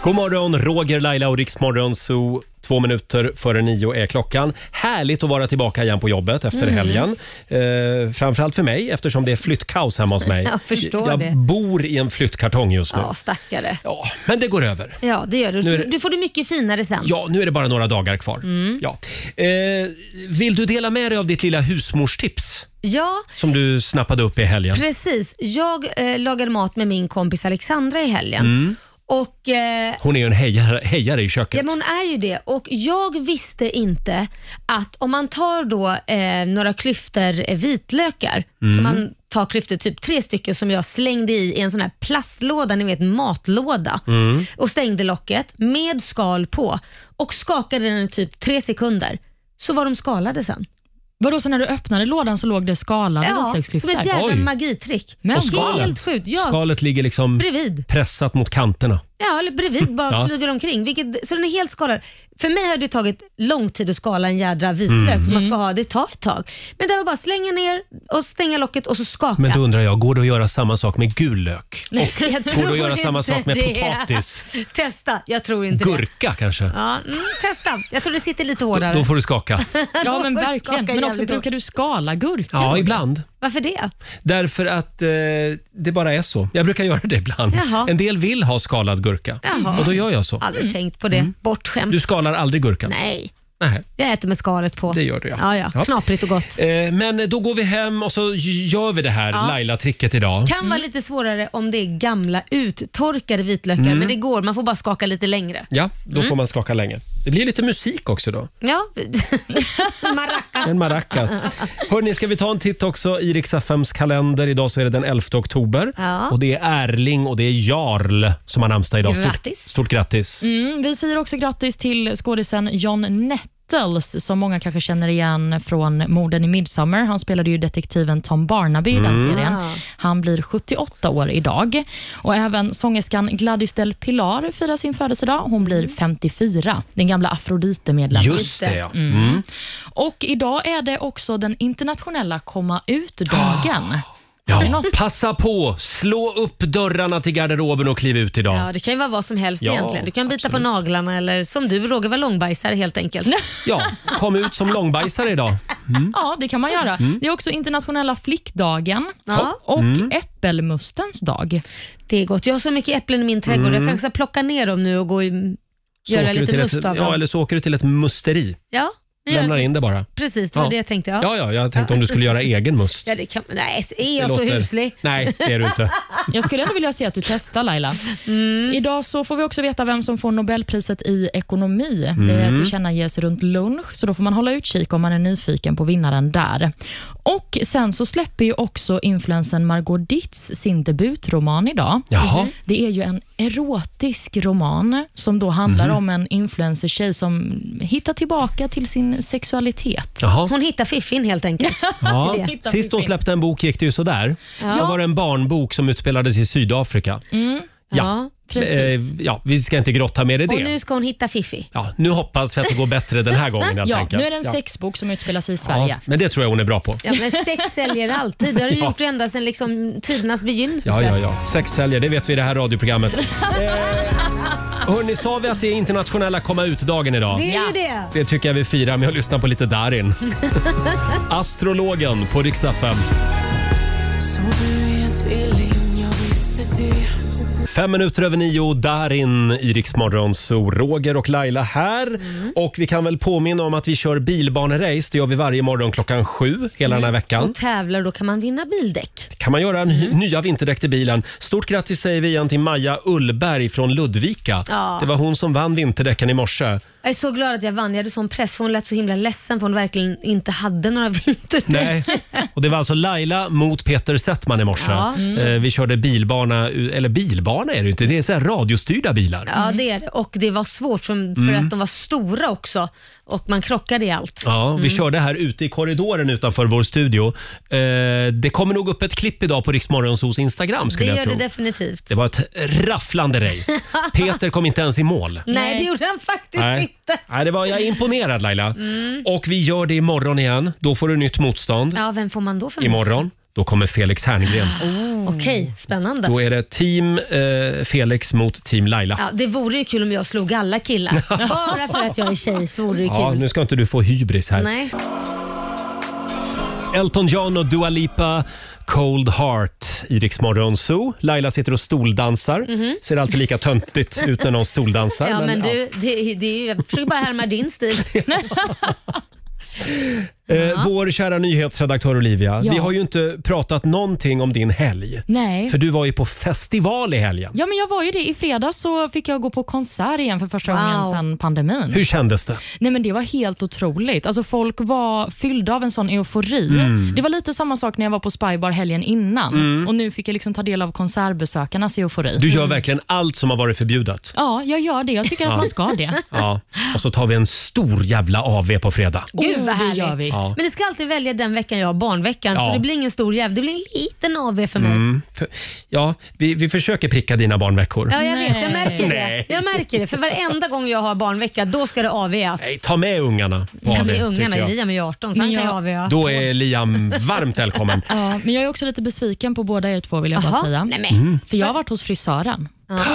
Speaker 1: God morgon, Roger, Laila och Riksmorgon Zoo. Två minuter före nio är klockan. Härligt att vara tillbaka igen på jobbet efter
Speaker 2: Mm.
Speaker 1: helgen. Eh, framförallt för mig eftersom det är flyttkaos hemma hos mig.
Speaker 2: [LAUGHS] Jag förstår
Speaker 1: jag
Speaker 2: det.
Speaker 1: bor i en flyttkartong just nu.
Speaker 2: Ja, stackare.
Speaker 1: Ja. Men det går över.
Speaker 2: Ja, det gör du.
Speaker 1: Nu är det-
Speaker 2: Du får det mycket finare sen.
Speaker 1: Ja, nu är det bara några dagar kvar.
Speaker 2: Mm.
Speaker 1: Ja. Eh, vill du dela med dig av ditt lilla husmorstips?
Speaker 2: Ja,
Speaker 1: Som du snappade upp i helgen.
Speaker 2: precis. Jag eh, lagade mat med min kompis Alexandra i helgen.
Speaker 1: Mm.
Speaker 2: Och, eh,
Speaker 1: Hon är ju en hejare, hejare i köket.
Speaker 2: ja, men hon är ju det och jag visste inte att om man tar då eh, några klyftor eh, vitlökar,
Speaker 13: Mm.
Speaker 2: så man tar klyftor, typ tre stycken som jag slängde i, i en sån här plastlåda, ni vet matlåda.
Speaker 13: Mm.
Speaker 2: och stängde locket med skal på och skakade den i typ tre sekunder. Så var de skalade sen.
Speaker 3: Vadå, så när du öppnade lådan så låg det skalade
Speaker 2: Ja, som
Speaker 3: vitlöksklyftor?
Speaker 2: ett jävla
Speaker 1: Oj.
Speaker 2: magitrick.
Speaker 1: Och skalet,
Speaker 2: Helt sjukt. Ja,
Speaker 1: skalet ligger liksom
Speaker 2: bredvid.
Speaker 1: pressat mot kanterna.
Speaker 2: Ja, eller bredvid bara
Speaker 1: Ja.
Speaker 2: flyger omkring. Vilket, så den är helt skalad. För mig har det tagit lång tid att skala en jädra vitlök
Speaker 1: Mm.
Speaker 2: som man ska ha. Det tar ett tag. Men det var bara slänga ner och stänga locket och så skaka.
Speaker 1: Men då undrar jag, går det att göra samma sak med gul lök?
Speaker 2: [LAUGHS] Nej, jag
Speaker 1: Går det
Speaker 2: tror
Speaker 1: att göra samma
Speaker 2: inte
Speaker 1: sak med
Speaker 2: det.
Speaker 1: potatis?
Speaker 2: Testa. Jag tror [LAUGHS] inte
Speaker 1: Gurka kanske?
Speaker 2: det. Ja, mm, testa. Jag tror det sitter lite hårdare.
Speaker 1: Då får
Speaker 2: [LAUGHS]
Speaker 1: du skaka.
Speaker 2: Då
Speaker 3: Ja,
Speaker 2: får
Speaker 3: men
Speaker 2: du
Speaker 3: verkligen.
Speaker 2: skaka
Speaker 3: Men också
Speaker 2: jävligt
Speaker 3: brukar
Speaker 2: hårt.
Speaker 3: du skala gurka?
Speaker 1: Ja, ibland.
Speaker 2: Varför det?
Speaker 1: Därför att eh, det bara är så. Jag brukar göra det ibland.
Speaker 2: Jaha.
Speaker 1: En del vill ha skalad gurka
Speaker 2: Jaha.
Speaker 1: och då gör jag så.
Speaker 2: Aldrig tänkt på det. Bortskämt.
Speaker 1: Mm. Du skalar aldrig gurkan?
Speaker 2: Nej,
Speaker 1: Nej.
Speaker 2: jag äter med skalet på.
Speaker 1: Det gör du, ja.
Speaker 2: ja, ja.
Speaker 1: Ja.
Speaker 2: Knaprigt och gott.
Speaker 1: Eh, Men då går vi hem och så gör vi det här
Speaker 2: Ja.
Speaker 1: Laila-tricket idag.
Speaker 2: Kan vara lite svårare om det är gamla uttorkade vitlökar,
Speaker 1: Mm.
Speaker 2: men det går. Man får bara skaka lite längre.
Speaker 1: Ja, då
Speaker 2: Mm.
Speaker 1: får man skaka länge. Det blir lite musik också då.
Speaker 2: Ja, [LAUGHS] maracas. [LAUGHS]
Speaker 1: En maracas. Hörni, ska vi ta en titt också i Riksaffems kalender? Idag så är det den 11 oktober.
Speaker 3: Ja.
Speaker 1: Och det är Erling och det är Jarl som har namnsdag idag. Stort,
Speaker 3: Grattis.
Speaker 1: stort grattis.
Speaker 3: Mm, vi säger också grattis till skådisen John Nettles som många kanske känner igen från morden i Midsommar. Han spelade ju detektiven Tom Barnaby i den
Speaker 13: Mm.
Speaker 3: serien.
Speaker 13: Ah.
Speaker 3: Han blir 78 år idag. Och Även sångerskan Gladys del Pilar firar sin födelsedag. Hon blir
Speaker 1: Mm.
Speaker 3: 54, den gamla Afrodite-medlemmen.
Speaker 1: Just det, ja.
Speaker 3: Mm.
Speaker 1: Mm.
Speaker 3: Och idag är det också den internationella komma ut-dagen.
Speaker 1: [GASPS] Ja. Passa på, slå upp dörrarna till garderoben och kliv ut idag.
Speaker 2: Ja, det kan ju vara vad som helst
Speaker 1: Ja,
Speaker 2: egentligen. Du kan bita på naglarna eller som du, Roger, var långbajsare helt enkelt.
Speaker 1: Ja, kom ut som långbajsare idag. Mm.
Speaker 3: Ja, det kan man göra.
Speaker 1: Mm.
Speaker 3: Det är också internationella flickdagen
Speaker 2: Ja.
Speaker 3: och
Speaker 1: Mm.
Speaker 3: äppelmustens dag.
Speaker 2: Det är gott. Jag har så mycket äpplen i min trädgård.
Speaker 1: Mm.
Speaker 2: Jag kanske ska plocka ner dem nu och gå i,
Speaker 1: Så
Speaker 2: göra
Speaker 1: åker du
Speaker 2: lite
Speaker 1: till
Speaker 2: lust
Speaker 1: ett,
Speaker 2: av dem.
Speaker 1: ja, eller så åker du till ett musteri.
Speaker 2: ja, jag gör
Speaker 1: Lämnar in det bara.
Speaker 2: Precis, det var det jag tänkte. Ja,
Speaker 1: Ja, ja, jag tänkte om du skulle göra egen must.
Speaker 2: Ja, det kan, nej, är jag
Speaker 1: Det
Speaker 2: så
Speaker 1: låter-
Speaker 2: huslig?
Speaker 1: Nej, det är
Speaker 2: [LAUGHS]
Speaker 1: du inte.
Speaker 3: Jag skulle ändå vilja se att du testar Laila. Idag så får vi också veta vem som får Nobelpriset i ekonomi. Det
Speaker 13: Mm.
Speaker 3: tillkännages runt lunch, så då får man hålla utkik om man är nyfiken på vinnaren där. Och Sen så släpper ju också influensen Margot Ditz sin debutroman idag.
Speaker 13: Jaha.
Speaker 2: Mm.
Speaker 3: Det är ju en erotisk roman som då handlar
Speaker 13: Mhm.
Speaker 3: om en influencer-tjej som hittar tillbaka till sin sexualitet.
Speaker 1: Jaha.
Speaker 2: Hon hittar fiffin helt enkelt.
Speaker 1: Ja.
Speaker 2: Det är det.
Speaker 1: Sist hon släppte en bok gick det ju sådär.
Speaker 2: Ja.
Speaker 1: Då var det en barnbok som utspelades i Sydafrika.
Speaker 2: Mm. Ja, precis.
Speaker 1: Eh, ja, vi ska inte grotta mer i
Speaker 2: Och
Speaker 1: det.
Speaker 2: nu ska hon hitta Fiffi.
Speaker 1: Ja, nu hoppas vi att det går bättre den här gången helt
Speaker 3: Ja,
Speaker 1: enkelt.
Speaker 3: nu är det en
Speaker 1: Ja.
Speaker 3: sexbok som utspelar sig i Sverige.
Speaker 1: Ja, men det tror jag hon är bra på.
Speaker 2: Ja, men
Speaker 1: [LAUGHS]
Speaker 2: sex säljer alltid. Det har du
Speaker 1: Ja.
Speaker 2: gjort ända sedan liksom, tidernas begynnelse.
Speaker 1: Ja, ja, ja. Sex säljer, det vet vi i det
Speaker 2: [LAUGHS]
Speaker 1: här radioprogrammet. Eh, Hörni, sa vi att det är internationella komma ut-dagen idag?
Speaker 2: Det är ju det.
Speaker 1: Det tycker jag vi firar med att lyssna på
Speaker 10: [LAUGHS]
Speaker 1: lite Darin. Astrologen på riksdag 5.
Speaker 10: Så du är en tvilling, jag visste det
Speaker 1: Fem minuter över nio, Darin i Rix Morgon, så Roger och Laila här. Och vi kan väl påminna om att vi kör bilbanerace. Det gör vi varje morgon klockan sju hela den här veckan.
Speaker 2: Och tävlar, då kan man vinna bildäck.
Speaker 1: kan man göra en hy- nya vinterdäck till bilen. Stort grattis säger vi igen till Maja Ullberg från Ludvika.
Speaker 2: Ja.
Speaker 1: Det var hon som vann vinterdäcken i morse.
Speaker 2: Jag är så glad att jag vann. Jag hade sån press för hon lät så himla ledsen för hon verkligen inte hade några [LAUGHS] vinterdäck.
Speaker 1: Nej. Och det var alltså Laila mot Peter Settman i morse.
Speaker 2: Ja. Mm.
Speaker 1: Eh, vi körde bilbana, eller bilbana är det ju inte, det är så här radiostyrda bilar.
Speaker 2: Ja, det är det. Och det var svårt för, för
Speaker 1: Mm.
Speaker 2: att de var stora också och man krockade i allt.
Speaker 1: Ja, vi
Speaker 2: Mm.
Speaker 1: körde här ute i korridoren utanför vår studio. Eh, det kommer nog upp ett klipp idag på Riksmorgonsos Instagram
Speaker 2: Det
Speaker 1: skulle jag
Speaker 2: gör
Speaker 1: tro.
Speaker 2: det definitivt.
Speaker 1: det var ett
Speaker 2: [LAUGHS]
Speaker 1: rafflande race. Peter kom inte ens i mål.
Speaker 2: Nej, det gjorde han faktiskt
Speaker 1: Nej.
Speaker 2: inte.
Speaker 1: Nej, det var, jag är imponerad Laila.
Speaker 2: Mm.
Speaker 1: Och vi gör det imorgon igen. Då får du nytt motstånd.
Speaker 2: Ja, Oh. vem får man då för
Speaker 1: Imorgon, då kommer Felix Herngren.
Speaker 2: motstånd? Okej, spännande.
Speaker 1: Då är det team eh, Felix mot team Laila.
Speaker 2: Ja, det vore ju kul om jag slog alla
Speaker 1: [LAUGHS]
Speaker 2: killar. Bara för att jag är tjej så vore det
Speaker 1: Ja,
Speaker 2: kul.
Speaker 1: nu ska inte du få hybris här.
Speaker 2: Nej.
Speaker 1: Elton John och Dua Lipa, Cold Heart i Rix Morgon Zoo. Laila sitter och stoldansar.
Speaker 2: Mhm.
Speaker 1: Ser alltid
Speaker 2: [LAUGHS]
Speaker 1: lika töntigt ut när någon stoldansar.
Speaker 2: Ja, men
Speaker 1: ja.
Speaker 2: du, det, det är ju, jag försöker bara härma din stil.
Speaker 1: eh, vår kära nyhetsredaktör Olivia,
Speaker 3: Ja.
Speaker 1: vi har ju inte pratat någonting om din helg.
Speaker 3: Nej.
Speaker 1: För du var ju på festival i helgen.
Speaker 3: Ja, men jag var ju det. I fredags så fick jag gå på konsert igen för första gången
Speaker 1: Wow.
Speaker 3: sedan pandemin.
Speaker 1: Hur kändes det?
Speaker 3: Nej, men det var helt otroligt. Alltså, folk var fyllda av en sån eufori.
Speaker 1: Mm.
Speaker 3: Det var lite samma sak när jag var på Spybar helgen innan
Speaker 1: Mm.
Speaker 3: och nu fick jag liksom ta del av konsertbesökarnas eufori.
Speaker 1: Du
Speaker 2: Mm.
Speaker 1: gör verkligen allt som har varit förbjudet.
Speaker 3: Ja, jag gör det. Jag tycker
Speaker 1: Ja. [LAUGHS]
Speaker 3: att man ska det.
Speaker 1: Ja. Och så tar vi en stor jävla AV på fredag.
Speaker 2: Gud vad härligt.
Speaker 3: gör vi.
Speaker 1: Ja. Ja.
Speaker 2: Men jag ska alltid välja den veckan jag har barnveckan,
Speaker 1: Ja.
Speaker 2: så det blir ingen stor jäv. Det blir en liten AV för mig.
Speaker 1: Mm. För, ja, vi, vi försöker pricka dina barnveckor.
Speaker 2: Ja, jag vet. Jag märker
Speaker 1: Nej.
Speaker 2: det. Jag märker det. För varenda gång jag har barnvecka, då ska det AVs.
Speaker 1: Nej, ta med ungarna. på
Speaker 2: Ta
Speaker 1: AV,
Speaker 2: med
Speaker 1: tycker
Speaker 2: ungarna.
Speaker 1: jag.
Speaker 2: Liam är ju 18, så han kan ju AVa.
Speaker 1: Då är Liam varmt välkommen.
Speaker 3: Ja, men jag är också lite besviken på båda er två vill jag bara
Speaker 2: Jaha,
Speaker 3: säga.
Speaker 2: nej men.
Speaker 1: Mm.
Speaker 3: För jag har varit hos frisören.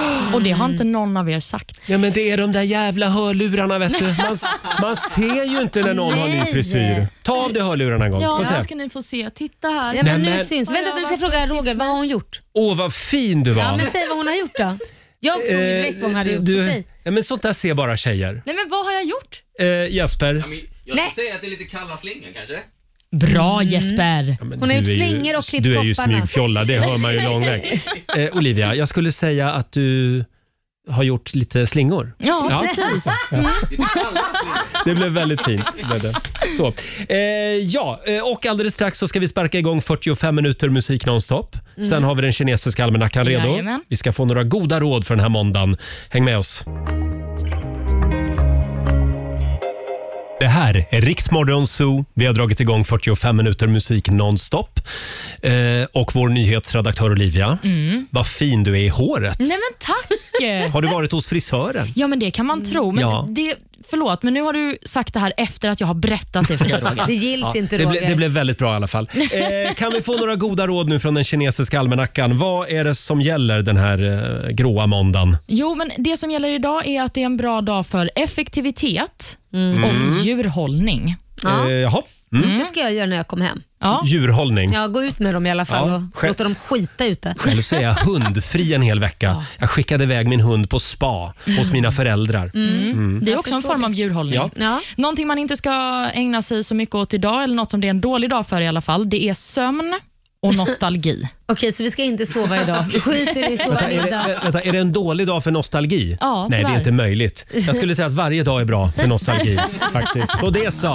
Speaker 3: [GASPS] Och det har inte någon av er sagt.
Speaker 1: [LAUGHS] Ja, men det är de där jävla hörlurarna vet du. Man, man ser ju inte när någon har ny
Speaker 3: Nej.
Speaker 1: frisyr. Ta av dig hörlurarna en gång.
Speaker 3: Ja,
Speaker 1: Få se.
Speaker 3: här ska ni få se. Titta här.
Speaker 1: Ja, men Nej, nu men- syns-
Speaker 2: Vänta, du ska fråga Roger, vad har hon gjort?
Speaker 1: Åh, vad fin du var.
Speaker 2: Ja, men säg vad hon har gjort då. Jag såg ju direkt vad hon hade
Speaker 1: Eh,
Speaker 2: gjort.
Speaker 1: du-
Speaker 2: så säg.
Speaker 1: ja, men sånt där ser bara tjejer.
Speaker 3: Nej, men vad har jag gjort?
Speaker 1: Eh, Jesper.
Speaker 5: Jag skulle säga att det är lite kalla slingor kanske.
Speaker 3: Bra Jesper.
Speaker 2: Hon har gjort
Speaker 1: du är ju-
Speaker 2: slingor och klippt
Speaker 1: Du är ju
Speaker 2: topparna.
Speaker 1: smygfjolla, det hör man ju lång
Speaker 2: [LAUGHS]
Speaker 1: väg. Eh, Olivia, jag skulle säga att du har gjort lite slingor.
Speaker 3: Ja, precis. Mm.
Speaker 1: Det blev väldigt fint.
Speaker 3: [LAUGHS]
Speaker 1: blev det. Så. Eh, ja, eh, och alldeles strax så ska vi sparka igång 45 minuter musik nonstop.
Speaker 13: Mm.
Speaker 1: Sen har vi den kinesiska almanackan redo.
Speaker 13: Jajamän.
Speaker 1: Vi ska få några goda råd för den här måndagen. Häng med oss. Det här är Riksmorgon Zoo. Vi har dragit igång 45 minuter musik nonstop. Eh, och vår nyhetsredaktör Olivia,
Speaker 3: Mm.
Speaker 1: vad fin du är i håret.
Speaker 3: Nej men tack!
Speaker 1: Har du varit hos frisören?
Speaker 3: Ja men det kan man tro. Men
Speaker 1: Ja.
Speaker 3: det, förlåt, men nu har du sagt det här efter att jag har berättat det för dig Roger.
Speaker 1: Ja, det, ble, det blev väldigt bra i alla
Speaker 2: [LAUGHS]
Speaker 1: fall. Eh, kan vi få några goda råd nu från den kinesiska almanackan? Vad är det som gäller den här eh, gråa måndagen?
Speaker 3: Jo, men det som gäller idag är att det är en bra dag för effektivitet
Speaker 1: Mm. Mm.
Speaker 3: och djurhållning.
Speaker 2: Ja.
Speaker 1: Eh, jaha. Mm.
Speaker 2: Det ska jag göra när jag kommer hem.
Speaker 1: Djurhållning.
Speaker 2: Ja, gå ut med dem i alla fall
Speaker 1: Ja,
Speaker 2: och
Speaker 1: själv-
Speaker 2: låta dem skita ute.
Speaker 1: Själv så är jag hundfri en hel vecka. Jag skickade iväg min hund på spa hos mina föräldrar.
Speaker 3: Mm.
Speaker 1: Mm.
Speaker 3: Det är också en form av djurhållning.
Speaker 1: Ja.
Speaker 3: Någonting man inte ska ägna sig så mycket åt idag, eller något som det är en dålig dag för i alla fall, det är sömn och
Speaker 1: [LAUGHS]
Speaker 3: nostalgi.
Speaker 2: Okej, så vi ska inte sova idag. Vi skiter i att sova
Speaker 1: Vänta, är,
Speaker 2: middag.
Speaker 1: det, vänta, är det en dålig dag för nostalgi?
Speaker 2: Ja,
Speaker 1: Nej, det är
Speaker 2: tyvärr.
Speaker 1: inte möjligt. Jag skulle säga att varje dag är bra
Speaker 2: [LAUGHS]
Speaker 1: för nostalgi. faktiskt. Så det så.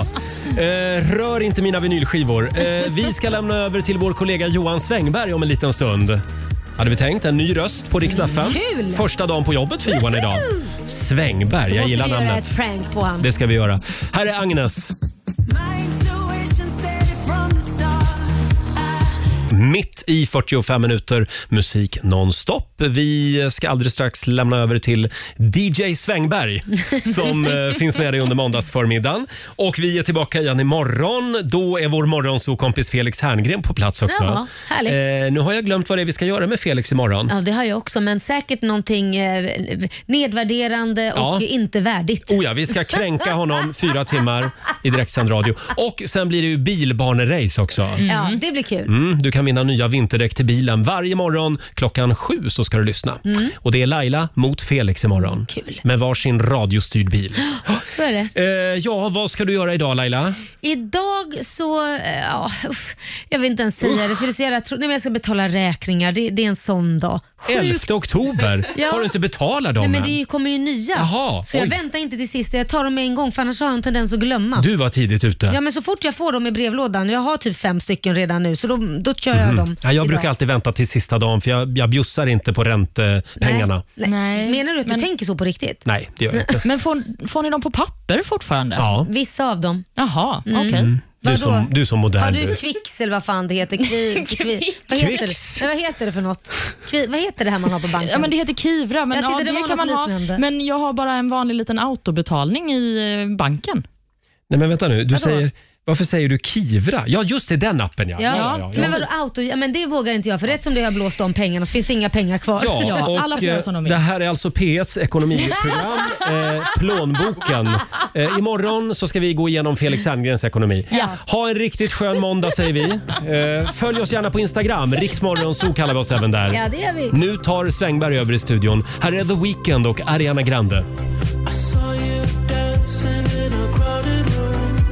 Speaker 1: Eh, rör inte mina vinylskivor. Eh, vi ska lämna över till vår kollega Johan Svängberg om en liten stund. Hade vi tänkt. En ny röst på Rix FM.
Speaker 2: Mm, Kul!
Speaker 1: Första dagen på jobbet för Johan idag. Svängberg,
Speaker 2: Då
Speaker 1: jag
Speaker 2: måste
Speaker 1: gillar
Speaker 2: vi göra ett
Speaker 1: namnet.
Speaker 2: prank på honom.
Speaker 1: Det ska vi göra. Här är Agnes. Mitt i 45 minuter musik nonstop. Vi ska alldeles strax lämna över till
Speaker 2: [LAUGHS]
Speaker 1: DJ Svängberg som eh, finns med dig under måndagsförmiddagen. Och vi är tillbaka igen imorgon. Då är vår morgonsokompis Felix Herngren på plats också.
Speaker 2: Ja, härligt.
Speaker 1: Eh, nu har jag glömt vad det är vi ska göra med Felix imorgon.
Speaker 2: Ja, det har jag också, men säkert någonting eh, nedvärderande och
Speaker 1: Ja.
Speaker 2: inte värdigt.
Speaker 1: Oh ja, vi ska kränka honom fyra timmar i direktsänd radio. Och sen blir det ju bilbanerace också.
Speaker 2: Ja, det blir kul.
Speaker 1: Mm, du kan vinna nya vinterdäck till bilen. Varje morgon klockan sju så ska du lyssna.
Speaker 2: Mm.
Speaker 1: Och det är Laila mot Felix imorgon. Kul. Med varsin radiostyrd
Speaker 2: [GASPS]
Speaker 1: bil.
Speaker 2: Så är det.
Speaker 1: Eh, ja, vad ska du göra idag Laila?
Speaker 2: Idag så, eh, ja, uff, jag vill inte ens säga det för det är så jävla tro- Nej, men jag ska betala räkningar. Det, det är en sån dag. Sjukt.
Speaker 1: 11 oktober?
Speaker 2: [LAUGHS] Ja.
Speaker 1: Har du inte betalat
Speaker 2: Nej,
Speaker 1: dem
Speaker 2: men
Speaker 1: än?
Speaker 2: det är ju- kommer ju nya.
Speaker 1: Jaha,
Speaker 2: så jag
Speaker 1: oj.
Speaker 2: väntar inte till sist. Jag tar dem med en gång för annars har jag en tendens att glömma.
Speaker 1: Du var tidigt ute.
Speaker 2: Ja, men så fort jag får dem i brevlådan, jag har typ fem stycken redan nu, så då, då kör jag
Speaker 1: Mhm.
Speaker 2: dem.
Speaker 1: ja, jag
Speaker 2: idag.
Speaker 1: brukar alltid vänta till sista dagen för jag, jag bjussar inte på räntepengarna. Nej,
Speaker 2: Nej. Menar du att du tänker så på riktigt?
Speaker 1: det gör jag inte.
Speaker 3: Men får, får ni dem på papper fortfarande?
Speaker 1: Ja.
Speaker 2: Vissa av dem.
Speaker 3: Jaha,
Speaker 2: Mm.
Speaker 3: okej.
Speaker 1: Mm. Du, är
Speaker 2: Vadå?
Speaker 1: som, du är som modern
Speaker 2: Har du kvicks eller vad fan det heter? Kvi, kvi, vad, heter det?
Speaker 3: Kvicks.
Speaker 2: Nej, vad heter det för något? Kvi, vad heter det här man har på banken?
Speaker 3: Ja, men det heter Kivra, men
Speaker 2: Jag
Speaker 3: ja,
Speaker 2: tyckte det
Speaker 3: det,
Speaker 2: var
Speaker 3: kan
Speaker 2: något
Speaker 3: man ha.
Speaker 2: liknande.
Speaker 3: Men jag har bara en vanlig liten autobetalning i eh, banken.
Speaker 1: Nej men vänta nu, du
Speaker 3: Vadå?
Speaker 1: säger, varför säger du Kivra? Ja just det, den appen ja.
Speaker 2: Ja, men vadå auto? Ja, men det vågar inte jag för rätt som det har jag blåst om pengarna så finns det inga pengar kvar.
Speaker 1: Ja, och eh, Det här är alltså P1s
Speaker 2: [LAUGHS]
Speaker 1: ekonomiprogram, eh, Plånboken. Eh, imorgon så ska vi gå igenom Felix Herngrens ekonomi.
Speaker 2: Ja.
Speaker 1: Ha en riktigt skön måndag säger vi. Eh, följ oss gärna på Instagram, riksmorgonzoo kallar vi oss även
Speaker 2: [LAUGHS]
Speaker 1: där.
Speaker 2: Ja, det gör vi.
Speaker 1: Nu tar Svängberg över i studion. Här är The Weeknd och Ariana Grande.
Speaker 10: I saw you dancing in a crowded room.